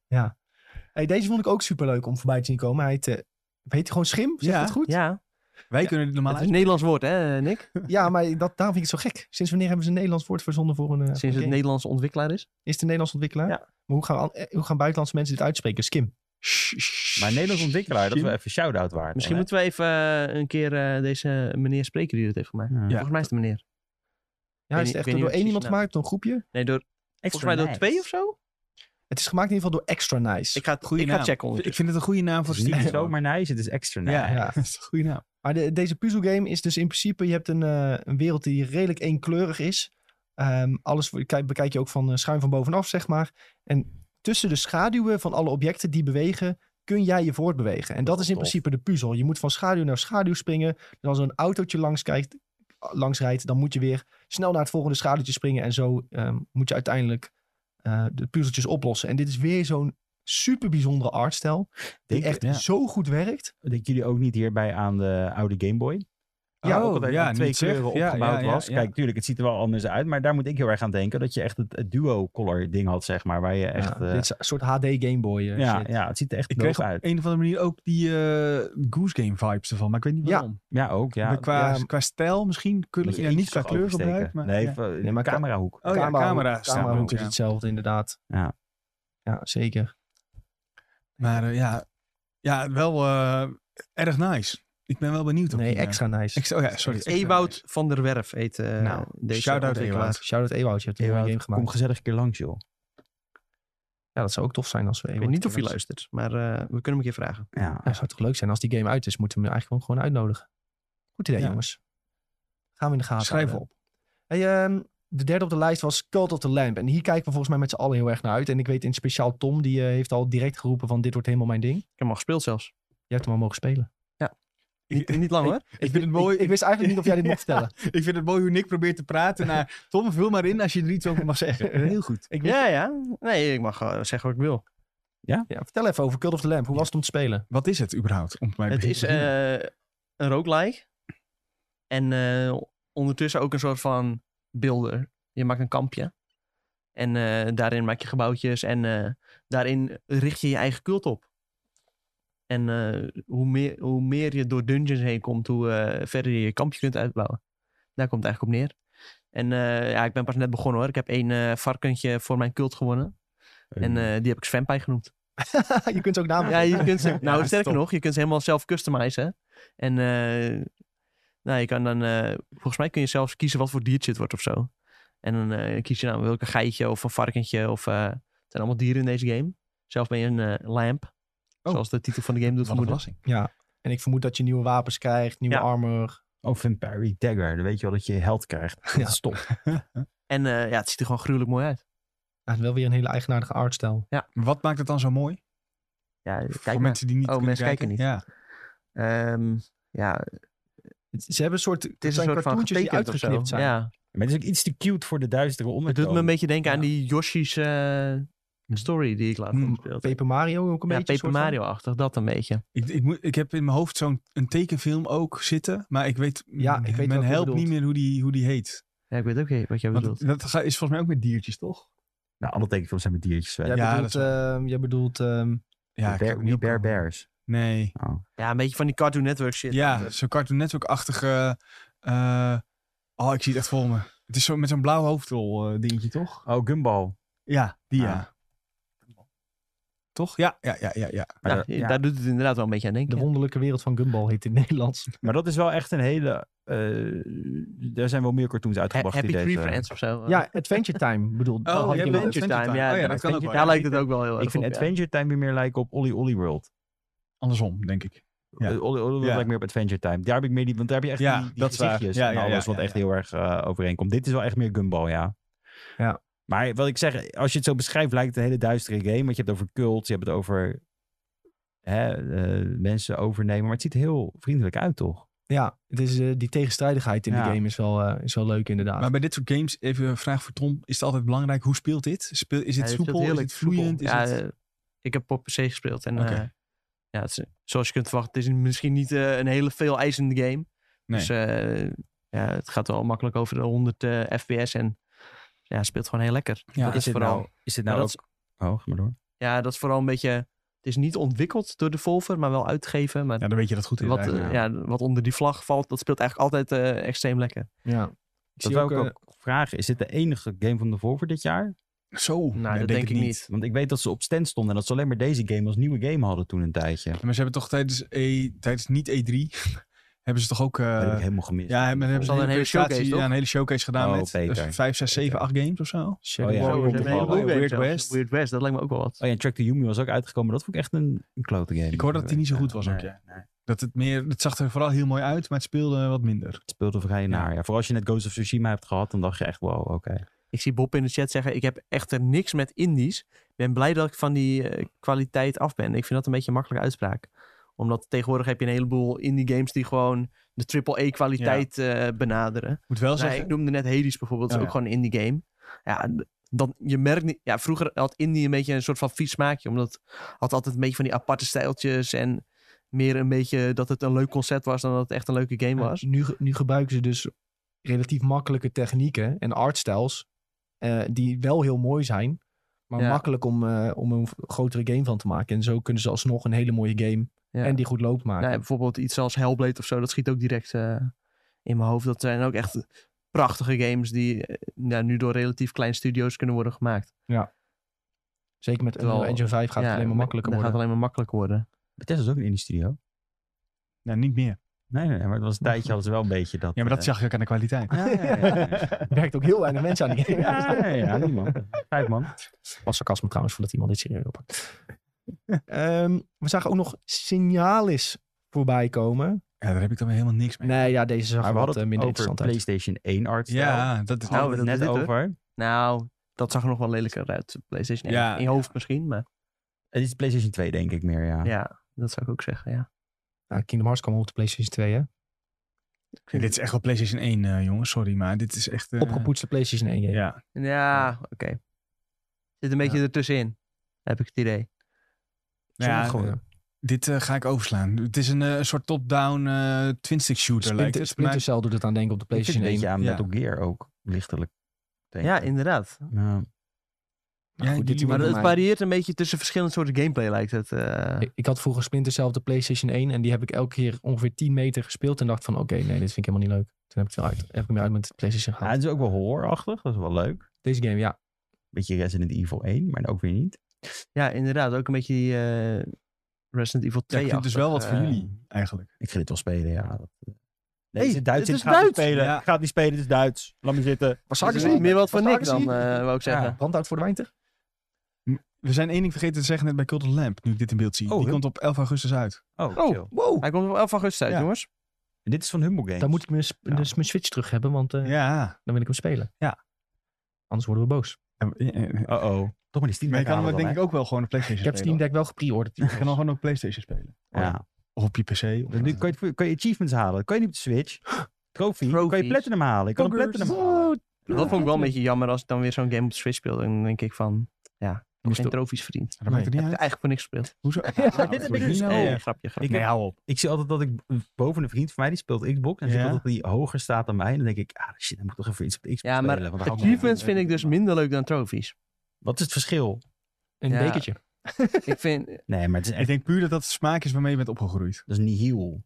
Speaker 1: Hey, deze vond ik ook superleuk om voorbij te zien komen. Hij heet, eh, heet hij gewoon Schim, zeg
Speaker 2: Ja.
Speaker 1: dat goed?
Speaker 3: Ja,
Speaker 2: Wij kunnen dit normaal
Speaker 3: het is een Nederlands woord, hè eh, Nick?
Speaker 1: Ja, maar dat, daarom vind ik het zo gek. Sinds wanneer hebben ze een Nederlands woord verzonnen voor een... eh,
Speaker 3: Sinds het
Speaker 1: game?
Speaker 3: Nederlandse ontwikkelaar is.
Speaker 1: Is het een Nederlands ontwikkelaar?
Speaker 3: Ja.
Speaker 1: Maar hoe gaan, al- eh, hoe gaan buitenlandse mensen dit uitspreken? Skim.
Speaker 4: Maar een Nederlands ontwikkelaar, dat we even shout-out waard.
Speaker 3: Misschien
Speaker 4: dan,
Speaker 3: moeten we even eh, een keer eh, deze meneer spreken die dit heeft gemaakt.
Speaker 4: hè? Ja.
Speaker 3: Volgens mij is het de meneer.
Speaker 1: Ja, is
Speaker 3: ik
Speaker 1: het echt
Speaker 3: weet
Speaker 1: door
Speaker 3: niet wat
Speaker 1: één
Speaker 3: precies
Speaker 1: iemand
Speaker 3: nou.
Speaker 1: gemaakt, door een groepje?
Speaker 3: Nee, door, volgens mij door twee of zo?
Speaker 1: Het is gemaakt in ieder geval door Extra Nice.
Speaker 3: Ik ga, het-
Speaker 2: Goeie
Speaker 3: ik ga
Speaker 2: naam.
Speaker 3: checken
Speaker 2: Ik
Speaker 3: ondertussen.
Speaker 2: vind het een goede naam voor
Speaker 4: Het is niet
Speaker 2: Steam.
Speaker 4: zomaar nice, het is extra nice.
Speaker 2: Ja,
Speaker 1: Ja.
Speaker 2: dat is een goede naam.
Speaker 1: Maar de- deze puzzelgame is dus in principe, je hebt een, eh, een wereld die redelijk eenkleurig is. Ehm, alles voor- kijk, bekijk je ook van eh, schuin van bovenaf, zeg maar. En tussen de schaduwen van alle objecten die bewegen, kun jij je voortbewegen. En dat,
Speaker 3: Oh,
Speaker 4: is
Speaker 1: is in
Speaker 4: tof.
Speaker 1: principe de puzzel. Je moet van schaduw naar schaduw springen. Dus als er een autootje langs, kijkt, langs rijdt, dan moet je weer snel naar het volgende schaduwtje springen. En zo ehm, moet je uiteindelijk eh, de puzzeltjes oplossen. En dit is weer zo'n super bijzondere artstijl. Die
Speaker 4: Denk-
Speaker 1: echt
Speaker 2: ja.
Speaker 1: zo goed werkt.
Speaker 4: Denken jullie ook niet hierbij aan de oude Game Boy?
Speaker 2: Ja,
Speaker 4: ook altijd
Speaker 2: ja,
Speaker 4: aan twee
Speaker 2: niet zeg.
Speaker 4: kleuren
Speaker 2: Ja,
Speaker 4: opgebouwd
Speaker 2: ja, ja,
Speaker 4: was.
Speaker 2: ja.
Speaker 4: Kijk, tuurlijk, het ziet er wel anders uit. Maar daar moet ik heel erg aan denken. Dat je echt het, het duo-color ding had, zeg maar. Waar je echt...
Speaker 1: Ja,
Speaker 4: eh,
Speaker 1: dit is een soort HD Game Boy. eh,
Speaker 4: ja,
Speaker 1: shit.
Speaker 4: ja, het ziet er echt
Speaker 2: Ik kreeg
Speaker 4: dope
Speaker 2: op
Speaker 4: uit.
Speaker 2: een of andere manier ook die eh, Goose Game vibes ervan, maar ik weet niet
Speaker 1: Ja.
Speaker 2: waarom.
Speaker 4: Ja, ook. Ja.
Speaker 2: Maar qua,
Speaker 1: ja.
Speaker 2: qua stijl misschien, kun,
Speaker 4: Met je
Speaker 2: ja,
Speaker 4: eentjes
Speaker 2: niet qua
Speaker 4: toch
Speaker 2: kleurgebruik.
Speaker 4: oversteken.
Speaker 2: Maar,
Speaker 4: nee,
Speaker 2: ja.
Speaker 4: even-
Speaker 1: Nee, maar ka-
Speaker 4: camerahoek.
Speaker 2: Oh ja,
Speaker 1: camerahoek-
Speaker 2: camera.
Speaker 1: camerahoek is
Speaker 2: ja.
Speaker 1: hetzelfde, inderdaad.
Speaker 4: Ja.
Speaker 1: Ja, zeker.
Speaker 2: Maar eh, ja, ja, wel eh, erg nice. Ik ben wel benieuwd. Op
Speaker 1: Nee,
Speaker 2: die, eh,
Speaker 1: extra nice.
Speaker 2: ex- oh ja, sorry. extra
Speaker 3: Ewout
Speaker 2: nice.
Speaker 3: van der Werf heet eh,
Speaker 2: Nou,
Speaker 3: deze
Speaker 2: shout-out
Speaker 3: ontwikkelaar.
Speaker 2: Ewout.
Speaker 1: Shout-out Ewout, je hebt een mooie game
Speaker 4: Ewout, kom
Speaker 1: gemaakt.
Speaker 4: gezellig een keer langs, joh.
Speaker 1: Ja, dat zou ook tof zijn als we
Speaker 3: Ik
Speaker 1: Ewout
Speaker 3: weet niet of hij
Speaker 1: luistert.
Speaker 3: luistert, maar eh, we kunnen hem een keer vragen.
Speaker 4: Ja.
Speaker 1: Ja, zou toch leuk zijn als die game uit is, moeten we hem eigenlijk gewoon uitnodigen. Goed idee,
Speaker 2: Ja.
Speaker 1: jongens. Gaan we in de gaten
Speaker 2: Schrijf
Speaker 1: houden. Hey, ehm, de derde op de lijst was Cult of the Lamp. En hier kijken we volgens mij met z'n allen heel erg naar uit. En ik weet in speciaal Tom, die eh, heeft al direct geroepen van dit wordt helemaal mijn ding.
Speaker 3: Ik heb hem al gespeeld zelfs.
Speaker 1: Je hebt hem al mogen spelen.
Speaker 2: Ik
Speaker 3: Niet, niet lang hoor.
Speaker 2: Ik vind het mooi.
Speaker 1: Ik wist eigenlijk niet of jij dit mocht vertellen.
Speaker 2: Ik vind het mooi hoe Nick probeert te praten naar Tom. Vul maar in als je er iets over mag zeggen. Heel goed.
Speaker 1: Ik
Speaker 3: Ja, ja. Nee, ik mag eh, zeggen wat ik wil.
Speaker 1: Ja, vertel even over Cult of the Lamp. Hoe was het om te spelen?
Speaker 2: Wat is het überhaupt? Om mij
Speaker 3: Het
Speaker 2: te
Speaker 3: is
Speaker 2: beginnen?
Speaker 3: eh, een roguelike. En eh, ondertussen ook een soort van builder. Je maakt een kampje. En eh, daarin maak je gebouwtjes. En eh, daarin richt je je eigen cult op. En eh, hoe, meer, hoe meer je door dungeons heen komt, hoe eh, verder je je kampje kunt uitbouwen. Daar komt het eigenlijk op neer. En eh, ja, ik ben pas net begonnen hoor. Ik heb één eh, varkentje voor mijn cult gewonnen.
Speaker 4: Hmm.
Speaker 3: En eh, die heb ik Svenpij genoemd.
Speaker 1: je kunt ze ook namen.
Speaker 3: Ja, je kunt ze, nou,
Speaker 2: Ja,
Speaker 3: sterker
Speaker 2: top.
Speaker 3: nog, je kunt ze helemaal zelf customizen. En eh, nou, je kan dan, eh, volgens mij kun je zelfs kiezen wat voor diertje het wordt of zo. En dan eh, kies je nou welke geitje of een varkentje of... eh, het zijn allemaal dieren in deze game. Zelf ben je een eh, lamp,
Speaker 2: Oh.
Speaker 3: zoals de titel van de game doet
Speaker 2: Wat een
Speaker 3: vermoeden.
Speaker 2: verrassing.
Speaker 1: En ik vermoed dat je nieuwe wapens krijgt, nieuwe
Speaker 3: Ja.
Speaker 1: armor.
Speaker 4: Oh, Vampire Dagger. Dan weet je wel dat je held krijgt.
Speaker 1: Ja.
Speaker 4: Stop.
Speaker 3: En eh, ja, het ziet er gewoon gruwelijk mooi uit.
Speaker 1: En wel weer een hele eigenaardige artstijl.
Speaker 2: Wat maakt het dan zo mooi?
Speaker 3: Ja,
Speaker 2: Voor
Speaker 3: kijk maar.
Speaker 2: mensen die niet
Speaker 3: Oh,
Speaker 2: kunnen
Speaker 3: mensen kijken
Speaker 2: Ja.
Speaker 3: Ehm, ja, het
Speaker 1: Het- Ze hebben een soort, het
Speaker 3: is
Speaker 1: zijn
Speaker 3: een soort van
Speaker 1: cartoontjes die
Speaker 3: getekend of zo.
Speaker 1: uitgeknipt zijn.
Speaker 3: Ja,
Speaker 4: Maar het is ook iets te cute voor de duistere
Speaker 3: het
Speaker 4: ondertoon.
Speaker 3: doet me een beetje denken
Speaker 2: Ja.
Speaker 3: aan die Yoshi's eh, story die ik laatst
Speaker 2: Hmm,
Speaker 3: heb gespeeld. heb.
Speaker 1: Paper Mario ook een beetje.
Speaker 3: Ja,
Speaker 1: een
Speaker 3: Paper
Speaker 1: soort van.
Speaker 3: Mario-achtig, dat een beetje.
Speaker 2: Ik, ik, moet, ik heb in mijn hoofd zo'n een tekenfilm ook zitten. Maar ik weet,
Speaker 1: Ja, ik weet
Speaker 2: mijn
Speaker 1: welke je
Speaker 2: helpt
Speaker 1: bedoelt.
Speaker 2: niet meer hoe die, hoe die heet.
Speaker 3: Ja, ik weet ook niet wat jij bedoelt.
Speaker 2: Want dat ga- is volgens mij ook met diertjes, toch?
Speaker 4: Nou, alle tekenfilms zijn met diertjes.
Speaker 1: Jij
Speaker 4: Ja,
Speaker 2: Ja,
Speaker 1: bedoelt,
Speaker 2: dat is
Speaker 1: ehm, jij bedoelt ehm,
Speaker 2: Ja,
Speaker 4: Bear,
Speaker 2: heb niet
Speaker 4: We Bear
Speaker 2: opkomen.
Speaker 4: Bears.
Speaker 2: Nee.
Speaker 4: Oh.
Speaker 3: Ja, een beetje van die Cartoon Network shit. Dus,
Speaker 2: Ja, zo'n Cartoon Network-achtige... eh, oh, ik zie het echt voor me. Het is zo met zo'n blauw hoofdrol eh, dingetje, toch?
Speaker 4: oh, Gumball.
Speaker 2: Ja, die ja.
Speaker 4: Ah.
Speaker 2: Toch? Ja, ja, ja, ja. ja.
Speaker 4: Maar
Speaker 3: Ja,
Speaker 4: dat- ja.
Speaker 3: nou, Daar doet het inderdaad wel een beetje aan
Speaker 1: De
Speaker 3: denken.
Speaker 1: Wonderlijke Wereld van Gumball heet in het Nederlands.
Speaker 4: Maar dat is wel echt een hele... eh er zijn wel meer cartoons
Speaker 3: Ha-
Speaker 4: uitgebracht.
Speaker 3: Happy
Speaker 4: die
Speaker 3: Tree
Speaker 4: deze-
Speaker 3: Friends of zo.
Speaker 1: Ja, Adventure Time bedoel. dat had
Speaker 2: jij
Speaker 1: ik in
Speaker 2: bedoelt
Speaker 1: mijn-
Speaker 3: Adventure
Speaker 2: Adventure
Speaker 3: Time.
Speaker 2: Time.
Speaker 3: Ja,
Speaker 2: Oh ja,
Speaker 3: ja,
Speaker 2: dat kan ook wel.
Speaker 3: daar lijkt het ook wel heel erg
Speaker 4: Ik vind
Speaker 3: op, ja.
Speaker 4: Adventure Time weer meer lijken op Olly Olly World.
Speaker 2: Andersom, denk ik. Ja.
Speaker 4: Eh, Olly Olly World
Speaker 2: Ja.
Speaker 4: lijkt meer op Adventure Time. Daar heb ik meer die... Want daar heb je echt
Speaker 2: Ja,
Speaker 4: die, die
Speaker 2: dat is waar.
Speaker 4: gezichtjes
Speaker 2: Ja,
Speaker 4: en
Speaker 2: ja, ja,
Speaker 4: alles wat
Speaker 2: ja,
Speaker 4: echt
Speaker 2: ja.
Speaker 4: heel erg eh, overeenkomt. Dit is wel echt meer Gumball, ja.
Speaker 1: Ja.
Speaker 4: Maar wat ik zeg, als je het zo beschrijft, lijkt het een hele duistere game. Want je hebt het over cults, je hebt het over hè, eh, mensen overnemen. Maar het ziet er heel vriendelijk uit, toch?
Speaker 1: Ja, het is, eh, die tegenstrijdigheid in
Speaker 4: Ja.
Speaker 1: de game is wel, eh, is wel leuk inderdaad.
Speaker 2: Maar bij dit soort games, even een vraag voor Tom. Is het altijd belangrijk? Hoe speelt dit? Speel, is het
Speaker 3: Ja, dit speelt
Speaker 2: soepel? Is
Speaker 3: heerlijk
Speaker 2: het vloeiend?
Speaker 3: soepel.
Speaker 2: Is
Speaker 3: ja,
Speaker 2: het...
Speaker 3: eh, ik heb op PC gespeeld. En
Speaker 2: Oké.
Speaker 3: eh, ja, het is- zoals je kunt verwachten, het is misschien niet eh, een hele veel eisende game.
Speaker 2: Nee.
Speaker 3: Dus eh, ja, het gaat wel makkelijk over de 100 eh, fps en ja, het speelt gewoon heel lekker.
Speaker 2: Ja,
Speaker 3: dat
Speaker 4: is
Speaker 3: is
Speaker 4: dit
Speaker 3: vooral...
Speaker 4: nou- Is dit
Speaker 3: maar
Speaker 4: nou
Speaker 3: dat
Speaker 4: ook...
Speaker 3: is-
Speaker 4: Oh, ga maar door.
Speaker 3: ja, dat is vooral een beetje... Het is niet ontwikkeld door de Volver, maar wel uitgegeven. Maar
Speaker 2: ja, dan weet je dat het goed is
Speaker 3: wat,
Speaker 2: eigenlijk.
Speaker 3: eh, ja, wat onder die vlag valt, dat speelt eigenlijk altijd eh, extreem lekker.
Speaker 1: ja. Ik zie
Speaker 4: Dat wou
Speaker 1: ook,
Speaker 4: ik
Speaker 1: eh,
Speaker 4: ook vragen. Is dit de enige game van de voor dit jaar?
Speaker 2: Zo, nou,
Speaker 3: Nou, dat
Speaker 2: denk, ik niet.
Speaker 4: Want ik weet dat ze op stand stonden en dat ze alleen maar deze game als nieuwe game hadden toen een tijdje.
Speaker 2: Maar ze hebben toch tijdens, E- tijdens niet E3, hebben ze toch ook... eh,
Speaker 4: dat heb ik helemaal gemist.
Speaker 2: ja, hebben, hebben ze
Speaker 3: hadden
Speaker 2: een hele showcase,
Speaker 3: toch?
Speaker 2: ja, een hele showcase gedaan
Speaker 4: Oh,
Speaker 2: met eh,
Speaker 4: Peter.
Speaker 2: 5, 6, 7, 8 games of zo.
Speaker 1: Shadow
Speaker 4: Oh ja.
Speaker 1: Warrior
Speaker 4: Zo,
Speaker 3: Zo,
Speaker 4: we
Speaker 1: op
Speaker 3: een
Speaker 1: de
Speaker 4: hebben
Speaker 3: hele
Speaker 1: bal.
Speaker 4: Weird
Speaker 3: goede game
Speaker 2: Weird
Speaker 3: zelfs.
Speaker 2: West.
Speaker 3: Weird West, dat lijkt me ook wel wat.
Speaker 4: Oh ja, en Track to Yumi was ook uitgekomen. Dat vond ik echt een, een klote game.
Speaker 2: Ik hoorde dat die niet zo goed was ook, ja.
Speaker 4: nee.
Speaker 2: Dat het, meer, het zag er vooral heel mooi uit, maar het speelde wat minder.
Speaker 4: Het speelde vrij naar. Ja. Vooral als je net Ghost of Tsushima hebt gehad, dan dacht je echt, wow, oké.
Speaker 3: Ik zie Bob in de chat zeggen, ik heb echter niks met indies. Ik ben blij dat ik van die eh, kwaliteit af ben. Ik vind dat een beetje een makkelijke uitspraak. Omdat tegenwoordig heb je een heleboel indie games die gewoon de triple E kwaliteit eh, benaderen.
Speaker 2: Moet wel
Speaker 3: Nou,
Speaker 2: zeggen...
Speaker 3: ik noemde net Hades bijvoorbeeld, dat
Speaker 2: Oh,
Speaker 3: is ook gewoon een indie game. Ja, d- dan, je merkt niet... Ja, vroeger had indie een beetje een soort van vies smaakje. Omdat het had altijd een beetje van die aparte stijltjes en... Meer een beetje dat het een leuk concept was dan dat het echt een leuke game was.
Speaker 1: Nu, nu gebruiken ze dus relatief makkelijke technieken en artstyles eh, die wel heel mooi zijn, maar
Speaker 3: Ja.
Speaker 1: makkelijk om, eh, om een grotere game van te maken. En zo kunnen ze alsnog een hele mooie game
Speaker 3: Ja.
Speaker 1: en die goed loopt maken.
Speaker 3: Nou, ja, bijvoorbeeld iets als Hellblade of zo, dat schiet ook direct eh, in mijn hoofd. Dat zijn ook echt prachtige games die eh, nou, nu door relatief kleine studio's kunnen worden gemaakt.
Speaker 1: Zeker met
Speaker 3: Terwijl-
Speaker 1: Unreal Engine 5 gaat
Speaker 3: Ja,
Speaker 1: het alleen maar makkelijker
Speaker 3: dat
Speaker 1: worden.
Speaker 3: gaat alleen maar makkelijker worden.
Speaker 4: Bethesda is ook een indie studio.
Speaker 2: Nou, niet meer.
Speaker 4: Nee, nee, nee, maar het was een tijdje hadden ze wel een beetje dat...
Speaker 2: Ja, maar dat
Speaker 4: eh,
Speaker 2: zag je ook aan de kwaliteit.
Speaker 4: Ja, ja, ja,
Speaker 1: werkt ook heel weinig mensen aan die game.
Speaker 4: ja. ja, ja, ja, niet, man. Vijf man.
Speaker 1: Was sarcasme trouwens, voordat iemand dit serieus oppakt. Ehm, we zagen ook nog Signalis voorbij komen.
Speaker 2: Ja, daar heb ik dan weer helemaal niks mee.
Speaker 1: Nee, ja, deze zag
Speaker 4: Maar
Speaker 1: er
Speaker 4: we
Speaker 1: wat
Speaker 4: hadden
Speaker 1: eh,
Speaker 4: het
Speaker 1: minder
Speaker 4: over
Speaker 1: interessant uit.
Speaker 4: PlayStation 1 art
Speaker 2: Ja, oh, dat is...
Speaker 3: Nou,
Speaker 4: Nou,
Speaker 3: dat
Speaker 4: we het
Speaker 3: is
Speaker 4: net
Speaker 3: dit, hoor.
Speaker 4: over.
Speaker 3: Nou, dat zag er nog wel lelijker uit, PlayStation 1.
Speaker 2: Ja.
Speaker 3: in je hoofd misschien, maar
Speaker 4: Het is PlayStation 2 denk ik meer, ja.
Speaker 3: ja. dat zou ik ook zeggen, ja.
Speaker 1: Nou, Kingdom Hearts kwam op de PlayStation 2, hè?
Speaker 2: En dit is echt wel PlayStation 1, eh, jongens. Sorry, maar dit is echt... eh,
Speaker 1: Opgepoetste PlayStation 1 game.
Speaker 2: Ja.
Speaker 3: Ja, oké. Zit een beetje ertussenin, heb ik het idee.
Speaker 2: Nou ja,
Speaker 1: Sommige gewoon.
Speaker 2: dit eh, ga ik overslaan. Het is een eh, soort top-down eh twin-stick shooter, lijkt
Speaker 1: Splinter,
Speaker 2: het.
Speaker 1: Splinter Cell doet het aan denken op de
Speaker 4: Ik zit een
Speaker 1: PlayStation 1.
Speaker 4: beetje
Speaker 2: ja.
Speaker 4: aan Metal Gear ook, lichtelijk. denk
Speaker 3: Ja,
Speaker 4: ik.
Speaker 3: inderdaad.
Speaker 4: Ja.
Speaker 1: Maar
Speaker 2: Ja,
Speaker 1: goed, dit
Speaker 2: die-
Speaker 1: doen
Speaker 3: Maar
Speaker 1: we
Speaker 3: het
Speaker 1: voor mij.
Speaker 3: varieert een beetje tussen verschillende soorten gameplay, lijkt het. eh.
Speaker 1: Ik, ik had vroeger Splinter Cell op de PlayStation 1 en die heb ik elke keer ongeveer 10 meter gespeeld en dacht van oké, nee, dit vind ik helemaal niet leuk. Toen heb ik, het wel uit, heb ik hem uit met de PlayStation
Speaker 4: Ja,
Speaker 1: gehaald.
Speaker 4: het is ook wel horrorachtig, dat is wel leuk.
Speaker 1: Deze game, ja.
Speaker 4: Beetje Resident Evil 1, maar ook weer niet.
Speaker 3: Ja, inderdaad. Ook een beetje die eh, Resident Evil eh, 2
Speaker 2: Ja, ik vind dus wel wat voor jullie, eigenlijk.
Speaker 4: Ik ga dit wel spelen, ja. Dat- eh, Nee,
Speaker 3: Hey,
Speaker 4: het is Duits,
Speaker 3: dit
Speaker 4: ik
Speaker 3: is
Speaker 4: ga het niet
Speaker 3: Duits.
Speaker 4: spelen.
Speaker 2: Ja.
Speaker 4: Ik ga het niet spelen, het is Duits. Laat me zitten.
Speaker 1: Was
Speaker 3: Het is niet meer wat voor Nick dan, eh, wou ik
Speaker 4: Ja.
Speaker 3: zeggen.
Speaker 1: Brandhout voor de Wijnter?
Speaker 2: We zijn één ding vergeten te zeggen net bij Cult of the Lamp, nu ik dit in beeld zie.
Speaker 4: Oh,
Speaker 2: Die
Speaker 4: hè?
Speaker 2: komt op 11 augustus uit.
Speaker 4: Oh,
Speaker 3: Oh.
Speaker 4: chill.
Speaker 1: Wow!
Speaker 3: Hij komt op 11 augustus uit,
Speaker 2: Ja.
Speaker 3: jongens.
Speaker 4: En dit is van Humble Games.
Speaker 1: Dan moet ik mijn, sp-
Speaker 4: Ja.
Speaker 1: dus mijn Switch terug hebben, want eh,
Speaker 2: Ja.
Speaker 1: dan wil ik hem spelen.
Speaker 2: Ja.
Speaker 1: Anders worden we boos.
Speaker 2: En- eh, eh,
Speaker 4: Uh-oh. Toch maar die Steam
Speaker 2: Maar je
Speaker 4: Deck
Speaker 2: kan
Speaker 4: halen
Speaker 2: hem
Speaker 4: dan,
Speaker 2: denk
Speaker 4: hè?
Speaker 2: ik ook wel gewoon op PlayStation
Speaker 1: Ik heb
Speaker 2: spelen.
Speaker 1: Steam Deck wel gepreorderd.
Speaker 2: Je kan dan gewoon op PlayStation spelen.
Speaker 4: Ja.
Speaker 2: Of op je PC. Of
Speaker 4: Dan nu kan je, kan je achievements halen. Kan je niet op de Switch. Trophy. Kan je
Speaker 3: Trophies.
Speaker 4: Platinum halen. Ik kan een
Speaker 2: Poggers.
Speaker 4: Platinum halen.
Speaker 1: Wow.
Speaker 3: Dat vond ik wel een beetje jammer als ik dan weer zo'n game op de Switch speelde. En dan denk ik van, ja, ik heb
Speaker 1: Moest
Speaker 3: geen
Speaker 1: ook-
Speaker 3: trofies verdiend.
Speaker 2: Dat maakt er
Speaker 3: Heb
Speaker 2: niet uit.
Speaker 3: ik eigenlijk voor niks gespeeld.
Speaker 2: Hoezo?
Speaker 4: dit heb ik
Speaker 2: Hoezo?
Speaker 4: dus
Speaker 2: Nou,
Speaker 4: echt.
Speaker 3: Nee,
Speaker 4: ja.
Speaker 3: grapje, grapje.
Speaker 4: Ik-
Speaker 2: Nee, hou op.
Speaker 4: Ik zie altijd dat ik boven een vriend van mij, die speelt Xbox. En dan zie ik
Speaker 2: Ja.
Speaker 4: altijd dat die hoger staat dan mij. En dan denk ik, ah shit, dan moet ik toch even iets op de Xbox
Speaker 3: Ja, maar
Speaker 4: spelen. want dan ga ik niet
Speaker 3: Achievements
Speaker 4: doen.
Speaker 3: vind ik dus minder leuk dan trofies.
Speaker 4: Wat is het verschil?
Speaker 1: Een
Speaker 3: Ja.
Speaker 1: bekertje.
Speaker 3: ik vind,
Speaker 4: Nee, maar het is
Speaker 2: Ik
Speaker 4: echt,
Speaker 2: denk puur dat dat de smaak is waarmee je bent opgegroeid.
Speaker 4: dat is niet heel.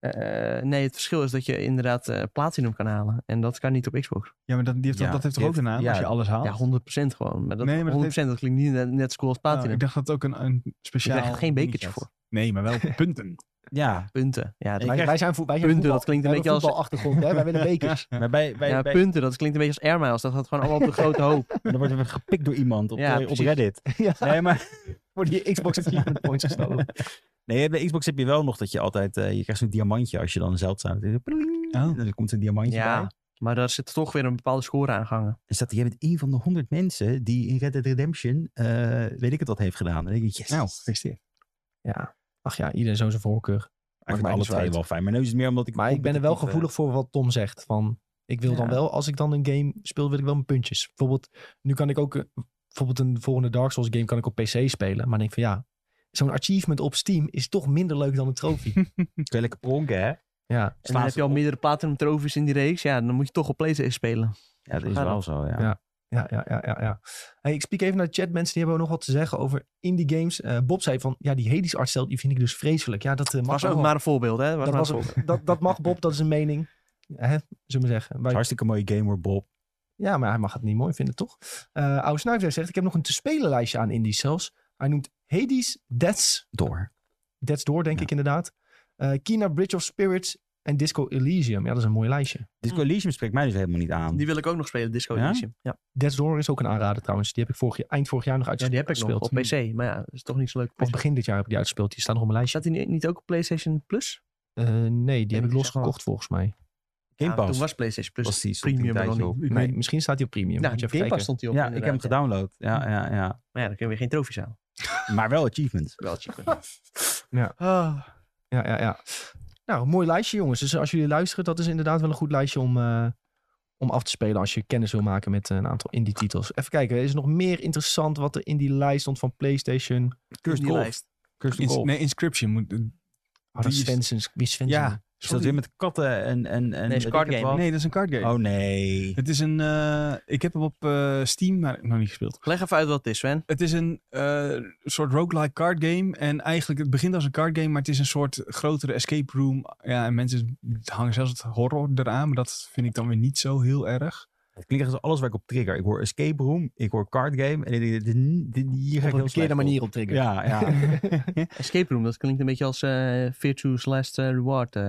Speaker 3: eh, nee, het verschil is dat je inderdaad eh, platinum kan halen. En dat kan niet op Xbox.
Speaker 2: Ja, maar dat, die heeft,
Speaker 4: Ja,
Speaker 2: dat, dat heeft toch
Speaker 4: die
Speaker 2: ook een
Speaker 4: heeft-
Speaker 2: naam
Speaker 4: ja.
Speaker 2: als je alles haalt?
Speaker 3: Ja, 100% gewoon. Maar dat,
Speaker 2: Nee, maar dat
Speaker 3: 100% dat klinkt niet net, net zo cool als
Speaker 2: Nou,
Speaker 3: platinum.
Speaker 2: ik dacht dat het ook een, een
Speaker 3: je
Speaker 2: speciaal...
Speaker 3: krijgt geen bekertje
Speaker 2: dingetje
Speaker 3: voor.
Speaker 2: had. Nee, maar wel punten.
Speaker 4: Ja,
Speaker 3: Punten. Ja, dat-
Speaker 4: Ik
Speaker 1: Wij,
Speaker 4: krijg
Speaker 1: wij zijn, vo- wij zijn
Speaker 3: punten,
Speaker 1: voetbal,
Speaker 3: dat klinkt een
Speaker 1: wij
Speaker 3: beetje
Speaker 1: hebben
Speaker 3: als-
Speaker 1: voetbalachtergrond, hè? Wij willen bekers.
Speaker 4: maar bij, bij,
Speaker 3: ja,
Speaker 4: bij-
Speaker 3: punten. Dat klinkt een beetje als Air Miles. Dat gaat gewoon allemaal op de grote hoop.
Speaker 4: dan worden we gepikt door iemand op,
Speaker 3: Ja,
Speaker 4: eh, op
Speaker 3: precies.
Speaker 4: Reddit.
Speaker 1: Ja.
Speaker 4: Nee, maar
Speaker 1: Worden je Xbox Achievement Points gestolen.
Speaker 4: nee, bij Xbox heb je wel nog dat je altijd, eh, je krijgt zo'n diamantje als je dan zeldzaam. Pling,
Speaker 2: Oh.
Speaker 4: En dan komt een diamantje bij.
Speaker 3: Ja, maar daar zit toch weer een bepaalde score aan gehangen.
Speaker 4: En staat, jij bent een van de honderd mensen die in Red Dead Redemption, eh, weet ik het wat, heeft gedaan. Dan denk ik, yes.
Speaker 2: Nou, gefeliciteerd.
Speaker 1: Ja. Ach ja, iedereen zo zijn voorkeur.
Speaker 4: ik
Speaker 1: maakt
Speaker 4: vind
Speaker 1: mij
Speaker 4: alle
Speaker 1: niet
Speaker 4: twee
Speaker 1: uit.
Speaker 4: wel fijn. Maar nu is het meer omdat ik...
Speaker 1: Maar ik ben er wel
Speaker 4: competitief, eh,
Speaker 1: gevoelig voor wat Tom zegt. Van, ik wil dan
Speaker 3: Ja.
Speaker 1: wel, als ik dan een game speel, wil ik wel mijn puntjes. Bijvoorbeeld, nu kan ik ook, eh, bijvoorbeeld een volgende Dark Souls game kan ik op PC spelen. Maar dan denk ik van ja, zo'n achievement op Steam is toch minder leuk dan een trofee.
Speaker 4: Kun je lekker pronken, hè?
Speaker 1: ja.
Speaker 3: En dan heb je al meerdere platinum trofies in die reeks. Ja, dan moet je toch op PlayStation spelen.
Speaker 4: Ja, dat is
Speaker 3: Gaat
Speaker 4: wel
Speaker 3: dat?
Speaker 4: zo, ja.
Speaker 1: Ja. Ja, ja, ja, ja. ja. Hey, ik spreek even naar de chat. Mensen die hebben nog wat te zeggen over indie games. Eh, Bob zei van, ja, die Hades artstijl, die vind ik dus vreselijk. Ja, dat eh, mag
Speaker 3: Was ook
Speaker 1: wel.
Speaker 3: maar een voorbeeld, hè? Was
Speaker 1: dat,
Speaker 3: maar een
Speaker 1: was
Speaker 3: voorbeeld.
Speaker 1: een- dat, dat mag Bob, dat is een mening. Hè, zullen we zeggen. Wij-
Speaker 4: Hartstikke mooie game hoor, Bob.
Speaker 1: Ja, maar hij mag het niet mooi vinden, toch? Eh Oude Snuif zegt, ik heb nog een te spelen lijstje aan indies zelfs. Hij noemt Hades, Death's,
Speaker 4: Door.
Speaker 1: Death's Door, denk
Speaker 4: Ja.
Speaker 1: ik inderdaad. Eh Kina, Bridge of Spirits en Disco Elysium. Ja, dat is een mooi lijstje.
Speaker 3: Mm.
Speaker 4: Disco Elysium spreekt mij dus helemaal niet aan.
Speaker 3: Die wil ik ook nog spelen, Disco
Speaker 4: Ja?
Speaker 3: Elysium. Ja?
Speaker 1: Death's Door is ook een aanrader trouwens. Die heb ik vorig jaar, eind vorig jaar nog
Speaker 3: Ja,
Speaker 1: uitgespeeld.
Speaker 3: die heb ik nog op PC. Maar ja, dat is toch niet zo leuk.
Speaker 1: Of begin dit jaar heb ik die uitgespeeld. Die staan nog op mijn lijstje.
Speaker 3: Zat hij niet ook op PlayStation Plus?
Speaker 1: Eh, nee, die
Speaker 3: Ja,
Speaker 1: heb ik
Speaker 3: die zeg maar.
Speaker 1: losgekocht volgens mij.
Speaker 4: Game
Speaker 3: Ja,
Speaker 4: Pass.
Speaker 3: toen was PlayStation Plus
Speaker 4: was die stond
Speaker 3: premium
Speaker 4: een
Speaker 3: nog
Speaker 4: tijdje
Speaker 3: niet.
Speaker 4: op.
Speaker 2: Ik
Speaker 1: Nee,
Speaker 2: weet-
Speaker 1: misschien staat die op premium.
Speaker 3: Nou,
Speaker 1: Moet je even
Speaker 3: Game Pass
Speaker 1: kijken.
Speaker 3: stond hij op.
Speaker 4: Ja, ik heb hem
Speaker 3: inderdaad, ja.
Speaker 4: gedownload. Ja, ja, ja.
Speaker 3: Maar ja, dan kunnen we geen trofies halen.
Speaker 4: Maar wel achievements.
Speaker 3: Wel cheap.
Speaker 1: Ja.
Speaker 3: Ah.
Speaker 1: Ja, ja, ja. Nou, een mooi lijstje, jongens. Dus als jullie luisteren, dat is inderdaad wel een goed lijstje om, eh, om af te spelen als je kennis wil maken met eh, een aantal indie-titels. Even kijken, is er nog meer interessant wat er in die lijst stond van PlayStation?
Speaker 4: Cursed
Speaker 3: Die
Speaker 4: Golf.
Speaker 3: lijst.
Speaker 4: Cursed
Speaker 2: Ins-
Speaker 4: Golf.
Speaker 2: nee, Inscription. Moet, eh,
Speaker 1: Oh, dat is
Speaker 2: Die is-
Speaker 1: Svensson. Wie is Svensson?
Speaker 2: ja.
Speaker 4: Is dat weer met katten en... en, en
Speaker 3: Nee, is
Speaker 4: weet
Speaker 3: card
Speaker 4: ik het
Speaker 3: game.
Speaker 4: wat?
Speaker 2: Nee, dat is een card game.
Speaker 4: Oh nee.
Speaker 2: Het is een... eh, ik heb hem op eh, Steam, maar nog niet gespeeld.
Speaker 3: Leg even uit wat het is, Sven.
Speaker 2: Het is een eh, soort roguelike card game. En eigenlijk, het begint als een card game, maar het is een soort grotere escape room. Ja, en mensen hangen zelfs het horror eraan, maar dat vind ik dan weer niet zo heel erg.
Speaker 4: Het klinkt als alles waar ik op trigger. Ik hoor escape room, ik hoor card game. En ik denk, dit, dit, dit- hier ga
Speaker 1: Op
Speaker 4: ik heel
Speaker 1: een verkeerde
Speaker 4: slecht op.
Speaker 1: manier op trigger.
Speaker 4: Ja, ja.
Speaker 3: Escape Room, dat klinkt een beetje als eh Virtue's Last eh, Reward. eh.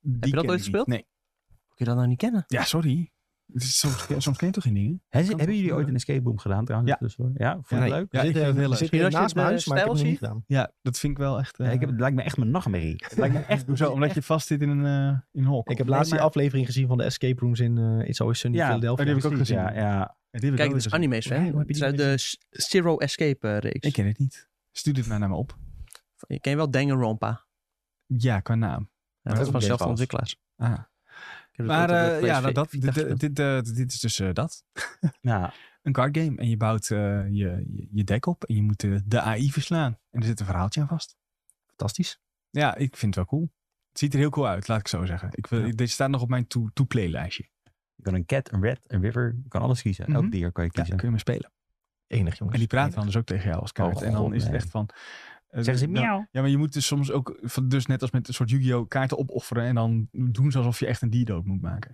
Speaker 2: Die ken
Speaker 3: dat ooit
Speaker 2: ik niet.
Speaker 3: gespeeld?
Speaker 2: Nee.
Speaker 3: Kun je dat nou niet kennen?
Speaker 2: Ja, sorry. Het is Soms, soms ken je toch geen dingen?
Speaker 4: He-
Speaker 2: Kan
Speaker 4: hebben
Speaker 2: toch
Speaker 4: jullie ooit een escape room gedaan trouwens?
Speaker 2: Ja.
Speaker 4: tussendoor? Ja, vond je
Speaker 1: Ja,
Speaker 4: het
Speaker 1: nee.
Speaker 4: leuk?
Speaker 1: We
Speaker 2: Ja, ik
Speaker 1: zitten,
Speaker 2: vind het heel
Speaker 1: we
Speaker 2: leuk.
Speaker 1: zitten
Speaker 3: Als je
Speaker 1: naast mijn
Speaker 3: de
Speaker 1: huis, maar ik heb het
Speaker 3: stijl
Speaker 1: nog niet
Speaker 3: ziet?
Speaker 1: gedaan.
Speaker 2: Ja, dat vind ik wel echt... eh,
Speaker 4: Ja, ik heb, het lijkt me echt mijn nachtmerrie. Het lijkt me echt...
Speaker 2: Hoezo? Omdat je vast zit in een, eh in een hok.
Speaker 1: Ik heb
Speaker 4: Nee,
Speaker 1: laatst die
Speaker 4: maar-
Speaker 1: aflevering gezien van de Escape Rooms in eh It's Always Sunny in
Speaker 4: Ja,
Speaker 1: Philadelphia.
Speaker 2: oh, die heb ik ook
Speaker 4: Precies,
Speaker 2: gezien.
Speaker 4: Ja, ja.
Speaker 2: Ja, die heb ik
Speaker 3: Kijk,
Speaker 2: wel
Speaker 3: dit
Speaker 2: eens
Speaker 3: is
Speaker 2: gezien.
Speaker 3: anime's,
Speaker 1: Ja, hoe
Speaker 3: Sven.
Speaker 1: heb je
Speaker 3: Het
Speaker 1: die
Speaker 3: is uit
Speaker 1: nou
Speaker 3: de S- Zero Escape eh, reeks.
Speaker 2: Ik ken het niet. Stuur dit maar naar me op.
Speaker 3: Je ken je wel Danganronpa.
Speaker 2: Ja, qua naam.
Speaker 3: Ja, dat
Speaker 4: ook
Speaker 3: is van dezelfde
Speaker 4: Game Pass.
Speaker 3: ontwikkelaars.
Speaker 2: Ah.
Speaker 3: Ik heb het
Speaker 2: Maar
Speaker 3: ooit op
Speaker 2: eh,
Speaker 3: de
Speaker 2: ja,
Speaker 3: PSV
Speaker 2: dat, dit,
Speaker 3: Vita
Speaker 2: dit,
Speaker 3: gespeeld.
Speaker 2: dit, eh, dit is dus eh, dat.
Speaker 4: Ja,
Speaker 2: Een card game. En je bouwt eh, je, je, je deck op en je moet eh, de AI verslaan. En er zit een verhaaltje aan vast.
Speaker 1: Fantastisch.
Speaker 2: Ja, ik vind het wel cool. Het ziet er heel cool uit, laat ik zo zeggen. Ik wil,
Speaker 4: Ja.
Speaker 2: Dit staat nog op mijn to- to-play lijstje.
Speaker 4: je kan een cat, een rat, een river. Je kan alles kiezen.
Speaker 2: Mhm.
Speaker 4: Elk dier kan je
Speaker 2: Ja,
Speaker 4: kiezen.
Speaker 2: kun je me spelen.
Speaker 1: Enig, jongens.
Speaker 2: En die praten
Speaker 1: Enig.
Speaker 2: dan dus ook tegen jou als kaart.
Speaker 4: Oh,
Speaker 2: en dan
Speaker 4: god,
Speaker 2: is het
Speaker 4: nee.
Speaker 2: echt van... eh,
Speaker 4: Zeggen ze
Speaker 2: dan-
Speaker 4: miauw.
Speaker 2: Ja, maar je moet dus soms ook, van- dus net als met een soort Yu-Gi-Oh! kaarten opofferen. En dan doen ze alsof je echt een dier dood moet maken.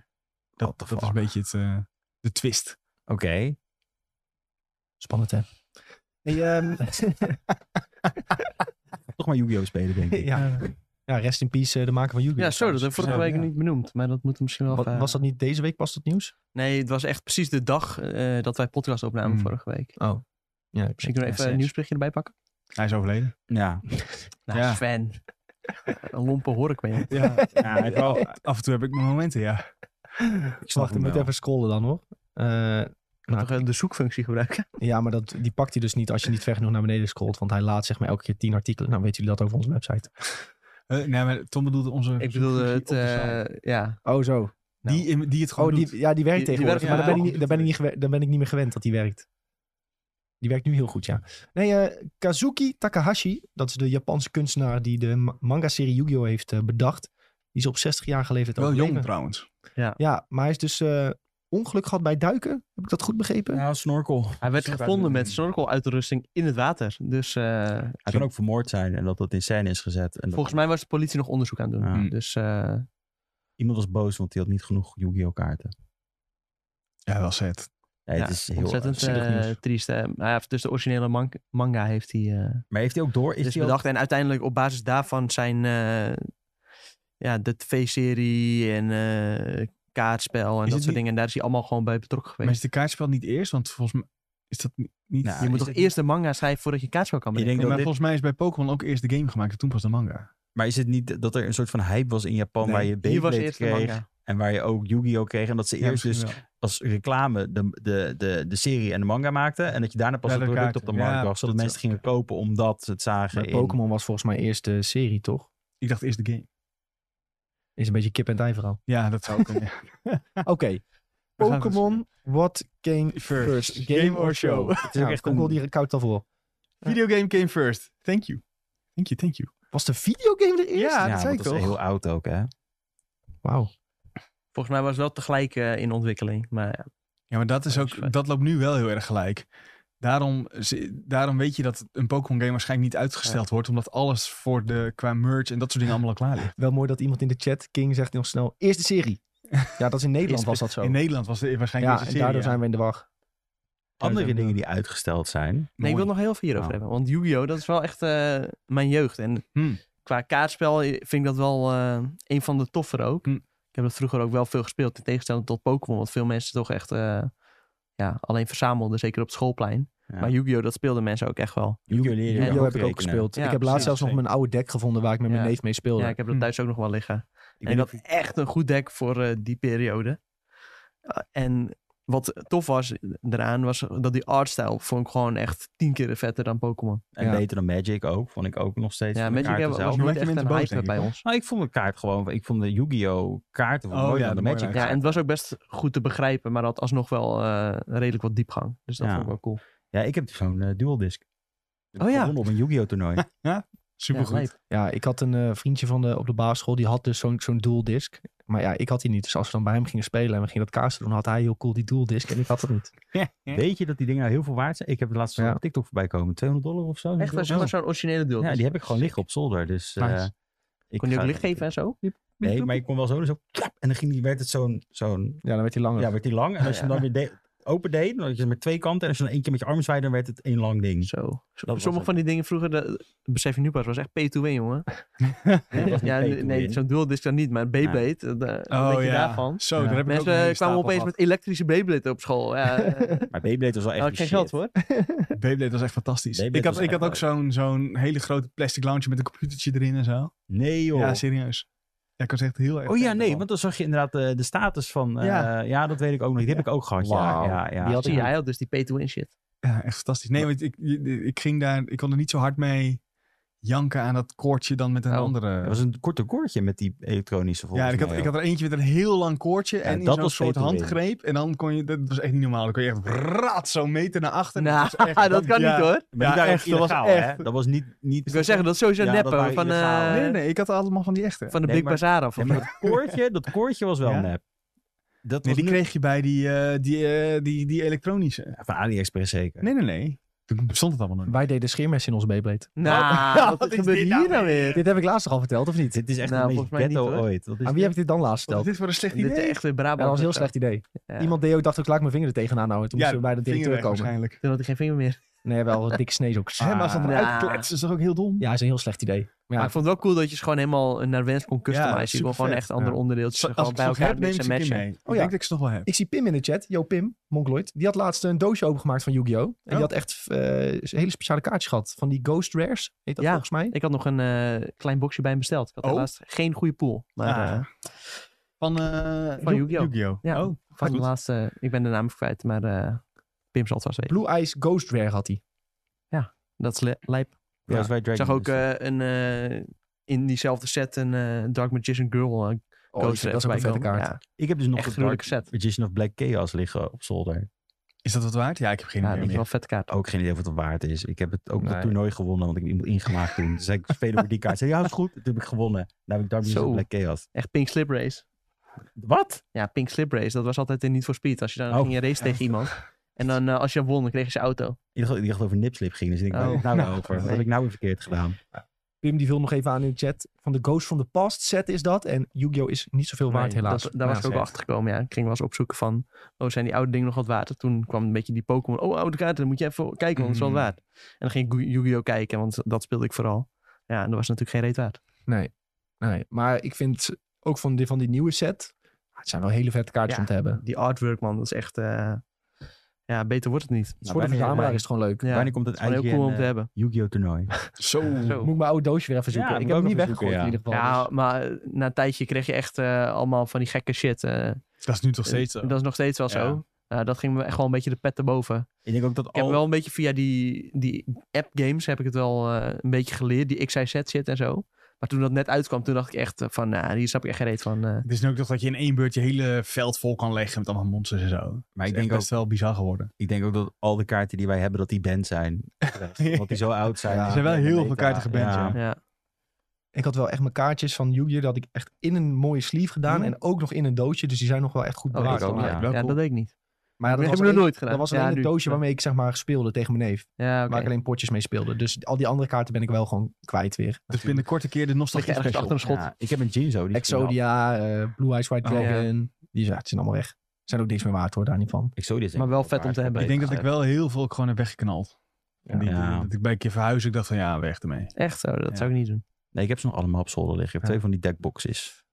Speaker 2: Dat,
Speaker 4: What the
Speaker 2: dat is een
Speaker 4: fuck?
Speaker 2: beetje het, eh, de twist.
Speaker 4: Oké.
Speaker 1: Spannend, hè? Hey, ehm,
Speaker 4: Toch maar Yu-Gi-Oh! spelen, denk ik.
Speaker 1: ja. ja, rest in peace, eh, de maker van Yu-Gi-Oh!
Speaker 3: Ja, zo, dat
Speaker 1: trouwens.
Speaker 3: heb ik vorige
Speaker 2: Ja,
Speaker 3: week
Speaker 2: ja.
Speaker 3: niet benoemd. Maar dat moet misschien wel...
Speaker 1: Wat,
Speaker 3: even-
Speaker 1: was dat niet deze week pas dat nieuws?
Speaker 3: Nee, het was echt precies de dag eh, dat wij podcast opnamen
Speaker 2: Hmm.
Speaker 3: vorige week.
Speaker 1: Oh. Ja, ik
Speaker 3: Misschien kunnen we even een nieuwsberichtje erbij pakken.
Speaker 2: Hij is overleden.
Speaker 4: Ja.
Speaker 3: Nou,
Speaker 2: Ja.
Speaker 3: Sven. een lompe hork ben je.
Speaker 2: Ja.
Speaker 4: Ja, ik wel.
Speaker 2: Af en toe heb ik mijn momenten, ja.
Speaker 1: Ik
Speaker 4: snap
Speaker 1: Wacht, ik
Speaker 4: hem
Speaker 1: moet
Speaker 4: wel.
Speaker 1: even scrollen dan, hoor. Eh, Nou,
Speaker 3: Toch eh, de zoekfunctie gebruiken.
Speaker 1: ja, maar dat, die pakt hij dus niet als je niet ver genoeg naar beneden scrolt. Want hij laat zeg maar elke keer tien artikelen. Nou, weten jullie dat over onze website?
Speaker 2: Eh, nee, maar Tom bedoelde onze...
Speaker 3: Ik bedoelde het...
Speaker 2: op de site.
Speaker 3: eh, ja.
Speaker 1: Oh, zo.
Speaker 2: die, in- Nou. die het gewoon
Speaker 1: Oh,
Speaker 2: doet.
Speaker 1: die, ja, die werkt
Speaker 3: Die- die
Speaker 1: tegenwoordig.
Speaker 3: werkt-
Speaker 1: maar daar ben, ik,
Speaker 2: ja.
Speaker 1: niet- daar, ben ik niet gewe- daar ben ik niet meer gewend dat die werkt. Die werkt nu heel goed, ja. Nee, eh, Kazuki Takahashi, dat is de Japanse kunstenaar die de ma- manga-serie Yu-Gi-Oh! heeft eh, bedacht. Die is op 60 jaar geleden
Speaker 2: Wel
Speaker 1: overleden.
Speaker 2: jong trouwens.
Speaker 1: Ja, maar hij is dus eh, ongeluk gehad bij duiken. Heb ik dat goed begrepen?
Speaker 4: Nou, snorkel.
Speaker 3: Hij werd
Speaker 4: Zoek uit
Speaker 3: gevonden
Speaker 4: de-
Speaker 3: met snorkeluitrusting in het water. Dus eh,
Speaker 4: Hij kan ook vermoord zijn en dat dat in scène is gezet. En
Speaker 3: volgens mij was de politie nog onderzoek aan het doen.
Speaker 4: Ja.
Speaker 3: Dus eh,
Speaker 4: Iemand was boos, want die had niet genoeg Yu-Gi-Oh! kaarten.
Speaker 2: Ja, wel zet.
Speaker 4: Nee,
Speaker 3: ja,
Speaker 4: het is heel
Speaker 3: ontzettend
Speaker 4: zielig
Speaker 3: eh,
Speaker 4: nieuws.
Speaker 3: triest. hè. Maar hij heeft dus de originele man- manga heeft hij eh,
Speaker 4: Maar heeft hij ook door? Is
Speaker 3: dus
Speaker 4: hij ook-
Speaker 3: bedacht. En uiteindelijk op basis daarvan zijn eh, ja, de tv-serie en eh, kaartspel en
Speaker 2: het
Speaker 3: dat soort
Speaker 2: niet-
Speaker 3: dingen. En daar is hij allemaal gewoon bij betrokken
Speaker 2: Maar is
Speaker 3: geweest.
Speaker 2: de kaartspel niet eerst? Want volgens mij is dat ni- niet...
Speaker 4: Nou,
Speaker 3: je
Speaker 4: is
Speaker 3: moet toch
Speaker 4: het niet-
Speaker 3: eerst de manga schrijven voordat je kaartspel kan
Speaker 4: Ik
Speaker 3: bedenken.
Speaker 4: denk
Speaker 2: Nee,
Speaker 4: dat
Speaker 2: maar
Speaker 4: dit-
Speaker 2: volgens mij is bij Pokémon ook eerst de game gemaakt en toen pas de manga.
Speaker 4: Maar is het niet dat er een soort van hype was in Japan
Speaker 2: Nee,
Speaker 4: waar je
Speaker 3: Hier was
Speaker 4: Beyblade
Speaker 3: eerst de
Speaker 4: kreeg
Speaker 3: manga.
Speaker 4: en waar je ook Yu-Gi-Oh! kreeg en dat ze
Speaker 2: Ja,
Speaker 4: eerst dus
Speaker 2: misschien wel.
Speaker 4: als reclame de, de, de, de serie en de manga maakten en dat je daarna pas
Speaker 2: Ja,
Speaker 4: het
Speaker 2: de
Speaker 4: product
Speaker 2: kaarten.
Speaker 4: op de markt
Speaker 2: Ja,
Speaker 4: bracht, zodat
Speaker 2: dat
Speaker 4: mensen gingen kopen omdat ze het zagen
Speaker 1: Maar
Speaker 4: in...
Speaker 1: Pokémon was volgens mij eerst de serie, toch?
Speaker 2: Ik dacht eerst de game.
Speaker 1: Is een beetje kip en ei verhaal.
Speaker 2: Ja, dat zou kunnen. ja.
Speaker 1: Oké.
Speaker 2: We gaan het
Speaker 1: Pokémon, what came
Speaker 2: First,
Speaker 1: first? Game or show?
Speaker 4: Het is
Speaker 1: Ja,
Speaker 4: ook echt
Speaker 1: ik wil
Speaker 4: een...
Speaker 1: die koud al voor.
Speaker 2: Videogame came first. Thank you. Thank you, thank you.
Speaker 1: Was de videogame er eerst?
Speaker 2: Ja,
Speaker 4: Ja,
Speaker 2: dat
Speaker 4: want
Speaker 2: zei ik
Speaker 4: dat is
Speaker 2: toch.
Speaker 4: heel oud ook, hè?
Speaker 1: Wauw.
Speaker 3: Volgens mij was het wel tegelijk eh, in ontwikkeling. Maar ja,
Speaker 2: Ja, maar dat, is
Speaker 3: Dat is fijn.
Speaker 2: ook, dat loopt nu wel heel erg gelijk. Daarom, ze- daarom weet je dat een Pokémon game waarschijnlijk niet uitgesteld wordt. Omdat alles voor de, qua merch en dat soort dingen allemaal al klaar ligt.
Speaker 1: Wel mooi dat iemand in de chat, King, zegt nog snel, eerste serie. Ja, dat is in Nederland was dat zo.
Speaker 2: In Nederland was er waarschijnlijk
Speaker 1: ja, en
Speaker 2: deze serie.
Speaker 1: daardoor
Speaker 2: ja.
Speaker 1: zijn we in de war.
Speaker 4: Andere
Speaker 1: zijn
Speaker 4: dingen die uitgesteld zijn.
Speaker 3: nee, ik wil
Speaker 2: Mooi.
Speaker 3: nog heel veel hierover
Speaker 4: Nou.
Speaker 3: hebben. Want Yu-Gi-Oh! dat is wel echt eh, mijn jeugd. En
Speaker 2: Hmm.
Speaker 3: qua kaartspel vind ik dat wel eh, een van de toffer ook.
Speaker 2: Hm.
Speaker 3: Ik heb dat vroeger ook wel veel gespeeld. In tegenstelling tot Pokémon. Want veel mensen toch echt eh, ja, alleen verzamelden. Zeker op het schoolplein.
Speaker 4: Ja.
Speaker 3: Maar Yu-Gi-Oh! dat speelden mensen ook echt wel.
Speaker 4: Yu-Gi-Oh! leer je
Speaker 3: Yu-Gi-Oh!
Speaker 1: Yu-Gi-Oh!
Speaker 4: ook
Speaker 1: heb ik ook
Speaker 4: rekenen.
Speaker 1: gespeeld.
Speaker 3: Ja,
Speaker 1: ik heb
Speaker 2: precies,
Speaker 1: laatst zelfs nog
Speaker 2: zeker.
Speaker 1: mijn oude deck gevonden waar ik met mijn
Speaker 3: Ja.
Speaker 1: neef mee speelde.
Speaker 3: Ja, ik heb dat
Speaker 2: Hm.
Speaker 3: thuis ook nog wel liggen.
Speaker 4: Ik
Speaker 3: en
Speaker 4: weet
Speaker 3: ik had
Speaker 4: niet
Speaker 3: echt een goed deck voor eh, die periode. Eh, en wat tof was eh, eraan, was dat die artstyle vond ik gewoon echt tien keer vetter dan Pokémon.
Speaker 4: of- En
Speaker 1: Ja.
Speaker 4: beter dan Magic ook, vond ik ook nog steeds.
Speaker 3: Ja,
Speaker 4: van de
Speaker 3: Magic
Speaker 4: kaarten
Speaker 3: was
Speaker 4: zelf.
Speaker 2: nog-
Speaker 3: nooit
Speaker 2: maak je
Speaker 3: echt een
Speaker 2: mensen boos,
Speaker 3: hype
Speaker 2: denk ik,
Speaker 3: bij
Speaker 2: hoor.
Speaker 3: ons.
Speaker 4: Nou, ik vond de kaart gewoon, ik vond de Yu-Gi-Oh! kaarten
Speaker 2: Oh
Speaker 4: oh, mooier
Speaker 2: ja,
Speaker 4: dan de
Speaker 2: de
Speaker 4: Magic
Speaker 2: mooiere
Speaker 3: Ja,
Speaker 4: kaarten.
Speaker 3: en het was ook best goed te begrijpen, maar dat alsnog wel eh, redelijk wat diepgang. Dus dat
Speaker 4: Ja.
Speaker 3: vond ik wel cool.
Speaker 4: Ja, ik heb zo'n eh, dual disc. Heb
Speaker 3: Oh
Speaker 4: ik
Speaker 3: ja.
Speaker 4: Gewonnen op een Yu-Gi-Oh! toernooi.
Speaker 2: Supergoed.
Speaker 3: Ja, lijp.
Speaker 1: Ja, ik had een eh, vriendje van de, op de basisschool, die had dus zo'n zo'n dualdisc. Maar ja, ik had die niet. Dus als we dan bij hem gingen spelen en we gingen dat kaas doen, had hij heel cool die dualdisc en ik had dat niet.
Speaker 4: Weet je dat die dingen nou heel veel waard zijn? Ik heb het laatst
Speaker 1: Ja.
Speaker 4: op TikTok voorbij komen. 200 dollar of zo.
Speaker 3: Echt wel
Speaker 4: Zo'n
Speaker 3: zeg maar zo'n originele
Speaker 4: dual-
Speaker 3: deel.
Speaker 4: Ja, die heb ik gewoon liggen op zolder. Dus, eh,
Speaker 2: Nice.
Speaker 4: ik
Speaker 3: Kon je ook
Speaker 4: ga-
Speaker 3: licht geven en zo?
Speaker 4: Nee, maar je kon wel zo. zo klap, en dan ging die, werd het zo'n... zo'n
Speaker 1: Ja, dan werd hij langer.
Speaker 4: ja, werd die lang. En als je hem
Speaker 3: Ja.
Speaker 4: dan weer de- open deed, dan had je hem met twee kanten. En als je dan één keer met je arm zwaaide, dan werd het één lang ding.
Speaker 3: Zo.
Speaker 4: was
Speaker 3: Sommige
Speaker 4: het.
Speaker 3: van die dingen vroeger, dat besef je nu pas, was echt P2Win, jongen. ja,
Speaker 4: Pay
Speaker 3: nee,
Speaker 4: to win.
Speaker 3: zo'n dual disc dan niet, maar Beyblade, dat
Speaker 2: Oh
Speaker 3: weet je
Speaker 2: ja.
Speaker 3: daarvan.
Speaker 2: Zo,
Speaker 4: Ja.
Speaker 2: daar heb ik ook een
Speaker 3: Mensen
Speaker 2: hele
Speaker 3: eh, kwamen
Speaker 2: stapel
Speaker 3: opeens
Speaker 2: gehad.
Speaker 3: met elektrische Beyblade op school. Ja, eh,
Speaker 4: Maar Beyblade was wel echt
Speaker 3: had ik
Speaker 4: de
Speaker 3: geen
Speaker 4: shit.
Speaker 3: geld voor.
Speaker 2: Beyblade was echt fantastisch.
Speaker 4: Beyblade
Speaker 2: ik had,
Speaker 4: was
Speaker 2: ik
Speaker 4: echt
Speaker 2: had ook zo'n zo'n hele grote plastic lounge met een computertje erin en zo.
Speaker 4: Nee joh.
Speaker 2: Ja, serieus. Ja, ik was echt heel erg.
Speaker 4: Oh ja,
Speaker 2: fan
Speaker 4: nee,
Speaker 2: ervan.
Speaker 4: want dan zag je inderdaad eh, de status van... eh,
Speaker 2: Ja.
Speaker 4: ja. dat weet ik ook nog. Die heb ik ook gehad.
Speaker 1: Wauw.
Speaker 4: Ja, ja, ja.
Speaker 1: Die had
Speaker 3: Zie
Speaker 1: ik
Speaker 3: je,
Speaker 1: ook.
Speaker 3: hij had dus die pay-to-win shit.
Speaker 2: Ja, echt fantastisch. Nee, want ik, ik ging daar, ik kon er niet zo hard mee. janken aan dat koordje dan met een
Speaker 3: Oh.
Speaker 2: andere.
Speaker 4: Het was een korte koordje met die elektronische volgens
Speaker 2: Ja, ik had,
Speaker 4: mij
Speaker 2: ik
Speaker 4: ook.
Speaker 2: had er eentje met een heel lang koordje en in
Speaker 4: dat
Speaker 2: zo'n
Speaker 4: was
Speaker 2: soort
Speaker 4: Peter Wing.
Speaker 2: handgreep. En dan kon je, dat was echt niet normaal. Dan kon je echt raad zo'n meter naar achter.
Speaker 3: Nou,
Speaker 2: was echt-
Speaker 3: dat kan
Speaker 2: ja.
Speaker 3: niet hoor.
Speaker 4: Maar
Speaker 2: Ja,
Speaker 4: die waren
Speaker 2: echt,
Speaker 4: echt,
Speaker 2: dat was
Speaker 4: illegaal,
Speaker 2: echt-
Speaker 4: hè? Dat was niet... niet
Speaker 3: Ik wil zeggen, dat is sowieso
Speaker 4: Ja, dat
Speaker 3: neppen
Speaker 4: waren
Speaker 3: van,
Speaker 4: illegaal.
Speaker 3: eh,
Speaker 2: Nee, nee, ik had allemaal van die echte.
Speaker 3: van de
Speaker 4: Nee,
Speaker 3: Big
Speaker 4: maar-
Speaker 3: Bazaar af.
Speaker 4: Ja,
Speaker 3: of
Speaker 4: maar
Speaker 3: zo.
Speaker 4: dat koordje, dat koordje was wel
Speaker 2: Ja.
Speaker 4: nep. Dat
Speaker 2: Nee,
Speaker 4: was
Speaker 2: die
Speaker 4: niet-
Speaker 2: kreeg je bij die, eh, die, eh, die, die elektronische.
Speaker 4: Van AliExpress zeker.
Speaker 2: Nee, nee, nee. Toen bestond het allemaal nog niet.
Speaker 1: Wij deden scheermes in onze Beyblade.
Speaker 3: Nou,
Speaker 2: Ja,
Speaker 3: wat,
Speaker 2: wat is
Speaker 3: gebeurt
Speaker 2: dit
Speaker 3: hier
Speaker 2: nou
Speaker 3: nou weer?
Speaker 1: Dit heb ik laatst nog al verteld, of niet?
Speaker 4: Dit is echt
Speaker 3: Nou,
Speaker 4: een
Speaker 3: volgens
Speaker 4: beetje
Speaker 3: mij niet,
Speaker 4: ghetto
Speaker 3: hoor.
Speaker 4: ooit. Dat is
Speaker 1: Aan wie heb ik Oh, dit dan laatst
Speaker 2: Wat is
Speaker 1: verteld?
Speaker 2: dit voor een slecht
Speaker 3: Dit is
Speaker 2: idee?
Speaker 3: echt weer
Speaker 1: Ja,
Speaker 3: Brabant. eh,
Speaker 1: dat was een heel slecht idee.
Speaker 3: Ja.
Speaker 1: Iemand deed ook, dacht ik, laat ik mijn vinger er tegenaan houden. Toen
Speaker 2: Ja,
Speaker 1: moesten we bij de
Speaker 2: Vinger
Speaker 1: directeur
Speaker 2: weg
Speaker 1: komen.
Speaker 2: waarschijnlijk.
Speaker 3: Toen had ik geen vinger meer.
Speaker 1: Nee, wel een dikke snees ook.
Speaker 2: Hè, maar als dat
Speaker 1: Ah.
Speaker 2: dan
Speaker 3: nou.
Speaker 2: uitkletst, is dat ook heel dom.
Speaker 1: Ja, is een heel slecht idee. Maar
Speaker 3: Maar
Speaker 1: ja,
Speaker 3: ik vond het wel cool dat je ze gewoon helemaal eh, naar wens kon customizen.
Speaker 2: Ja,
Speaker 3: je kon gewoon
Speaker 2: supervet.
Speaker 3: echt andere
Speaker 2: Ja.
Speaker 3: onderdeeltjes
Speaker 2: Zo-
Speaker 3: gewoon
Speaker 2: Als ik
Speaker 3: bij
Speaker 2: het nog
Speaker 3: elkaar
Speaker 2: heb, neem ik
Speaker 3: mixen
Speaker 2: ze
Speaker 3: en
Speaker 2: een keer
Speaker 3: matchen.
Speaker 2: mee.
Speaker 1: ja.
Speaker 2: Ik denk dat ik ze nog wel heb.
Speaker 1: ik zie Pim in de chat. Jo Pim, Monkloid. Die had laatst een doosje opengemaakt van Yu-Gi-Oh! En die
Speaker 2: Oh.
Speaker 1: had echt eh, hele speciale kaartjes gehad. Van die Ghost Rares, heet dat
Speaker 3: Ja.
Speaker 1: volgens mij.
Speaker 3: Ik had nog een eh, klein boxje bij hem besteld. Ik had
Speaker 2: Oh.
Speaker 3: helaas geen goede pool. Maar
Speaker 2: Ah.
Speaker 3: eh,
Speaker 2: Van, eh,
Speaker 3: Van
Speaker 2: Yu-
Speaker 3: Yu-Gi-Oh. ja,
Speaker 2: Oh,
Speaker 3: van de
Speaker 2: goed.
Speaker 3: laatste... eh, Ik ben de naam even kwijt, maar eh Pim zal het vast weten.
Speaker 1: Blue Eyes Ghost Rare had hij.
Speaker 3: Dat is li- lijp.
Speaker 4: Ja, dat is bij
Speaker 3: Ik
Speaker 4: Dragon
Speaker 3: zag ook
Speaker 4: Ball.
Speaker 3: eh, een, eh, in diezelfde set een eh, Dark Magician Girl eh,
Speaker 1: Oh,
Speaker 3: Ghost
Speaker 1: dat
Speaker 3: Red
Speaker 1: is ook een vette
Speaker 3: bijkomen.
Speaker 1: kaart.
Speaker 3: Ja.
Speaker 4: ik heb dus nog
Speaker 3: echt
Speaker 4: de
Speaker 3: gruwelijke
Speaker 4: Dark
Speaker 3: set.
Speaker 4: Magician of Black Chaos liggen op zolder.
Speaker 2: Is dat wat waard? Ja, ik heb geen
Speaker 3: Ja,
Speaker 2: idee
Speaker 3: dat
Speaker 2: meer.
Speaker 3: is wel een vette kaart.
Speaker 4: Ook geen idee wat het waard is. Ik heb het ook
Speaker 1: Nee.
Speaker 4: dat toernooi gewonnen, want ik heb iemand ingemaakt toen. Dus ik spelen voor die kaart. Zei, ja, is goed. Toen heb ik gewonnen. Daar heb ik Dark Magician
Speaker 3: Zo.
Speaker 4: of Black Chaos.
Speaker 3: Echt Pink Slip Race.
Speaker 4: Wat?
Speaker 3: Ja, Pink Slip Race. Dat was altijd in Need for Speed. Als je dan
Speaker 4: Oh.
Speaker 3: ging je race tegen iemand. En dan eh, als je won, dan kreeg je zijn auto.
Speaker 4: Ik dacht, ik dacht dat het over nipslip ging. Dus ik denk, waar
Speaker 3: Oh.
Speaker 4: heb ik nou weer over? Wat
Speaker 3: nee.
Speaker 4: heb ik nou weer verkeerd gedaan?
Speaker 1: Pim die vult nog even aan in de chat. Van de Ghost from the Past set is dat. En Yu-Gi-Oh! is niet zoveel waard
Speaker 3: Nee,
Speaker 1: helaas.
Speaker 3: dat- daar was ik ook wel
Speaker 2: Helaas,
Speaker 3: achter gekomen. Ja. Ik ging wel eens opzoeken van, oh, zijn die oude dingen nog wat waard? En Toen kwam een beetje die Pokémon, oh, oude kaarten, dan moet je even kijken, want het is wel
Speaker 2: Mm.
Speaker 3: waard. En dan ging ik Yu- Yu-Gi-Oh! kijken, want dat speelde ik vooral. Ja, en dat was natuurlijk geen reet waard.
Speaker 1: Nee, maar ik vind ook van die, van die nieuwe set. ah, Het zijn wel hele vette kaartjes
Speaker 3: Ja. Nou,
Speaker 1: om te hebben.
Speaker 3: Die artwork, man, dat is echt, eh, ja, beter wordt het niet.
Speaker 2: Nou,
Speaker 1: Dus voor de
Speaker 4: wanneer-
Speaker 1: verzamelaar is het gewoon leuk.
Speaker 3: Ja,
Speaker 4: Wanneer komt het
Speaker 3: het is gewoon
Speaker 4: uit
Speaker 3: heel cool om
Speaker 2: eh,
Speaker 3: te hebben.
Speaker 4: Yu-Gi-Oh! toernooi?
Speaker 2: Zo.
Speaker 3: Zo.
Speaker 1: Moet ik mijn oude doosje weer even zoeken.
Speaker 4: moet
Speaker 1: ik
Speaker 4: ik
Speaker 1: heb hem
Speaker 4: ook
Speaker 1: niet
Speaker 4: even zoeken,
Speaker 1: weggegooid in
Speaker 4: ja.
Speaker 1: ieder geval.
Speaker 3: Ja,
Speaker 1: dus-
Speaker 3: maar eh, na een tijdje kreeg je echt eh, allemaal van die gekke shit. eh.
Speaker 2: Dat is nu toch steeds zo.
Speaker 3: Dat is nog steeds wel
Speaker 2: Ja.
Speaker 3: zo. Nou, dat ging me echt wel een beetje de pet erboven.
Speaker 4: Ik denk ook dat
Speaker 3: Ik heb
Speaker 4: al...
Speaker 3: wel een beetje via die, die app-games heb ik het wel eh, een beetje geleerd. Die XIZ zit en zo. Maar toen dat net uitkwam, toen dacht ik echt eh, van... Nou, hier snap ik echt geen reet van. eh.
Speaker 2: Het is nu ook toch dat je in één beurt je hele veld vol kan leggen met allemaal monsters en zo.
Speaker 4: Maar ik
Speaker 2: Dat is
Speaker 4: denk,
Speaker 2: echt
Speaker 4: ook,
Speaker 2: best wel bizar geworden.
Speaker 4: ik denk ook dat al de kaarten die wij hebben, dat die band zijn. Want die zo oud zijn.
Speaker 1: Ja.
Speaker 4: Die
Speaker 1: Er
Speaker 2: zijn wel
Speaker 4: met
Speaker 2: heel
Speaker 4: een
Speaker 2: veel
Speaker 4: beta.
Speaker 2: kaarten geband, ja.
Speaker 3: ja.
Speaker 1: Ik had wel echt mijn kaartjes van Yu-Gi-Oh! dat ik echt in een mooie sleeve gedaan.
Speaker 2: Ja.
Speaker 1: En ook nog in een doosje. Dus die zijn nog wel echt goed
Speaker 3: Mhm. Oh,
Speaker 1: bewaard.
Speaker 3: ik ook,
Speaker 1: voor mij.
Speaker 3: ja.
Speaker 2: Wel
Speaker 3: Ja,
Speaker 2: cool.
Speaker 3: dat deed ik niet.
Speaker 1: Maar ja,
Speaker 3: Dat
Speaker 1: dat
Speaker 3: heb
Speaker 1: was
Speaker 3: ik nog
Speaker 1: alleen-
Speaker 3: nooit gedaan.
Speaker 1: dat was alleen
Speaker 3: ja, nu.
Speaker 1: een doosje waarmee ik zeg maar speelde tegen mijn neef.
Speaker 3: Ja, oké.
Speaker 1: Waar ik alleen potjes mee speelde. Dus al die andere kaarten ben ik wel gewoon kwijt weer.
Speaker 2: Dus binnenkort een keer de
Speaker 3: Lig je
Speaker 2: nostalgie
Speaker 3: ergens
Speaker 2: special.
Speaker 3: achter een schot.
Speaker 4: Ja, ik heb een Jinzo. Die is geweldig.
Speaker 1: Exodia, eh, Blue Eyes White
Speaker 2: Oh, ja.
Speaker 1: Dragon. Die ja, het zijn allemaal weg. Zijn ook niks meer waard hoor, daar niet van.
Speaker 4: Exodia is
Speaker 3: Maar
Speaker 4: echt
Speaker 3: wel vet om te hebben.
Speaker 2: Ik denk dat ik wel heel veel ook gewoon heb weggeknald. En die-
Speaker 4: Ja.
Speaker 2: die- Dat ik bij een keer verhuis, ik dacht van ja, weg ermee.
Speaker 3: Echt zo, dat
Speaker 2: Ja.
Speaker 3: zou ik niet doen.
Speaker 4: Nee, ik heb ze nog allemaal op zolder liggen. Ik heb
Speaker 1: Ja.
Speaker 4: twee van die deckboxes.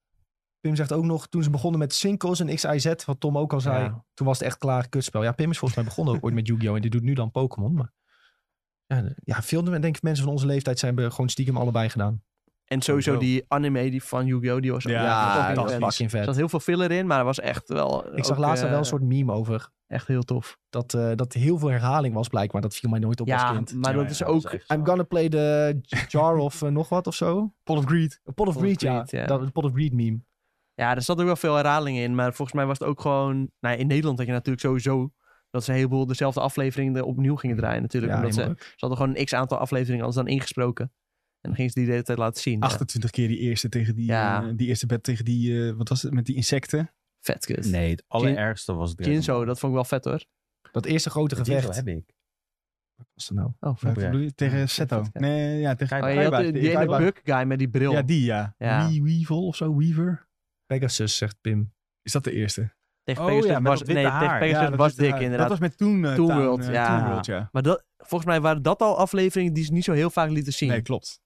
Speaker 1: Pim zegt ook nog, toen ze begonnen met Sinkels en XIZ, wat Tom ook al zei,
Speaker 3: Ja.
Speaker 1: toen was het echt klaar kutspel. Ja, Pim is volgens mij begonnen ook ooit met Yu-Gi-Oh! en die doet nu dan Pokémon. Maar ja, de- ja, veel denk ik, mensen van onze leeftijd zijn we gewoon stiekem allebei gedaan.
Speaker 3: En sowieso
Speaker 2: Sowieso.
Speaker 3: die anime die van Yu-Gi-Oh! Die was
Speaker 2: Ja,
Speaker 3: ook
Speaker 1: Ah, dat
Speaker 3: heel
Speaker 1: was
Speaker 3: vet.
Speaker 1: fucking
Speaker 3: Er
Speaker 1: vet.
Speaker 3: zat heel veel filler in, maar dat was echt wel...
Speaker 1: ik zag
Speaker 3: ook,
Speaker 1: laatst daar wel
Speaker 3: eh,
Speaker 1: een soort meme over.
Speaker 3: Echt heel tof.
Speaker 1: Dat, eh, dat heel veel herhaling was blijkbaar. Dat viel mij nooit op als
Speaker 3: Ja,
Speaker 1: kind.
Speaker 3: maar
Speaker 2: Ja,
Speaker 3: dat
Speaker 2: ja,
Speaker 3: is
Speaker 4: dat is
Speaker 3: ook...
Speaker 4: echt-
Speaker 1: I'm gonna play the jar of eh, nog wat of zo.
Speaker 2: Pot of Greed.
Speaker 1: Pot of
Speaker 3: of
Speaker 1: Greed, ja.
Speaker 3: Greed, ja.
Speaker 1: Dat, de Pot of Greed meme.
Speaker 3: Ja, er zat ook wel veel herhalingen in. Maar volgens mij was het ook gewoon... Nou, in Nederland had je natuurlijk sowieso... dat ze een heleboel dezelfde afleveringen er opnieuw gingen draaien natuurlijk.
Speaker 1: Ja,
Speaker 3: omdat ze,
Speaker 1: helemaal
Speaker 3: ze hadden gewoon een x-aantal afleveringen anders dan ingesproken. En dan gingen ze die de hele tijd laten zien. Ja,
Speaker 2: 28 keer die eerste tegen die,
Speaker 3: Ja.
Speaker 2: eh, die eerste bed tegen die, eh, wat was het, met die insecten.
Speaker 3: vet kut.
Speaker 4: Nee, het allerergste was Dragon
Speaker 3: Jinzo,
Speaker 4: Ball.
Speaker 3: dat vond ik wel vet hoor.
Speaker 1: Dat eerste grote
Speaker 4: Jinzo
Speaker 1: gevecht.
Speaker 4: heb ik.
Speaker 1: Wat was dat nou?
Speaker 3: Oh,
Speaker 2: Wat
Speaker 4: Oprecht.
Speaker 2: bedoel je? Tegen Seto.
Speaker 3: vet, ja. Oh,
Speaker 2: Nee, ja, tegen
Speaker 3: je had die, die ene bug guy met die bril.
Speaker 2: Ja, die ja.
Speaker 3: Ja.
Speaker 2: Wee- Weevil of zo, Weaver.
Speaker 1: Pegasus, zegt Pim.
Speaker 2: Is dat de eerste?
Speaker 3: Tegen
Speaker 4: Oh,
Speaker 3: Pegasus
Speaker 4: ja, met
Speaker 3: was,
Speaker 4: dat
Speaker 3: nee,
Speaker 4: witte
Speaker 3: tegen
Speaker 4: haar.
Speaker 3: Pegasus
Speaker 2: dat
Speaker 3: was
Speaker 2: is de-
Speaker 3: dik inderdaad.
Speaker 2: Dat was met toen. eh,
Speaker 3: Toon
Speaker 2: Town,
Speaker 3: World,
Speaker 2: eh,
Speaker 3: ja.
Speaker 2: Toon World, ja.
Speaker 3: Maar dat, volgens mij waren dat al afleveringen die ze niet zo heel vaak lieten zien.
Speaker 2: Nee, klopt.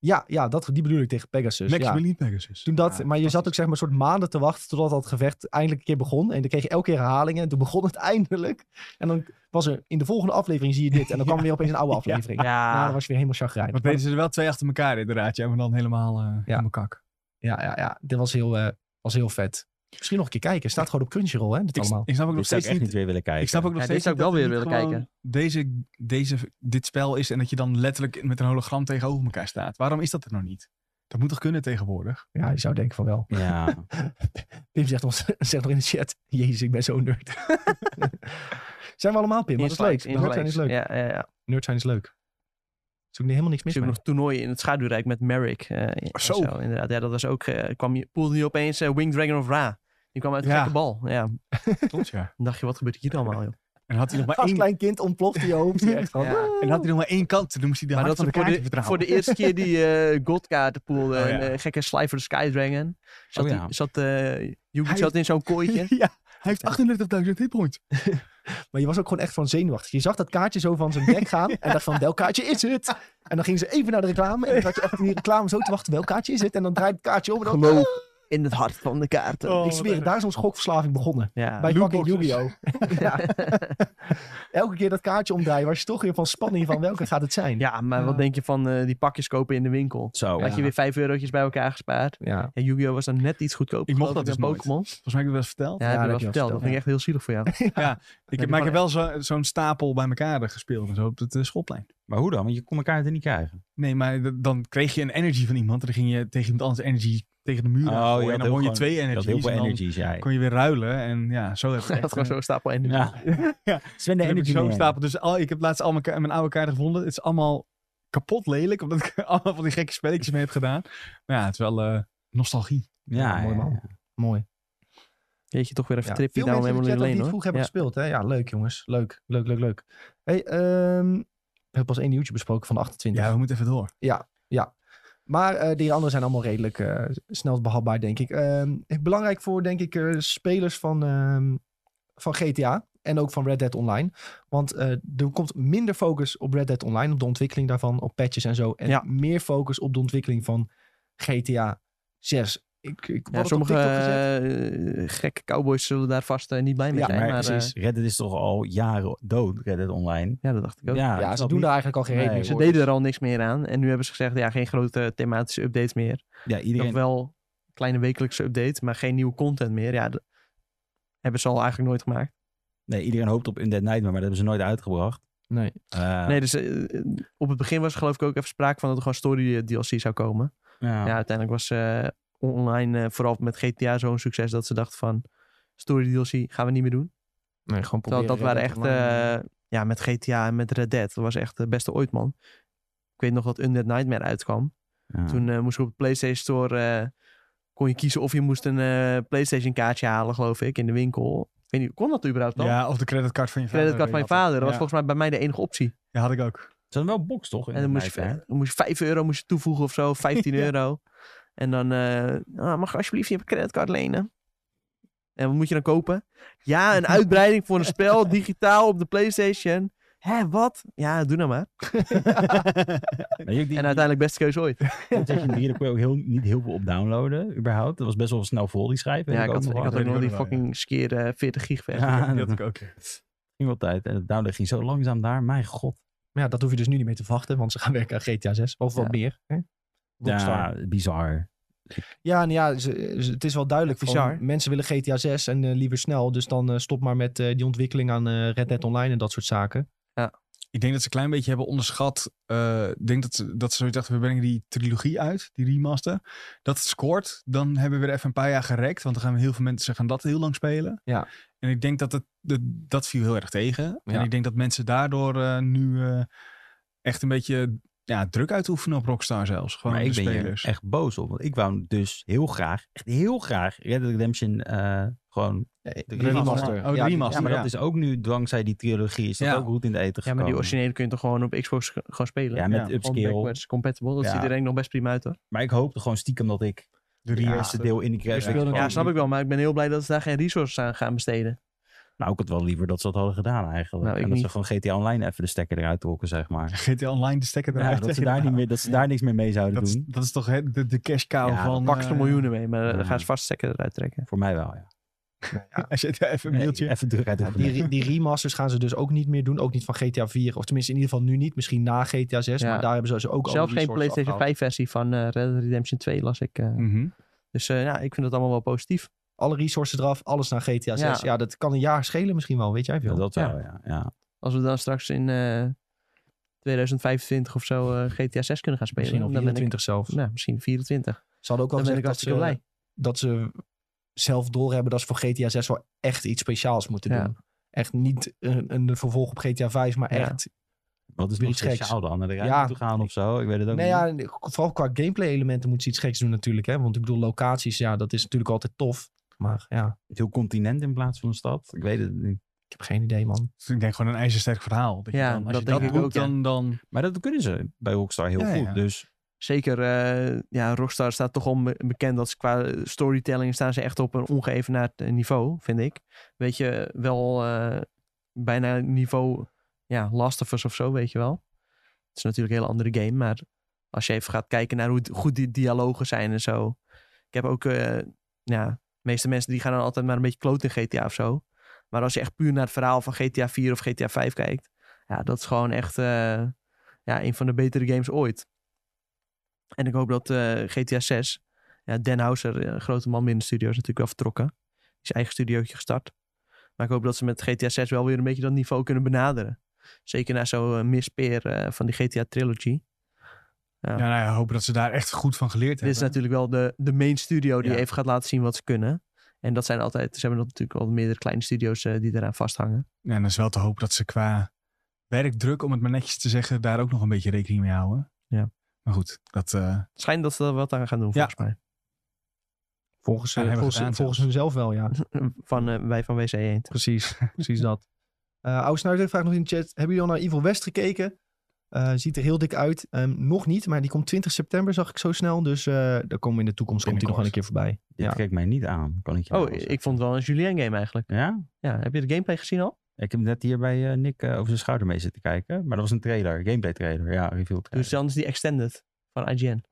Speaker 1: Ja, ja dat, die bedoel ik tegen
Speaker 3: Dus
Speaker 1: Pegasus.
Speaker 2: Max
Speaker 1: ja.
Speaker 2: Millie Pegasus.
Speaker 1: Toen dat,
Speaker 4: Ja,
Speaker 1: maar je zat ook zeg maar een soort maanden te wachten totdat dat gevecht eindelijk een keer begon. En dan kreeg je elke keer herhalingen. En toen begon het eindelijk. En dan was er, in de volgende aflevering zie je dit. En dan kwam er weer opeens een oude aflevering. Nou,
Speaker 3: Ja,
Speaker 1: dan was je weer helemaal chagrijn.
Speaker 2: Want deden ze er wel twee achter elkaar inderdaad. Ja, maar dan helemaal, eh helemaal kak.
Speaker 1: Ja, ja, ja. Dit was heel, eh, was heel vet. Misschien nog een keer kijken. Staat gewoon op Crunchyroll, hè? Dit
Speaker 2: Ik,
Speaker 1: allemaal.
Speaker 2: ik snap ook nog
Speaker 4: Dit zou
Speaker 2: steeds
Speaker 4: ik echt
Speaker 2: niet
Speaker 4: niet weer willen kijken.
Speaker 2: Ik snap ook nog
Speaker 3: Ja, dit
Speaker 2: steeds
Speaker 3: zou ik
Speaker 2: niet dat
Speaker 3: wel weer
Speaker 2: het
Speaker 3: willen
Speaker 2: niet gewoon Deze, deze, dit spel is en dat je dan letterlijk met een hologram tegenover elkaar staat. Waarom is dat er nou niet? Dat moet toch kunnen tegenwoordig?
Speaker 1: Ja, je zou denken van wel.
Speaker 4: Ja.
Speaker 1: Pim zegt, ons, zegt nog in de chat. Jezus, ik ben zo nerd. zijn we allemaal, Pim? Maar dat is leuk.
Speaker 3: Inslides,
Speaker 1: Nerd zijn is leuk.
Speaker 3: inslides. Ja, ja, ja.
Speaker 1: Nerd zijn is leuk. Er is ook niet- helemaal niks
Speaker 3: Er
Speaker 1: mis
Speaker 3: zijn
Speaker 1: mee.
Speaker 3: ook nog toernooien in het schaduwrijk met Merrick. eh, en
Speaker 2: zo.
Speaker 3: inderdaad. Ja, dat was ook, eh, kwam je, poelde je opeens eh, Winged Dragon of Ra. Die kwam uit de
Speaker 2: Ja.
Speaker 3: gekke bal. Ja, dan
Speaker 2: Klopt, ja.
Speaker 3: dacht je, wat gebeurt hier allemaal, joh?
Speaker 2: En had hij nog maar
Speaker 1: Als
Speaker 2: één,
Speaker 1: klein kind ontploft die hoofd. die echt van,
Speaker 3: Ja.
Speaker 1: "Ah."
Speaker 2: en had hij nog maar één kant. Toen moest hij de
Speaker 3: Maar
Speaker 2: hart
Speaker 3: dat
Speaker 2: van
Speaker 3: we
Speaker 2: de kaart
Speaker 3: voor de,
Speaker 2: vertrouwen.
Speaker 3: voor de eerste keer die eh godkaarten poelde.
Speaker 2: Oh, ja.
Speaker 3: en, eh, gekke Sly for the Sky Dragon. Zat,
Speaker 4: Oh,
Speaker 3: die-
Speaker 4: ja.
Speaker 3: zat, eh, Yugi
Speaker 2: Hij-
Speaker 3: zat in zo'n kooitje.
Speaker 2: Ja, hij heeft 38.000 hitpoints.
Speaker 1: Maar je was ook gewoon echt van zenuwachtig. Je zag dat kaartje zo van zijn bek gaan. En dacht van, welk kaartje is het? En dan gingen ze even naar de reclame. En dan zat je echt die reclame zo te wachten. Welk kaartje is het? En dan draait het kaartje om. En dan,
Speaker 3: Geloof in het hart van de kaarten.
Speaker 2: Oh,
Speaker 1: ik zweer, het, daar is onze schokverslaving begonnen.
Speaker 3: Ja.
Speaker 1: Bij fucking
Speaker 2: Lootboxes.
Speaker 1: Yu-Gi-Oh! Ja. Elke keer dat kaartje omdraaien was je toch weer van spanning van welke gaat het zijn.
Speaker 3: ja, maar wat
Speaker 1: Ja.
Speaker 3: denk je van eh, die pakjes kopen in de winkel?
Speaker 4: Zo.
Speaker 3: Had je weer 5 eurotjes bij elkaar gespaard.
Speaker 1: ja.
Speaker 3: Ja, Yu-Gi-Oh! was dan net iets goedkoper.
Speaker 2: Ik mocht
Speaker 3: geloof
Speaker 2: dat
Speaker 3: dan
Speaker 2: dus nooit.
Speaker 3: Pokémon.
Speaker 2: Volgens mij heb ik dat wel eens verteld.
Speaker 3: Ja, heb
Speaker 1: dat
Speaker 3: je
Speaker 1: heb
Speaker 3: wel
Speaker 1: je al
Speaker 3: verteld.
Speaker 1: verteld,
Speaker 3: Dat vind
Speaker 1: ja.
Speaker 3: ik echt heel zielig voor jou.
Speaker 2: ik
Speaker 1: die
Speaker 2: heb, maar ik heb wel zo- zo'n stapel bij elkaar gespeeld en zo op de de schoolplein.
Speaker 4: Maar hoe dan? Want je kon elkaar er niet krijgen.
Speaker 2: Nee, maar d- dan kreeg je een energy van iemand. En dan ging je tegen iemand anders energy tegen de muur.
Speaker 4: Oh,
Speaker 2: aan
Speaker 4: je
Speaker 2: gooien.
Speaker 4: had
Speaker 2: en dan
Speaker 4: heel
Speaker 2: won je
Speaker 4: gewoon-
Speaker 2: twee
Speaker 4: Dat
Speaker 2: energies.
Speaker 4: heel veel
Speaker 2: en dan
Speaker 4: energies, jij.
Speaker 2: kon je weer ruilen. En ja, zo heb ik
Speaker 3: Dat
Speaker 2: echt,
Speaker 3: was gewoon
Speaker 2: eh,
Speaker 3: zo'n stapel energie.
Speaker 4: Ja.
Speaker 2: toen
Speaker 4: Sven de
Speaker 2: heb ik
Speaker 4: energy
Speaker 2: zo'n
Speaker 4: man.
Speaker 2: stapel. Dus al, ik heb laatst al mijn, ka- mijn oude kaarten gevonden. Het is allemaal kapot lelijk. Omdat ik er allemaal van die gekke spelletjes mee heb gedaan. Maar ja, het is wel eh, nostalgie.
Speaker 3: Ah,
Speaker 4: Ja,
Speaker 1: mooi
Speaker 4: ja,
Speaker 1: man.
Speaker 4: ja.
Speaker 1: Mooi.
Speaker 3: Jeetje, toch weer even
Speaker 1: Ja.
Speaker 3: een tripje
Speaker 1: Veel
Speaker 3: down
Speaker 1: mensen in de
Speaker 3: memory
Speaker 1: chat ook
Speaker 3: lane,
Speaker 1: die het
Speaker 3: hoor.
Speaker 1: vroeg hebben
Speaker 3: Ja.
Speaker 1: gespeeld. Hè? Ja, leuk jongens. Leuk, leuk, leuk, leuk. Hey, ehm, we hebben pas één nieuwtje besproken van de 28.
Speaker 2: Ja, we moeten even door.
Speaker 1: Maar eh, die anderen zijn allemaal redelijk eh, snel behapbaar, denk ik. Ehm, belangrijk voor, denk ik, eh, spelers van, ehm, van GTA en ook van Red Dead Online. Want eh, er komt minder focus op Red Dead Online, op de ontwikkeling daarvan, op patches en zo. En
Speaker 3: Ja.
Speaker 1: meer focus op de ontwikkeling van GTA 6. Ik, ik
Speaker 3: Ja,
Speaker 1: had het op
Speaker 3: sommige
Speaker 1: TikTok gezet.
Speaker 3: eh, gekke cowboys zullen daar vast eh, niet blij mee
Speaker 1: Ja,
Speaker 3: zijn.
Speaker 4: Maar
Speaker 3: Maar, eh,
Speaker 4: precies, Reddit is toch al jaren dood, Reddit online.
Speaker 3: ja, dat dacht ik ook.
Speaker 4: Ja,
Speaker 1: ja,
Speaker 4: ik
Speaker 1: ze
Speaker 4: snap
Speaker 1: doen
Speaker 4: niet-
Speaker 1: daar eigenlijk al geen reden
Speaker 4: Nee,
Speaker 1: meer
Speaker 3: Ze
Speaker 1: voor.
Speaker 3: deden er al niks meer aan. En nu hebben ze gezegd, ja, geen grote thematische updates meer.
Speaker 4: Ja,
Speaker 3: Nog
Speaker 4: iedereen...
Speaker 3: wel kleine wekelijkse update, maar geen nieuwe content meer. Ja, dat hebben ze al eigenlijk nooit gemaakt.
Speaker 4: Nee, iedereen hoopt op In Dead Nightmare, maar dat hebben ze nooit uitgebracht.
Speaker 1: Nee.
Speaker 4: Eh,
Speaker 3: Nee, dus eh, eh, op het begin was er geloof ik ook even sprake van dat er gewoon story eh, DLC zou komen.
Speaker 4: ja.
Speaker 3: Ja, uiteindelijk was eh, online, eh, vooral met GTA, zo'n succes dat ze dachten van... Story DLC gaan we niet meer doen.
Speaker 1: nee, gewoon
Speaker 3: Terwijl
Speaker 1: proberen
Speaker 3: dat
Speaker 1: Red
Speaker 3: waren
Speaker 1: Dead
Speaker 3: echt...
Speaker 1: Online,
Speaker 3: eh, ja, met GTA en met Red Dead. Dat was echt de beste ooit, man. Ik weet nog dat Undead Nightmare uitkwam.
Speaker 4: Ja.
Speaker 3: Toen eh, moest ik op de PlayStation Store... eh, kon je kiezen of je moest een eh, PlayStation kaartje halen, geloof ik, in de winkel. Ik weet niet, kon dat überhaupt dan?
Speaker 2: Ja, of de creditcard van je vader.
Speaker 3: Creditcard van je vader. Dat was volgens mij bij mij de enige optie.
Speaker 2: Ja, had ik ook.
Speaker 4: Ze hadden wel box, toch? In
Speaker 3: En dan
Speaker 4: Dead
Speaker 3: moest je,
Speaker 4: Nightmare?
Speaker 3: dan moest je 5 euro moest je toevoegen of zo, 15
Speaker 2: Ja.
Speaker 3: euro. En dan eh, ah, mag je alsjeblieft je creditcard lenen. En wat moet je dan kopen? Ja, een uitbreiding voor een spel, digitaal op de PlayStation. Hé, wat? Ja, doe nou maar.
Speaker 4: Maar je- die-
Speaker 3: En uiteindelijk beste keuze ooit.
Speaker 4: die PlayStation 3, daar kon je ook heel, niet heel veel op downloaden, überhaupt. Dat was best wel snel vol, die schijf. weet
Speaker 3: Ja, ik
Speaker 4: ook
Speaker 3: had,
Speaker 4: nog
Speaker 3: ik
Speaker 4: wel.
Speaker 3: had
Speaker 2: dat
Speaker 3: ook nog
Speaker 2: doen
Speaker 3: die
Speaker 2: we wel, ja.
Speaker 3: fucking skeer eh, 40 gig weg.
Speaker 4: Ja,
Speaker 2: Die
Speaker 4: dat
Speaker 2: had ik ook. ja.
Speaker 4: ging wel tijd. En het downloaden ging zo langzaam daar. Mijn god.
Speaker 1: Maar ja, dat hoef je dus nu niet meer te wachten, want ze gaan werken aan GTA 6. Of wat
Speaker 3: Ja.
Speaker 1: meer. Hè? Rockstar.
Speaker 4: Ja, bizar.
Speaker 1: Ja, nou ja, ze- ze- het is wel duidelijk.
Speaker 3: Bizar.
Speaker 1: Van, mensen willen GTA 6 en eh, liever snel. Dus dan eh, stop maar met eh, die ontwikkeling aan eh, Red Dead Online en dat soort zaken.
Speaker 2: Ik denk dat ze een klein beetje hebben onderschat. eh, ik denk dat ze, dat ze zoiets dachten, we brengen die trilogie uit, die remaster. Dat het scoort, dan hebben we weer even een paar jaar gerekt. Want dan gaan we heel veel mensen gaan dat heel lang spelen.
Speaker 1: Ja.
Speaker 2: En ik denk dat het, dat, dat viel heel erg tegen.
Speaker 1: Ja.
Speaker 2: En ik denk dat mensen daardoor eh, nu eh, echt een beetje ja, druk uitoefenen op Rockstar zelfs. Gewoon
Speaker 4: maar
Speaker 2: de
Speaker 4: ik ben
Speaker 2: spelers.
Speaker 4: hier echt boos op. Want ik wou dus heel graag, echt heel graag, Red Dead Redemption eh, gewoon...
Speaker 1: De
Speaker 2: remaster. Oh, de
Speaker 1: ja,
Speaker 2: remaster.
Speaker 4: Ja, maar
Speaker 2: ja.
Speaker 4: dat is ook nu, dankzij die trilogie, is dat
Speaker 2: Ja.
Speaker 4: ook goed in de eten
Speaker 3: Ja,
Speaker 4: gekomen.
Speaker 3: maar die originele kun je toch gewoon op Xbox ge- gewoon spelen?
Speaker 4: Ja, met
Speaker 2: Ja,
Speaker 3: Gewoon
Speaker 4: upscale.
Speaker 3: backwards compatible. Dat
Speaker 4: Ja.
Speaker 3: ziet er eigenlijk nog best prima uit hoor.
Speaker 4: Maar ik hoopte gewoon stiekem dat ik
Speaker 2: De
Speaker 4: de
Speaker 2: remaster.
Speaker 4: eerste deel in die graphics...
Speaker 2: speelde
Speaker 4: van-
Speaker 2: Oh,
Speaker 3: Ja, snap ik wel. Maar ik ben heel blij dat ze daar geen resources aan gaan besteden.
Speaker 4: Nou, ik had wel liever dat ze dat hadden gedaan eigenlijk.
Speaker 3: Nou, ik
Speaker 4: en dat
Speaker 3: niet.
Speaker 4: ze gewoon GTA Online even de stekker eruit trokken, zeg maar.
Speaker 2: GTA Online de stekker
Speaker 4: Ja,
Speaker 2: eruit.
Speaker 4: dat, ze daar niet meer, dat ze daar niks meer mee zouden
Speaker 2: dat, is,
Speaker 4: doen.
Speaker 2: dat is toch hè, de, de cash cow
Speaker 4: Ja,
Speaker 2: van...
Speaker 4: dat
Speaker 3: pak ze er
Speaker 2: eh,
Speaker 3: miljoenen mee, maar dan
Speaker 4: ja.
Speaker 3: gaan ze vast zeker eruit trekken.
Speaker 4: Voor mij wel, ja.
Speaker 2: Als je ja, even een
Speaker 4: Nee,
Speaker 2: mailtje...
Speaker 4: even druk uit de
Speaker 1: Die, re- die remasters gaan ze dus ook niet meer doen. Ook niet van GTA 4. Of tenminste in ieder geval nu niet. Misschien na GTA 6.
Speaker 3: Ja.
Speaker 1: Maar daar hebben ze dus ook al
Speaker 3: Zelf geen PlayStation 5 versie van eh Red Dead Redemption 2 las ik. eh.
Speaker 2: Mhm.
Speaker 3: Dus eh, ja, ik vind het allemaal wel positief.
Speaker 1: Alle resources eraf, alles naar GTA 6. Ja,
Speaker 3: Ja.
Speaker 1: dat kan een jaar schelen misschien wel, weet jij veel.
Speaker 4: Ja, dat
Speaker 3: Ja.
Speaker 4: wel, ja. ja.
Speaker 3: Als we dan straks in eh, 2025 of zo eh, GTA 6 kunnen gaan spelen.
Speaker 1: misschien nog
Speaker 3: dan ben
Speaker 1: 24
Speaker 3: ik,
Speaker 1: zelf.
Speaker 3: nou, misschien 24.
Speaker 1: Ze hadden ook wel
Speaker 3: Dan
Speaker 1: gezegd
Speaker 3: ben ik
Speaker 1: dat ze,
Speaker 3: hartstikke blij.
Speaker 1: dat ze zelf doorhebben dat ze voor GTA 6 wel echt iets speciaals moeten
Speaker 3: Ja.
Speaker 1: doen. Echt niet een, een vervolg op GTA 5, maar
Speaker 3: Ja.
Speaker 1: echt.
Speaker 4: Wat is
Speaker 1: Weer
Speaker 4: nog
Speaker 1: iets geks.
Speaker 4: speciaal dan? Naar de ruimte
Speaker 1: Ja.
Speaker 4: toe gaan of zo? Ik weet het ook
Speaker 1: Nou
Speaker 4: niet.
Speaker 1: ja, vooral qua gameplay-elementen moeten ze iets geks doen natuurlijk. Hè? Want ik bedoel, locaties, ja, dat is natuurlijk altijd tof. Maar ja,
Speaker 4: Een heel continent in plaats van een stad. Ik weet het niet.
Speaker 1: ik heb geen idee, man.
Speaker 2: Dus ik denk gewoon een ijzersterk verhaal. Dat je
Speaker 3: Ja,
Speaker 2: dan, als
Speaker 3: dat
Speaker 2: je dat
Speaker 3: denk ik
Speaker 2: doet,
Speaker 3: ook, ja.
Speaker 2: dan, dan...
Speaker 4: Maar dat kunnen ze bij Rockstar heel
Speaker 2: Ja,
Speaker 4: goed.
Speaker 2: ja.
Speaker 4: Dus
Speaker 3: Zeker, eh, ja, Rockstar staat toch om bekend dat ze qua storytelling staan ze echt op een ongeëvenaard eh, niveau, vind ik. Weet je, wel eh, bijna niveau ja, Last of Us of zo, weet je wel. Het is natuurlijk een hele andere game, maar als je even gaat kijken naar hoe d- goed die dialogen zijn en zo. Ik heb ook, eh, ja, de meeste mensen die gaan dan altijd maar een beetje kloot in GTA of zo. Maar als je echt puur naar het verhaal van GTA 4 of GTA 5 kijkt, ja, dat is gewoon echt eh, ja, een van de betere games ooit. En ik hoop dat eh, GTA 6, ja, Dan Houser, eh, grote man binnen de studio, is natuurlijk wel vertrokken. Die is eigen studiootje gestart. Maar ik hoop dat ze met GTA 6 wel weer een beetje dat niveau kunnen benaderen. Zeker na zo'n eh, mispeer eh, van die GTA trilogy.
Speaker 2: Ja.
Speaker 3: Ja.
Speaker 2: nou ja, hopen dat ze daar echt goed van geleerd
Speaker 3: Dit is
Speaker 2: hebben.
Speaker 3: natuurlijk wel de, de main studio die
Speaker 2: Ja.
Speaker 3: even gaat laten zien wat ze kunnen. En dat zijn altijd, ze hebben natuurlijk al meerdere kleine studio's eh, die eraan vasthangen.
Speaker 2: Ja, en dan is wel te hopen dat ze qua werkdruk, om het maar netjes te zeggen, daar ook nog een beetje rekening mee houden.
Speaker 3: Ja.
Speaker 2: Maar goed, dat... eh,
Speaker 3: Het schijnt dat ze er wat aan gaan doen,
Speaker 2: Ja.
Speaker 3: volgens mij.
Speaker 1: Volgens,
Speaker 2: Ja,
Speaker 1: eh,
Speaker 2: hebben we
Speaker 1: volgens,
Speaker 2: gedaan
Speaker 1: volgens hunzelf wel, ja.
Speaker 3: Van eh, wij van WC Eend.
Speaker 1: Precies, precies dat. Eh Oude Snuiter vraagt nog in de chat. Hebben jullie al naar Evil West gekeken? Eh, ziet er heel dik uit. Ehm, nog niet, maar die komt 20 september, zag ik zo snel. Dus eh, daar komen we in de toekomst komt die nog wel een keer voorbij.
Speaker 4: dit
Speaker 1: Ja.
Speaker 4: kijkt mij niet aan, kan ik
Speaker 3: Oh,
Speaker 4: je nou wel
Speaker 3: ik
Speaker 4: zeggen.
Speaker 3: vond het wel een Julien game eigenlijk.
Speaker 4: Ja?
Speaker 3: Ja, heb je de gameplay gezien al?
Speaker 4: Ik heb net hier bij eh, Nick eh, over zijn schouder mee zitten kijken. Maar dat was een trailer, gameplay trailer. Ja, reveal trailer.
Speaker 3: Dus dan is die extended van IGN.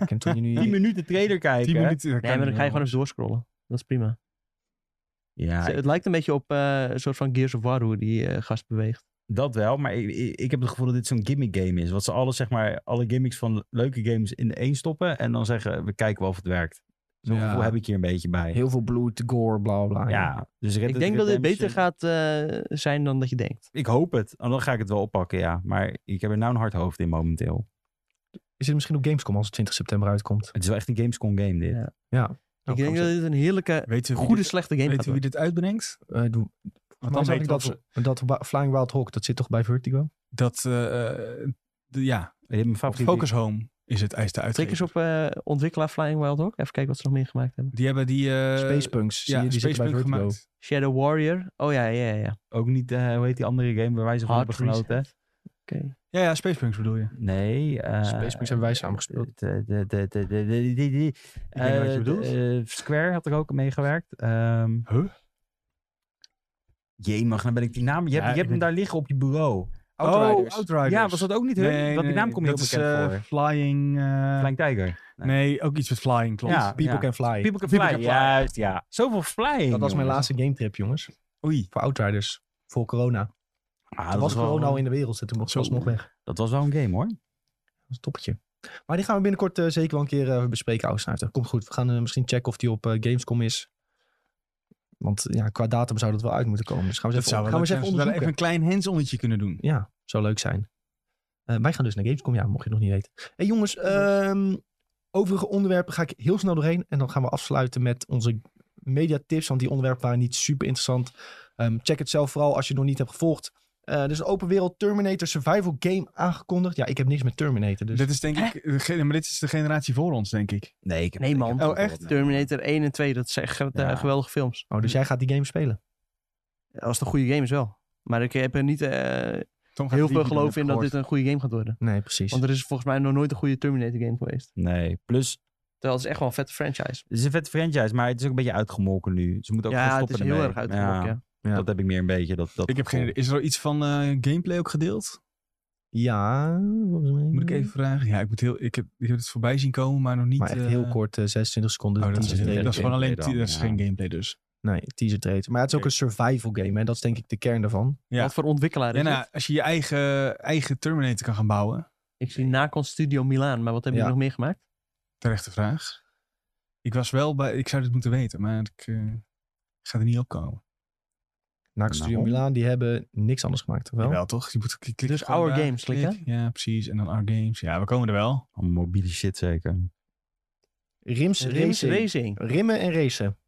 Speaker 1: Ik ken toen je nu...
Speaker 4: 10 minuten trailer kijken.
Speaker 2: 10 minuten. dat kan
Speaker 3: Nee, maar dan
Speaker 2: niet
Speaker 3: ga
Speaker 2: wel.
Speaker 3: je gewoon even doorscrollen. Dat is prima.
Speaker 4: Ja,
Speaker 3: Ze- het lijkt een beetje op eh, een soort van Gears of War hoe die eh, gast beweegt.
Speaker 4: dat wel. Maar ik, ik, ik heb het gevoel dat dit zo'n gimmick game is. Wat ze alles, zeg maar, alle gimmicks van leuke games in één stoppen. En dan zeggen, we kijken wel of het werkt. Zo'n
Speaker 2: Ja.
Speaker 4: gevoel heb ik hier een beetje bij.
Speaker 1: Heel veel bloed, gore, bla bla.
Speaker 4: ja, dus Red
Speaker 3: ik
Speaker 4: Dead
Speaker 3: denk dat dit beter
Speaker 4: Redemption-
Speaker 3: gaat eh, zijn dan dat je denkt.
Speaker 4: Ik hoop het. En dan ga ik het wel oppakken, ja. Maar ik heb er nou een hard hoofd in momenteel.
Speaker 1: Is het misschien op Gamescom als het 20 september uitkomt?
Speaker 4: Het is wel echt een Gamescom game dit.
Speaker 3: Ja.
Speaker 1: Nou,
Speaker 3: ik denk
Speaker 1: gaan
Speaker 3: dat
Speaker 1: we
Speaker 3: dit een heerlijke,
Speaker 2: Weten we wie
Speaker 3: goede,
Speaker 2: dit-
Speaker 3: slechte game gaat
Speaker 2: Weten we
Speaker 3: worden.
Speaker 2: wie dit uitbrengt?
Speaker 1: ze- eh, doe-
Speaker 2: Want
Speaker 1: Maar
Speaker 2: dan
Speaker 1: zag
Speaker 2: weten
Speaker 1: ik
Speaker 2: we of ze-
Speaker 1: dat, dat Wa- Flying Wild Hawk, dat zit toch bij Vertigo?
Speaker 2: dat... eh, eh, de- ja,
Speaker 4: Je hebt mijn
Speaker 2: op
Speaker 4: favoriete...
Speaker 2: Focus Home is het ijs de
Speaker 3: Klik eens
Speaker 2: uitgever.
Speaker 3: op eh, ontwikkelaar Flying Wild Hawk. Even kijken wat ze nog meer gemaakt hebben.
Speaker 2: Die hebben die... eh
Speaker 1: Spacepunks, zie
Speaker 2: ja,
Speaker 1: je, die zitten bij
Speaker 2: Spacepunk
Speaker 1: Vertigo.
Speaker 2: gemaakt.
Speaker 3: Shadow Warrior. Oh ja, ja, ja, ja.
Speaker 4: Ook niet, eh, hoe heet die andere game waar wij zo van
Speaker 3: Hard
Speaker 4: hebben genoten?
Speaker 3: Reset. Oké.
Speaker 2: Ja, ja, Spacepunks bedoel je.
Speaker 4: Nee. eh
Speaker 1: Spacepunks hebben wij samen gespeeld.
Speaker 4: de- eh, de- de- de- de- de- de- de-
Speaker 2: Ik denk wat je
Speaker 4: eh,
Speaker 2: bedoelt.
Speaker 4: de- eh, Square had er ook aan meegewerkt. Ehm
Speaker 2: Huh?
Speaker 4: Jemig, dan ben ik die naam. Je hebt,
Speaker 2: Ja,
Speaker 4: je hebt
Speaker 2: ik
Speaker 4: hem
Speaker 2: ben-
Speaker 4: daar liggen op je bureau.
Speaker 2: Outriders. Oh, Outriders.
Speaker 4: Ja, was dat ook niet hun?
Speaker 2: Nee,
Speaker 4: Want die
Speaker 2: nee,
Speaker 4: naam kom je
Speaker 2: dat
Speaker 4: heel
Speaker 2: is,
Speaker 4: bekend
Speaker 2: eh,
Speaker 4: voor.
Speaker 2: Flying... eh,
Speaker 4: Flying Tiger.
Speaker 2: Nee, ook iets met flying, klopt.
Speaker 4: Ja.
Speaker 1: People Can Fly.
Speaker 4: People Can
Speaker 2: People
Speaker 4: Fly.
Speaker 2: Can Fly.
Speaker 4: Juist, ja. Zoveel
Speaker 2: eh,
Speaker 4: flying.
Speaker 1: dat was mijn
Speaker 4: jongens.
Speaker 1: laatste gametrip, jongens.
Speaker 2: Oei.
Speaker 1: Voor Outriders. Voor corona.
Speaker 4: Ah,
Speaker 1: Toen
Speaker 4: dat
Speaker 1: was
Speaker 4: wel-
Speaker 1: corona al in de wereld. en Toen mocht
Speaker 2: Zo.
Speaker 1: was nog weg. Dat
Speaker 4: Dat was wel een game hoor.
Speaker 1: was een toppetje. Maar die gaan we binnenkort eh, zeker wel een keer eh, bespreken, Oudsnuiter. Komt goed. We gaan eh, misschien checken of die op eh, Gamescom is. Want ja, qua datum zou dat wel uit moeten komen. Dus gaan we
Speaker 2: Dat
Speaker 1: eens
Speaker 2: zou
Speaker 1: even,
Speaker 2: wel
Speaker 1: gaan we
Speaker 2: leuk
Speaker 1: eens
Speaker 2: zijn
Speaker 1: even
Speaker 2: als we
Speaker 1: onderzoeken.
Speaker 2: daar even een klein hands-onnetje kunnen doen.
Speaker 1: Ja, zou leuk zijn. Eh, wij gaan dus naar Gamescom, ja, mocht je het nog niet weten. hey, jongens, ehm, overige onderwerpen ga ik heel snel doorheen. En dan gaan we afsluiten met onze mediatips. Want die onderwerpen waren niet super interessant. Ehm, check het zelf vooral als je het nog niet hebt gevolgd. Eh, er is een open wereld Terminator Survival Game aangekondigd. Ja, ik heb niks met Terminator. Dus
Speaker 2: Dit is denk ik... de ge- Maar dit is de generatie voor ons, denk ik.
Speaker 4: Nee, ik heb
Speaker 3: Nee,
Speaker 4: ik
Speaker 3: man.
Speaker 4: heb
Speaker 2: Oh,
Speaker 4: het
Speaker 2: echt?
Speaker 4: gehoord, nee.
Speaker 3: Terminator 1 en 2, dat zijn ge-
Speaker 4: Ja.
Speaker 3: eh, geweldige films.
Speaker 1: Oh, dus jij gaat die game spelen?
Speaker 3: Als het een goede game is wel. Maar ik heb er niet eh,
Speaker 2: Tom gaat
Speaker 3: heel
Speaker 2: het
Speaker 3: veel
Speaker 2: liedje doen,
Speaker 3: geloof
Speaker 2: heb
Speaker 3: in
Speaker 2: ik
Speaker 3: dat
Speaker 2: gehoord.
Speaker 3: dit een goede game gaat worden.
Speaker 1: Nee, precies.
Speaker 3: Want er is volgens mij nog nooit een goede Terminator game geweest.
Speaker 4: Nee, plus
Speaker 3: Terwijl het is echt wel een vette franchise.
Speaker 4: het is een vette franchise, maar het is ook een beetje uitgemolken nu. Ze moeten ook gaan
Speaker 3: ja, het
Speaker 4: stoppen
Speaker 3: is heel
Speaker 4: ermee.
Speaker 3: erg uitgewokken.
Speaker 4: Ja,
Speaker 3: Ja.
Speaker 1: Ja.
Speaker 4: Dat heb ik meer een beetje. Dat, dat
Speaker 2: Ik heb geen idee. Is er al iets van eh, gameplay ook gedeeld?
Speaker 1: Ja, volgens mij.
Speaker 2: Moet ik even vragen? Ja, ik, moet heel, ik, heb, ik heb het voorbij zien komen, maar nog niet...
Speaker 1: Maar echt
Speaker 2: eh,
Speaker 1: heel kort, eh, 26 seconden.
Speaker 2: Oh, dat, is,
Speaker 1: teaser
Speaker 2: dat is
Speaker 1: trailer.
Speaker 2: gewoon alleen...
Speaker 4: dan,
Speaker 2: dat is
Speaker 4: ja.
Speaker 2: geen gameplay dus.
Speaker 1: Nee, teaser trailer. Maar ja, het is ook een survival game, hè. Dat is denk ik de kern daarvan.
Speaker 2: Ja.
Speaker 3: Wat voor ontwikkelaar is
Speaker 2: Ja, nou,
Speaker 3: het?
Speaker 2: als je je eigen, eigen Terminator kan gaan bouwen.
Speaker 3: Ik zie Nacon Studio Milaan, maar wat hebben
Speaker 1: Ja.
Speaker 3: jullie nog meer gemaakt?
Speaker 2: Terechte vraag. Ik was wel bij... Ik zou dit moeten weten, maar ik eh, ga er niet op komen.
Speaker 1: Naak Studio
Speaker 4: Nou.
Speaker 1: Milaan, die hebben niks anders gemaakt, toch wel?
Speaker 2: Wel toch? Je moet, klik, klik
Speaker 3: Dus
Speaker 2: gewoon
Speaker 3: Our
Speaker 2: daar,
Speaker 3: Games
Speaker 2: klik.
Speaker 3: klikken?
Speaker 2: Ja, precies. En dan Our Games. Ja, we komen er wel.
Speaker 4: Allemaal mobiele shit zeker.
Speaker 1: Rims,
Speaker 3: Rims
Speaker 1: racing.
Speaker 3: Racing.
Speaker 1: Rimmen en racen.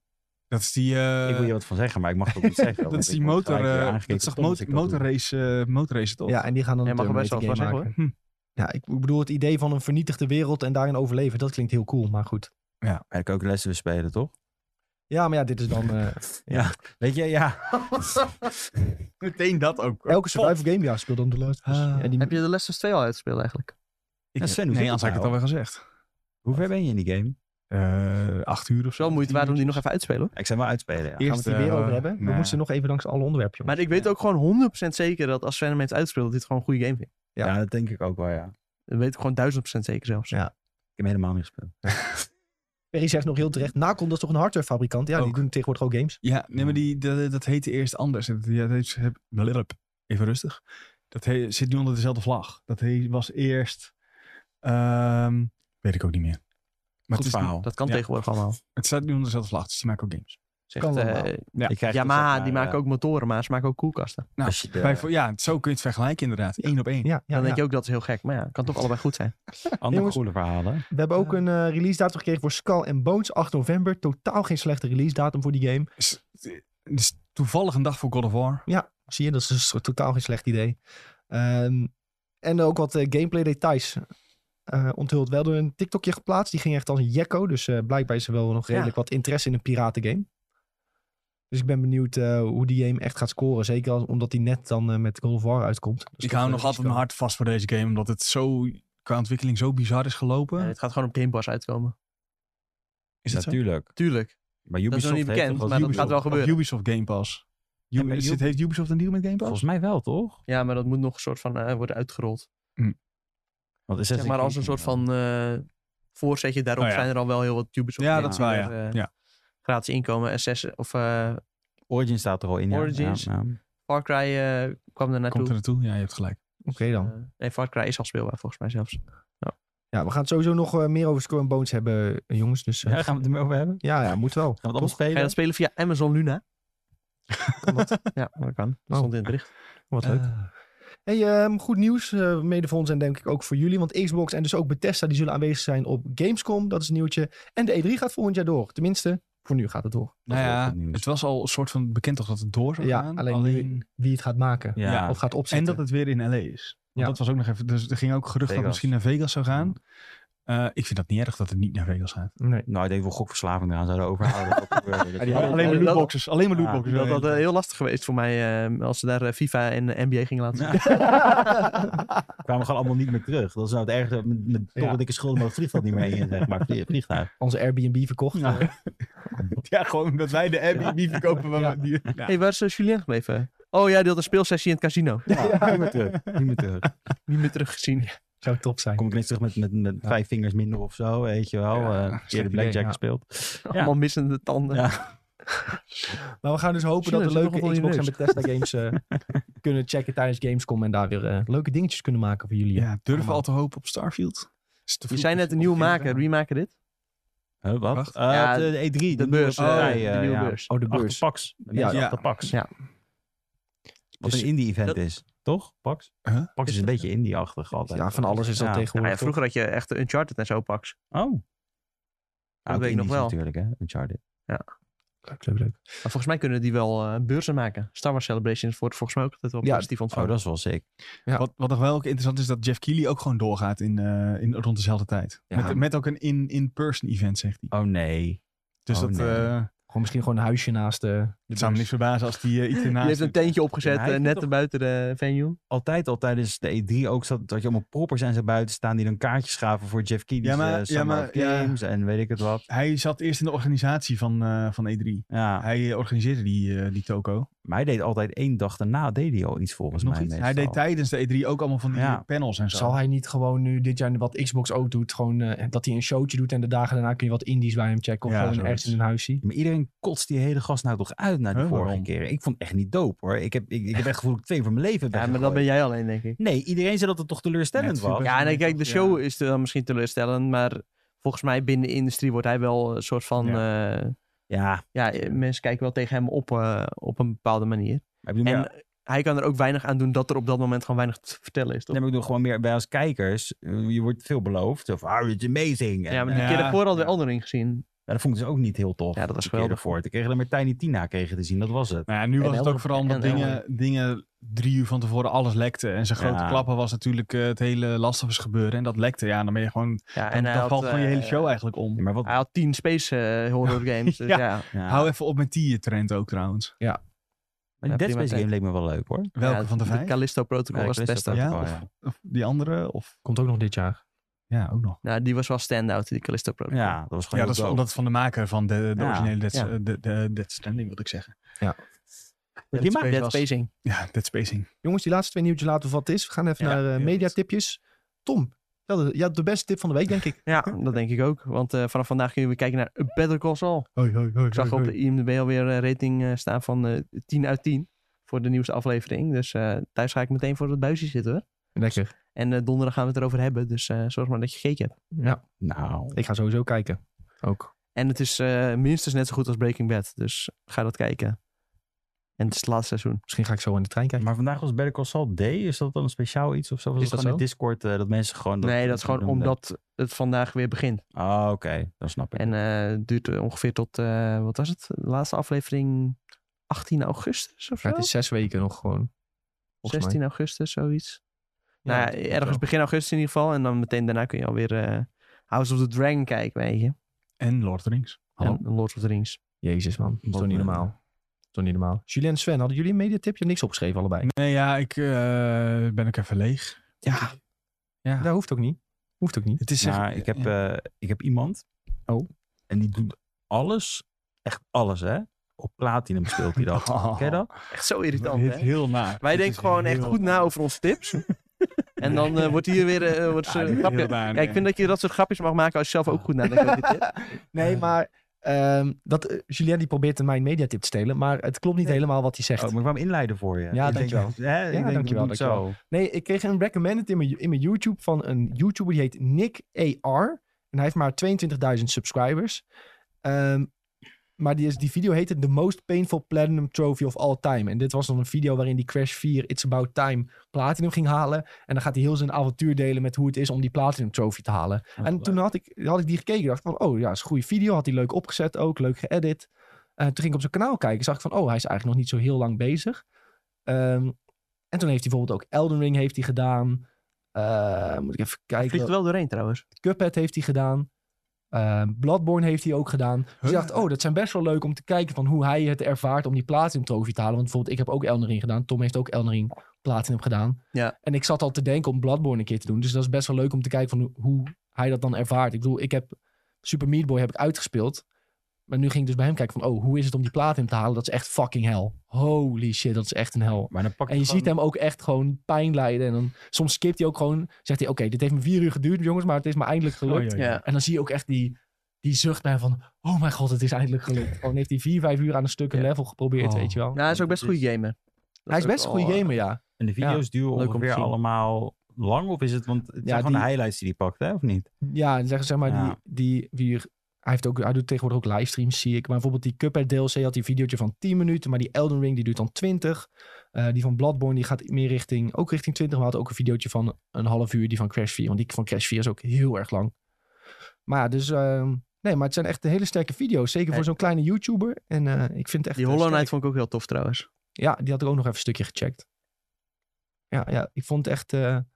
Speaker 2: Dat is die... eh,
Speaker 4: ik wil hier wat van zeggen, maar ik mag het ook niet zeggen.
Speaker 2: dat
Speaker 4: want
Speaker 2: is
Speaker 4: ik
Speaker 2: die
Speaker 4: word
Speaker 2: motor...
Speaker 4: gelijk weer
Speaker 2: eh,
Speaker 4: aangekeken
Speaker 2: dat is toch
Speaker 4: als
Speaker 2: mot-
Speaker 4: ik dat doe.
Speaker 2: motorrace, eh, motorrace toch?
Speaker 1: Ja, en die gaan dan
Speaker 3: Jij mag er
Speaker 1: een
Speaker 3: best wel
Speaker 1: racegame
Speaker 3: wat zeggen hoor.
Speaker 1: maken.
Speaker 2: Hm.
Speaker 1: Ja, ik bedoel, het idee van een vernietigde wereld en daarin overleven, dat klinkt heel cool, maar goed.
Speaker 4: Maar ik kan ook lessen weer spelen, toch?
Speaker 1: Ja, maar ja, dit is dan... eh,
Speaker 4: Weet je, ja.
Speaker 2: Meteen dat ook.
Speaker 1: elke survival game, ja, speel dan de laatste.
Speaker 2: Ah.
Speaker 1: ja, die-
Speaker 3: Heb je de Last of 2 al uitgespeeld eigenlijk?
Speaker 2: Ik,
Speaker 4: Ja, Sven, hoe
Speaker 2: nee,
Speaker 4: zit
Speaker 2: anders had
Speaker 4: het
Speaker 2: ik het
Speaker 4: nou?
Speaker 2: alweer gezegd.
Speaker 4: Hoe ver ben je in die game?
Speaker 2: Eh acht uur of zo.
Speaker 3: Zo moeite waard om die nog even uit te spelen. hoor.
Speaker 4: Ik zou wel uitspelen, ja.
Speaker 1: gaan we het hier weer over hebben? We moeten nog even langs alle onderwerpen, jongens.
Speaker 3: eh, Maar ik weet ook gewoon 100% zeker dat als Sven hem heeft uitgespeeld, dat dit gewoon een goede game vindt.
Speaker 1: Ja.
Speaker 4: ja. dat denk ik ook wel, ja.
Speaker 3: Dat weet ik gewoon 1000% zeker zelfs.
Speaker 1: Ja.
Speaker 4: Ik heb helemaal niet gespeeld.
Speaker 1: Perry zegt nog heel terecht, Nacon, dat is toch een hardwarefabrikant? Ja, die
Speaker 2: Ook.
Speaker 1: doen tegenwoordig ook games.
Speaker 2: Ja, nee, maar die, dat, dat heette eerst anders. Dat- Ja, dat heeft, heb- blablab. even rustig. Dat he- zit nu onder dezelfde vlag. Dat he- was eerst... ehm, weet ik ook niet meer. Maar
Speaker 4: Goed
Speaker 2: het, is,
Speaker 4: verhaal.
Speaker 3: Dat kan
Speaker 2: Ja.
Speaker 3: tegenwoordig allemaal.
Speaker 2: het staat nu onder dezelfde vlag, dus die maken ook games.
Speaker 3: Zegt,
Speaker 1: Kan
Speaker 3: eh,
Speaker 1: allemaal.
Speaker 2: Ja.
Speaker 4: Je krijgt dus,
Speaker 3: Yamaha,
Speaker 4: zeg maar,
Speaker 3: die
Speaker 4: eh,
Speaker 3: maken ook motoren, maar ze maken ook koelkasten.
Speaker 2: Nou,
Speaker 4: Als je de-
Speaker 2: bij voor- ja, zo kun je het vergelijken inderdaad. Eén op één.
Speaker 1: Ja, ja,
Speaker 3: dan
Speaker 1: ja.
Speaker 3: denk je ook dat is heel gek, maar ja, het kan toch allebei goed zijn.
Speaker 4: Andere
Speaker 1: Jongens.
Speaker 4: coole verhalen.
Speaker 1: We hebben ook een eh, release datum gekregen voor Skull and Bones, 8 november. Totaal geen slechte release datum voor die game.
Speaker 2: Dus, dus toevallig een dag voor God of War.
Speaker 1: Zie je, dat is dus totaal geen slecht idee. Ehm, en ook wat eh, gameplay details eh, onthuld. We hadden een TikTokje geplaatst, die ging echt als een jekko. Dus eh, blijkbaar is er wel nog redelijk wat interesse in een piratengame. Dus ik ben benieuwd eh, hoe die game echt gaat scoren. Zeker als- omdat die net dan eh, met God of War uitkomt. Dus
Speaker 2: ik
Speaker 1: dat,
Speaker 2: hou
Speaker 1: eh,
Speaker 2: nog altijd mijn
Speaker 1: risico.
Speaker 2: hart vast voor deze game, omdat het zo qua ontwikkeling zo bizar is gelopen.
Speaker 3: Eh, het gaat gewoon op Game Pass uitkomen.
Speaker 2: is dat zo?
Speaker 4: Natuurlijk.
Speaker 3: Tuurlijk.
Speaker 4: Maar
Speaker 3: nog
Speaker 4: Ubisoft
Speaker 3: niet
Speaker 4: heeft
Speaker 3: bekend,
Speaker 4: toch wel
Speaker 3: maar dat
Speaker 4: Ubisoft.
Speaker 3: gaat wel
Speaker 2: Of
Speaker 3: gebeuren.
Speaker 2: Ubisoft Game Pass.
Speaker 4: Ja, maar
Speaker 2: Ubi-
Speaker 4: Ubi-
Speaker 2: zit- heeft Ubisoft een deal met Game Pass?
Speaker 4: Volgens mij wel, toch?
Speaker 3: Ja, maar dat moet nog een soort van eh, worden uitgerold.
Speaker 4: Want
Speaker 3: Zeg maar als een soort van eh, voorzetje daarop
Speaker 2: Oh ja.
Speaker 3: zijn er al wel heel wat Ubisoft
Speaker 2: Ja,
Speaker 3: games
Speaker 2: dat is
Speaker 3: die
Speaker 2: waar,
Speaker 3: er, eh,
Speaker 2: Ja.
Speaker 3: Gratis inkomen, Assassin of eh,
Speaker 4: Origin staat er al in. ja.
Speaker 3: Origins.
Speaker 4: Ja, ja.
Speaker 3: Far Cry eh, kwam er naartoe.
Speaker 2: Komt er naartoe? Ja, je hebt gelijk.
Speaker 1: Oké dan.
Speaker 3: Eh, nee, Far Cry is al speelbaar volgens mij zelfs.
Speaker 1: Ja, we gaan het sowieso nog eh, meer over Skull and Bones hebben, eh, jongens. Dus eh,
Speaker 4: Ja, gaan we het ermee over hebben?
Speaker 1: ja, ja, moet wel.
Speaker 4: Gaan we het allemaal
Speaker 3: Ga je
Speaker 4: spelen?
Speaker 3: dat spelen via Amazon Luna?
Speaker 1: Kan dat?
Speaker 3: Ja, dat kan. Dat
Speaker 1: Oh.
Speaker 3: stond in het bericht.
Speaker 1: Wat leuk. Ah. Hey, ehm, goed nieuws, eh, mede voor ons en denk ik ook voor jullie. Want Xbox en dus ook Bethesda die zullen aanwezig zijn op Gamescom. Dat is een nieuwtje. En de E3 gaat volgend jaar door. Tenminste, voor nu gaat het door.
Speaker 2: Nou
Speaker 4: is wel goed
Speaker 2: ja,
Speaker 4: nieuws.
Speaker 2: het was al een soort van bekend toch dat het door zou
Speaker 1: Ja,
Speaker 2: gaan.
Speaker 1: alleen nu- Wie het gaat maken
Speaker 4: Ja.
Speaker 2: Ja.
Speaker 1: of gaat
Speaker 2: en
Speaker 1: opzetten.
Speaker 2: dat het weer in LA is.
Speaker 1: Ja.
Speaker 2: Want Dat was ook nog even. Dus er ging ook gerucht dat
Speaker 4: Vegas.
Speaker 2: het misschien naar Vegas zou gaan. Eh, ik vind dat niet erg dat het niet naar Vegas gaat.
Speaker 1: Nee.
Speaker 4: Nou, ik denk wel gokverslaving eraan zouden overhouden. Dat gebeurde. Dat
Speaker 3: hadden-
Speaker 4: wel-
Speaker 3: alleen maar eh, dat-
Speaker 2: lootboxes. Alleen maar
Speaker 4: Ja,
Speaker 2: lootboxes.
Speaker 3: Dat had eh, heel lastig geweest voor mij eh, als ze daar eh, FIFA en eh, NBA gingen laten zien.
Speaker 4: kwamen gewoon allemaal niet meer terug. Dat is nou het ergste. dat Met, met
Speaker 1: Ja.
Speaker 4: dikke schulden, maar het vliegveld niet meer in, zeg maar. Vlie- Vliegtuig.
Speaker 1: Onze Airbnb verkocht.
Speaker 2: Ja.
Speaker 1: eh.
Speaker 2: Ja, gewoon dat wij de Airbnb verkopen. waar we- die- Ja.
Speaker 3: Hé, hey, waar is eh, Julien gebleven? Oh ja, die had een speelsessie in het casino.
Speaker 4: Ja, Niet meer terug. Niet meer terug.
Speaker 3: Niet meer teruggezien.
Speaker 1: Zou top zijn.
Speaker 4: Kom ik niks terug met, met, met vijf vingers minder of zo, weet je wel.
Speaker 2: Ja,
Speaker 4: Eh,
Speaker 2: slecht
Speaker 4: eerder
Speaker 2: idee,
Speaker 4: Blackjack
Speaker 1: ja.
Speaker 4: gespeeld.
Speaker 3: Allemaal missende tanden.
Speaker 4: Ja.
Speaker 1: Maar we gaan dus hopen
Speaker 3: China
Speaker 1: dat we
Speaker 3: zit nog
Speaker 1: leuke
Speaker 3: wel in
Speaker 1: Xbox en
Speaker 3: je
Speaker 1: Bethesda games eh, kunnen checken tijdens Gamescom. En daar weer eh, leuke dingetjes kunnen maken voor jullie.
Speaker 2: Ja, durven we al te hopen op Starfield? Is te
Speaker 3: Je
Speaker 2: vroeg
Speaker 3: zei
Speaker 2: of-
Speaker 3: net een
Speaker 2: of
Speaker 3: nieuwe
Speaker 2: geen
Speaker 3: maker.
Speaker 2: vraag?
Speaker 3: Wie maken dit?
Speaker 4: Huh, wat?
Speaker 2: Wacht.
Speaker 4: Eh,
Speaker 3: Ja,
Speaker 4: de E3. De,
Speaker 3: De,
Speaker 4: nieuwe
Speaker 3: beurs. eh,
Speaker 4: partij,
Speaker 3: de
Speaker 4: eh,
Speaker 3: nieuwe
Speaker 4: ja.
Speaker 3: beurs.
Speaker 1: Oh, de
Speaker 4: Achter
Speaker 1: beurs.
Speaker 4: Pax. De mensen
Speaker 1: Ja.
Speaker 4: achter Pax.
Speaker 3: Ja.
Speaker 4: Wat
Speaker 1: Dus-
Speaker 4: een indie-event
Speaker 3: dat-
Speaker 4: is, toch? Pax?
Speaker 2: Huh?
Speaker 4: Pax is een beetje indie-achtig altijd.
Speaker 1: Ja, van alles is dat
Speaker 4: Ja.
Speaker 3: Nou
Speaker 1: tegenwoordig.
Speaker 3: ja, vroeger had je echt de Uncharted en zo paks.
Speaker 4: Oh.
Speaker 3: weet
Speaker 4: ook
Speaker 3: ik nog
Speaker 4: indies
Speaker 3: wel.
Speaker 4: natuurlijk, hè? Uncharted.
Speaker 1: Leuk, leuk, leuk.
Speaker 3: Maar volgens mij kunnen die wel eh, beurzen maken. Star Wars Celebrations wordt volgens mij ook altijd wel
Speaker 1: Ja,
Speaker 3: positief
Speaker 4: Oh,
Speaker 3: ontvangen.
Speaker 4: dat is wel sick.
Speaker 1: Ja.
Speaker 2: Wat, wat nog wel ook interessant is, dat Jeff Keighley ook gewoon doorgaat in, eh, in, rond dezelfde tijd.
Speaker 4: Ja.
Speaker 2: Met, met ook een in- in-person event, zegt hij.
Speaker 4: Oh nee.
Speaker 2: Dus
Speaker 4: Oh,
Speaker 2: dat
Speaker 4: nee.
Speaker 2: eh,
Speaker 1: Gewoon misschien gewoon een huisje naast eh, de
Speaker 2: het zou me
Speaker 1: beurs.
Speaker 2: niet verbazen als die eh, iets
Speaker 3: Die
Speaker 2: ernaast
Speaker 3: heeft een
Speaker 2: doet.
Speaker 3: tentje opgezet
Speaker 4: Ja, hij
Speaker 3: eh,
Speaker 4: heeft
Speaker 3: net
Speaker 4: toch-
Speaker 3: buiten de venue.
Speaker 4: Altijd al tijdens de E3 ook zat dat je allemaal proppers aan zijn buiten staan die dan kaartjes gaven voor Jeff Keighley's
Speaker 2: Ja,
Speaker 4: eh,
Speaker 2: maar- ja,
Speaker 4: Summer
Speaker 2: maar-
Speaker 4: of
Speaker 2: ja.
Speaker 4: Games en weet ik het wat.
Speaker 2: Hij zat eerst in de organisatie van, eh, van E3.
Speaker 4: Ja,
Speaker 2: Hij eh, organiseerde die, eh, die toko.
Speaker 4: maar hij deed altijd één dag daarna deed hij al iets volgens
Speaker 2: Nog
Speaker 4: mij
Speaker 2: iets? Hij
Speaker 4: meestal.
Speaker 2: deed tijdens de E3 ook allemaal van die
Speaker 4: Ja.
Speaker 2: eh, panels en zo.
Speaker 1: Zal hij niet gewoon nu dit jaar wat Xbox ook doet, gewoon eh, dat hij een showtje doet en de dagen daarna kun je wat indies bij hem checken of
Speaker 2: Ja,
Speaker 1: gewoon
Speaker 2: zoiets.
Speaker 1: ergens in een huisje.
Speaker 4: Maar iedereen kotst die hele gast nou toch uit na de
Speaker 2: Huh,
Speaker 4: vorige
Speaker 2: waarom?
Speaker 4: keer. Ik vond het echt niet dope hoor. Ik heb, ik, ik heb echt het gevoel dat ik twee van mijn leven ben.
Speaker 3: Ja, maar dat ben jij alleen, denk ik.
Speaker 4: Nee, iedereen zei dat het toch teleurstellend
Speaker 2: Net super.
Speaker 4: was.
Speaker 2: Ja,
Speaker 3: Ja, en
Speaker 2: dat
Speaker 3: kijk, de
Speaker 2: toch,
Speaker 3: show is dan misschien teleurstellend, maar volgens mij binnen de industrie wordt hij wel een soort van... eh,
Speaker 4: Ja,
Speaker 3: Ja, eh, mensen kijken wel tegen hem op, eh, op een bepaalde manier.
Speaker 4: maar ik bedoel,
Speaker 3: En
Speaker 4: meer-
Speaker 3: hij kan er ook weinig aan doen dat er op dat moment gewoon weinig te vertellen is, toch?
Speaker 4: nee, maar ik bedoel gewoon meer bij als kijkers. eh, Je wordt veel beloofd. Of, ah, it's amazing. En,
Speaker 3: ja, maar die
Speaker 4: eh,
Speaker 3: keer
Speaker 2: Ja.
Speaker 3: daarvoor hadden we Eldering gezien.
Speaker 4: maar dat vond ik dus ook niet heel tof.
Speaker 3: Ja, dat was
Speaker 4: de keer
Speaker 3: geweldig.
Speaker 4: ervoor. Toen kregen we maar Tiny Tina kregen te zien. Dat was het.
Speaker 2: Nou ja, nu
Speaker 3: En
Speaker 2: was het ook
Speaker 3: Elden-
Speaker 2: vooral omdat
Speaker 3: en
Speaker 2: dingen,
Speaker 3: Elden.
Speaker 2: dingen drie uur van tevoren alles lekte. En zijn grote
Speaker 4: Ja.
Speaker 2: klappen was natuurlijk eh, het hele Last of Us gebeuren. En dat lekte, ja, dan ben je gewoon... dan,
Speaker 3: Ja, en hij
Speaker 2: dan
Speaker 3: had,
Speaker 2: valt gewoon je
Speaker 3: eh,
Speaker 2: hele show eigenlijk om.
Speaker 4: Ja, maar wat...
Speaker 3: Hij had tien space eh, horror games. Dus
Speaker 2: Ja.
Speaker 3: ja.
Speaker 4: ja.
Speaker 2: Hou even op met die eh, trend ook trouwens.
Speaker 4: maar die
Speaker 3: Ja,
Speaker 4: Dead
Speaker 3: prima
Speaker 4: Space
Speaker 3: tijd.
Speaker 4: game leek me wel leuk hoor.
Speaker 2: Welke
Speaker 3: Ja,
Speaker 2: van de
Speaker 3: de
Speaker 2: vijf?
Speaker 3: Callisto Protocol was het
Speaker 4: Callisto
Speaker 3: beste.
Speaker 2: Ja,
Speaker 4: Protocol,
Speaker 2: of, of die andere? Of,
Speaker 1: Komt ook nog dit jaar.
Speaker 2: ja, ook nog.
Speaker 3: Nou, die was wel standout, die Callisto Protocol.
Speaker 4: Ja, dat was
Speaker 2: Ja,
Speaker 4: gewoon
Speaker 2: dat is
Speaker 4: heel dope.
Speaker 2: omdat het van de maker van de, de
Speaker 4: Ja.
Speaker 2: originele Dead,
Speaker 3: Ja.
Speaker 2: de, de Dead Stranding, wil ik zeggen.
Speaker 3: Dead,
Speaker 2: Prima.
Speaker 3: Space
Speaker 2: Dead
Speaker 3: was-
Speaker 2: Spacing. Ja, Dead Spacing.
Speaker 1: Jongens, die laatste twee nieuwtjes laten we wat het is. We gaan even
Speaker 2: Ja,
Speaker 1: naar eh
Speaker 2: heel
Speaker 1: mediatipjes. Tom, je had, je had de beste tip van de week, denk ik.
Speaker 3: Ja, dat denk ik ook. Want eh, vanaf vandaag kunnen we kijken naar Better Call Saul.
Speaker 1: Hoi, hoi, hoi.
Speaker 3: Ik zag op de IMDb alweer een rating eh, staan van eh, 10 uit 10 voor de nieuwste aflevering. Dus eh, thuis ga ik meteen voor het buisje zitten hoor.
Speaker 1: Lekker.
Speaker 3: En eh, donderdag gaan we het erover hebben, dus eh, zorg maar dat je gekeken hebt.
Speaker 1: Ja,
Speaker 4: Nou,
Speaker 1: ik ga sowieso kijken. Ook.
Speaker 3: En het is eh, minstens net zo goed als Breaking Bad, dus ga dat kijken. En het is het laatste seizoen.
Speaker 1: Misschien ga ik zo in de trein kijken.
Speaker 4: maar vandaag was Better Call Saul Day. Is dat dan een speciaal iets of zo? Was
Speaker 1: Is
Speaker 4: is
Speaker 1: dat
Speaker 4: dat gewoon in Discord eh, dat mensen gewoon...
Speaker 3: nee, dat is gewoon omdat het vandaag weer begint.
Speaker 4: Oh, oké. Dan snap ik.
Speaker 3: En eh, het duurt eh, ongeveer tot, eh, wat was het? De laatste aflevering 18 augustus of zo?
Speaker 1: Ja, het is zes weken nog gewoon. Volgens
Speaker 3: 16 augustus, zoiets.
Speaker 1: mij.
Speaker 3: nou,
Speaker 1: dat
Speaker 3: ja,
Speaker 1: klopt
Speaker 3: ergens
Speaker 1: wel.
Speaker 3: begin augustus in ieder geval. En dan meteen daarna kun je alweer eh, House of the Dragon kijken, weet je.
Speaker 2: En Lord of the Rings. Hallo.
Speaker 3: En Lord of the Rings.
Speaker 1: Jezus, man. Dat is
Speaker 4: Wat
Speaker 1: toch niet
Speaker 4: een-
Speaker 1: normaal. Dat is toch niet normaal. Julien en Sven, hadden jullie een mediatip? Je hebt niks opgeschreven allebei.
Speaker 2: Nee, ja, ik eh, ben ook even leeg.
Speaker 3: Ja,
Speaker 2: Ja.
Speaker 1: Dat hoeft ook niet. Hoeft ook niet.
Speaker 2: Het is
Speaker 4: Nou,
Speaker 2: echt-
Speaker 4: ik, heb,
Speaker 2: ja.
Speaker 4: eh, ik heb iemand.
Speaker 1: Oh.
Speaker 4: En die doet alles. Echt alles, hè? Op platinum speelt hij dat.
Speaker 2: Oh.
Speaker 4: Ken je dat?
Speaker 3: echt zo
Speaker 2: Dit
Speaker 3: irritant,
Speaker 2: is
Speaker 3: hè?
Speaker 2: heel naar.
Speaker 3: Wij denken gewoon echt goed na over onze tips. en dan eh, wordt hier weer eh, wordt zo'n grapje. Kijk, ik vind dat je dat soort grapjes mag maken als je zelf ook goed nadenkt over je tip.
Speaker 1: Nee,
Speaker 4: Eh.
Speaker 1: maar ehm, dat, eh, Julien die probeert mijn mediatip te stelen, maar het klopt niet
Speaker 4: Nee.
Speaker 1: helemaal wat hij zegt.
Speaker 4: Oh, maar ik wou hem inleiden voor je.
Speaker 1: Ja,
Speaker 4: Ik denk,
Speaker 1: dankjewel.
Speaker 4: Hè? ik denk,
Speaker 1: dankjewel,
Speaker 4: dankjewel. Doe het zo.
Speaker 1: Nee, ik kreeg een recommended in mijn, in mijn YouTube van een YouTuber die heet Nick AR. En hij heeft maar 22.000 subscribers. Ehm, maar die, is, die video heette The Most Painful Platinum Trophy of All Time. En dit was dan een video waarin die Crash 4 It's About Time Platinum ging halen. En dan gaat hij heel zijn avontuur delen met hoe het is om die Platinum Trophy te halen. En toen had ik, had ik die gekeken. Dacht ik van, oh ja, is een goede video. Had hij leuk opgezet ook. Leuk geëdit. Eh, toen ging ik op zijn kanaal kijken. Zag ik van, oh, hij is eigenlijk nog niet zo heel lang bezig. Ehm, en toen heeft hij bijvoorbeeld ook Elden Ring heeft hij gedaan. Eh, moet ik even kijken.
Speaker 3: Vliegt er wel doorheen trouwens.
Speaker 1: Cuphead heeft hij gedaan. Ehm, Bloodborne heeft hij ook gedaan. Dus
Speaker 2: Huh?
Speaker 1: ik dacht, oh, dat zijn best wel leuk om te kijken van hoe hij het ervaart om die Platinum Trophy te halen. Want bijvoorbeeld, ik heb ook Elden Ring gedaan. Tom heeft ook Elden Ring Platinum gedaan.
Speaker 3: Ja.
Speaker 1: En ik zat al te denken om Bloodborne een keer te doen. Dus dat is best wel leuk om te kijken van hoe, hoe hij dat dan ervaart. Ik bedoel, ik heb Super Meat Boy heb ik uitgespeeld. Maar nu ging ik dus bij hem kijken van, oh, hoe is het om die Platinum te halen? Dat is echt fucking hel. Holy shit, dat is echt een hel.
Speaker 4: Maar dan pak
Speaker 1: En je ziet hem ook echt gewoon pijn lijden. En dan soms skipt hij ook gewoon. Zegt hij: Oké, dit heeft me vier uur geduurd, jongens, maar het is me eindelijk gelukt.
Speaker 3: Ja.
Speaker 1: En dan zie je ook echt die, die zucht bij hem van: Oh mijn god, het is eindelijk gelukt. Gewoon heeft hij vier, vijf uur aan een stuk een
Speaker 3: Ja.
Speaker 1: level geprobeerd,
Speaker 2: Oh.
Speaker 1: weet je wel.
Speaker 3: Nou, hij is ook best een goede gamer. Dat
Speaker 1: hij is
Speaker 3: ook
Speaker 1: best een
Speaker 3: wel,
Speaker 1: goede
Speaker 3: eh,
Speaker 1: gamer, ja.
Speaker 4: En de video's duren
Speaker 3: leuk om te
Speaker 4: ongeveer
Speaker 3: zien.
Speaker 4: allemaal lang? Of is het... Want het zijn
Speaker 1: Ja,
Speaker 4: gewoon
Speaker 1: die-
Speaker 4: de highlights die hij pakt, hè? Of niet?
Speaker 1: Ja, zeg, zeg maar,
Speaker 4: Ja.
Speaker 1: die, die wie hij, heeft ook, hij doet tegenwoordig ook livestreams, zie ik. Maar bijvoorbeeld die Cuphead DLC had die videootje van 10 minuten. Maar die Elden Ring, die duurt dan 20. Eh, die van Bloodborne, die gaat meer richting, ook richting 20. Maar had ook een videootje van een half uur, die van Crash 4. Want die van Crash 4 is ook heel erg lang. Maar ja, dus... ehm, nee, maar het zijn echt hele sterke video's. Zeker voor
Speaker 3: Nee.
Speaker 1: zo'n kleine YouTuber. En eh, ik vind het echt...
Speaker 3: Die
Speaker 1: eh,
Speaker 3: Hollow Knight
Speaker 1: sterk.
Speaker 3: vond ik ook heel tof trouwens.
Speaker 1: Ja, die had ik ook nog even een stukje gecheckt. Ja, ja ik vond het echt eh,
Speaker 3: En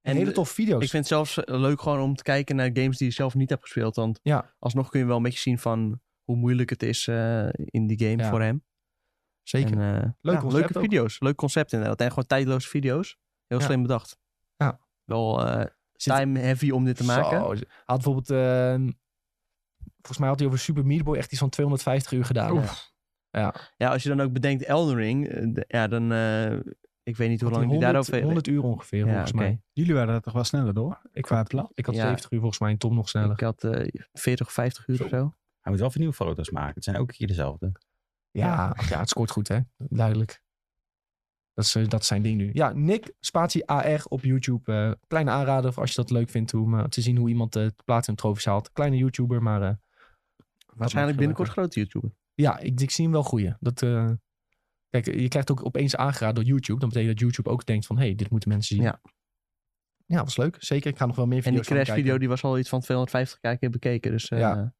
Speaker 1: hele toffe video's.
Speaker 3: Ik vind het zelfs eh, leuk gewoon om te kijken naar games die je zelf niet hebt gespeeld. Want
Speaker 1: Ja.
Speaker 3: alsnog kun je wel een beetje zien van hoe moeilijk het is eh, in die game
Speaker 1: Ja.
Speaker 3: voor hem.
Speaker 1: Zeker.
Speaker 3: En, eh, ja,
Speaker 1: concept
Speaker 3: leuke
Speaker 1: ook.
Speaker 3: video's. Leuk concept inderdaad. En gewoon tijdloze video's. Heel
Speaker 1: Ja.
Speaker 3: slim bedacht.
Speaker 1: Ja.
Speaker 3: Wel eh,
Speaker 1: Zit-
Speaker 3: time heavy om dit te maken.
Speaker 1: Zo. Hij had bijvoorbeeld, ehm, volgens mij had hij over Super Meat Boy echt iets van 250 uur gedaan.
Speaker 3: Ja, als je dan ook bedenkt Elden Ring. eh, d- ja, dan... eh, ik weet niet hoe lang die
Speaker 1: 100,
Speaker 3: daarover...
Speaker 1: 100 uur ongeveer,
Speaker 3: Ja,
Speaker 1: volgens
Speaker 3: oké.
Speaker 1: mij.
Speaker 2: Jullie waren er toch wel sneller door? Ik qua plat.
Speaker 1: Ik had
Speaker 3: Ja.
Speaker 1: 70 uur volgens mij en Tom nog sneller.
Speaker 3: Ik had eh 40 of 50 uur of zo.
Speaker 4: Hij moet wel vernieuwde foto's maken. Het zijn ook hier dezelfde.
Speaker 1: ja, ja, het scoort goed, hè? Duidelijk. Dat is, eh, dat is zijn ding nu. Ja, Nick Spatie AR op YouTube. Eh, kleine aanrader voor als je dat leuk vindt om eh, te zien hoe iemand eh, het plaats in trofies haalt. Kleine YouTuber, maar eh,
Speaker 3: Waarschijnlijk
Speaker 1: maakt
Speaker 3: binnenkort grote YouTuber.
Speaker 1: ja, ik, ik zie hem wel groeien. Dat, eh, kijk, je krijgt ook opeens aangeraden door YouTube. Dan betekent dat YouTube ook denkt van, hé, hey, dit moeten mensen zien.
Speaker 3: Ja.
Speaker 1: ja, was leuk. Zeker, ik ga nog wel meer
Speaker 3: En die
Speaker 1: video's van hem
Speaker 3: crash video
Speaker 1: kijken.
Speaker 3: die was al iets van 250k keer bekeken. Dus eh,
Speaker 1: Ja.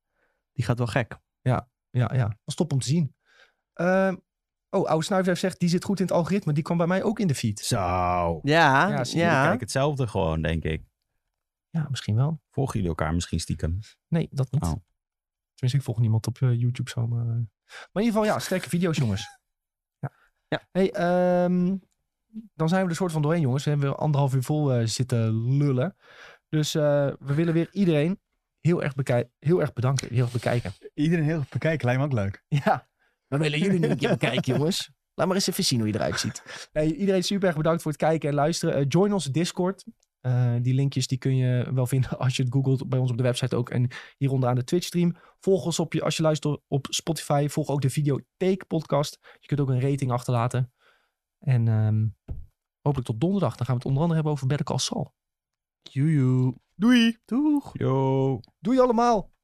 Speaker 3: die gaat wel gek.
Speaker 1: Ja, ja, was top om te zien. Ehm, oh, Oude Snuifdijf zegt, die zit goed in het algoritme. Die kwam bij mij ook in de feed.
Speaker 4: Zo.
Speaker 3: Ja,
Speaker 1: Ja,
Speaker 3: ja.
Speaker 1: zie je,
Speaker 4: Jullie kijken hetzelfde gewoon, denk ik.
Speaker 1: Ja, misschien wel.
Speaker 4: Volgen jullie elkaar misschien stiekem?
Speaker 1: Nee, dat niet.
Speaker 4: Oh.
Speaker 1: Tenminste, ik volg niemand op eh, YouTube zo. Maar, eh. maar in ieder geval, ja, sterke video's, jongens. Ja.
Speaker 3: Ja.
Speaker 1: Hey, ehm, dan zijn we er soort van doorheen, jongens. We hebben weer anderhalf uur vol eh, zitten lullen. Dus eh, we willen weer iedereen heel erg, bekij- heel erg bedanken. Heel erg bekijken.
Speaker 2: Iedereen heel erg bekijken, lijkt me ook leuk.
Speaker 1: Ja, we willen jullie nu een keer bekijken, jongens. Laat maar eens even zien hoe je eruit ziet. Hey, iedereen super erg bedankt voor het kijken en luisteren. Eh, join onze Discord. Eh, die linkjes die kun je wel vinden als je het googelt bij ons op de website ook. En hieronder aan de Twitch stream. Volg ons op je, als je luistert op Spotify. Volg ook de Videotheek podcast. Je kunt ook een rating achterlaten. En ehm, hopelijk tot donderdag. Dan gaan we het onder andere hebben over Better Call Saul.
Speaker 3: Joejoe.
Speaker 1: Doei!
Speaker 3: Doeg.
Speaker 4: Yo.
Speaker 1: Doei allemaal!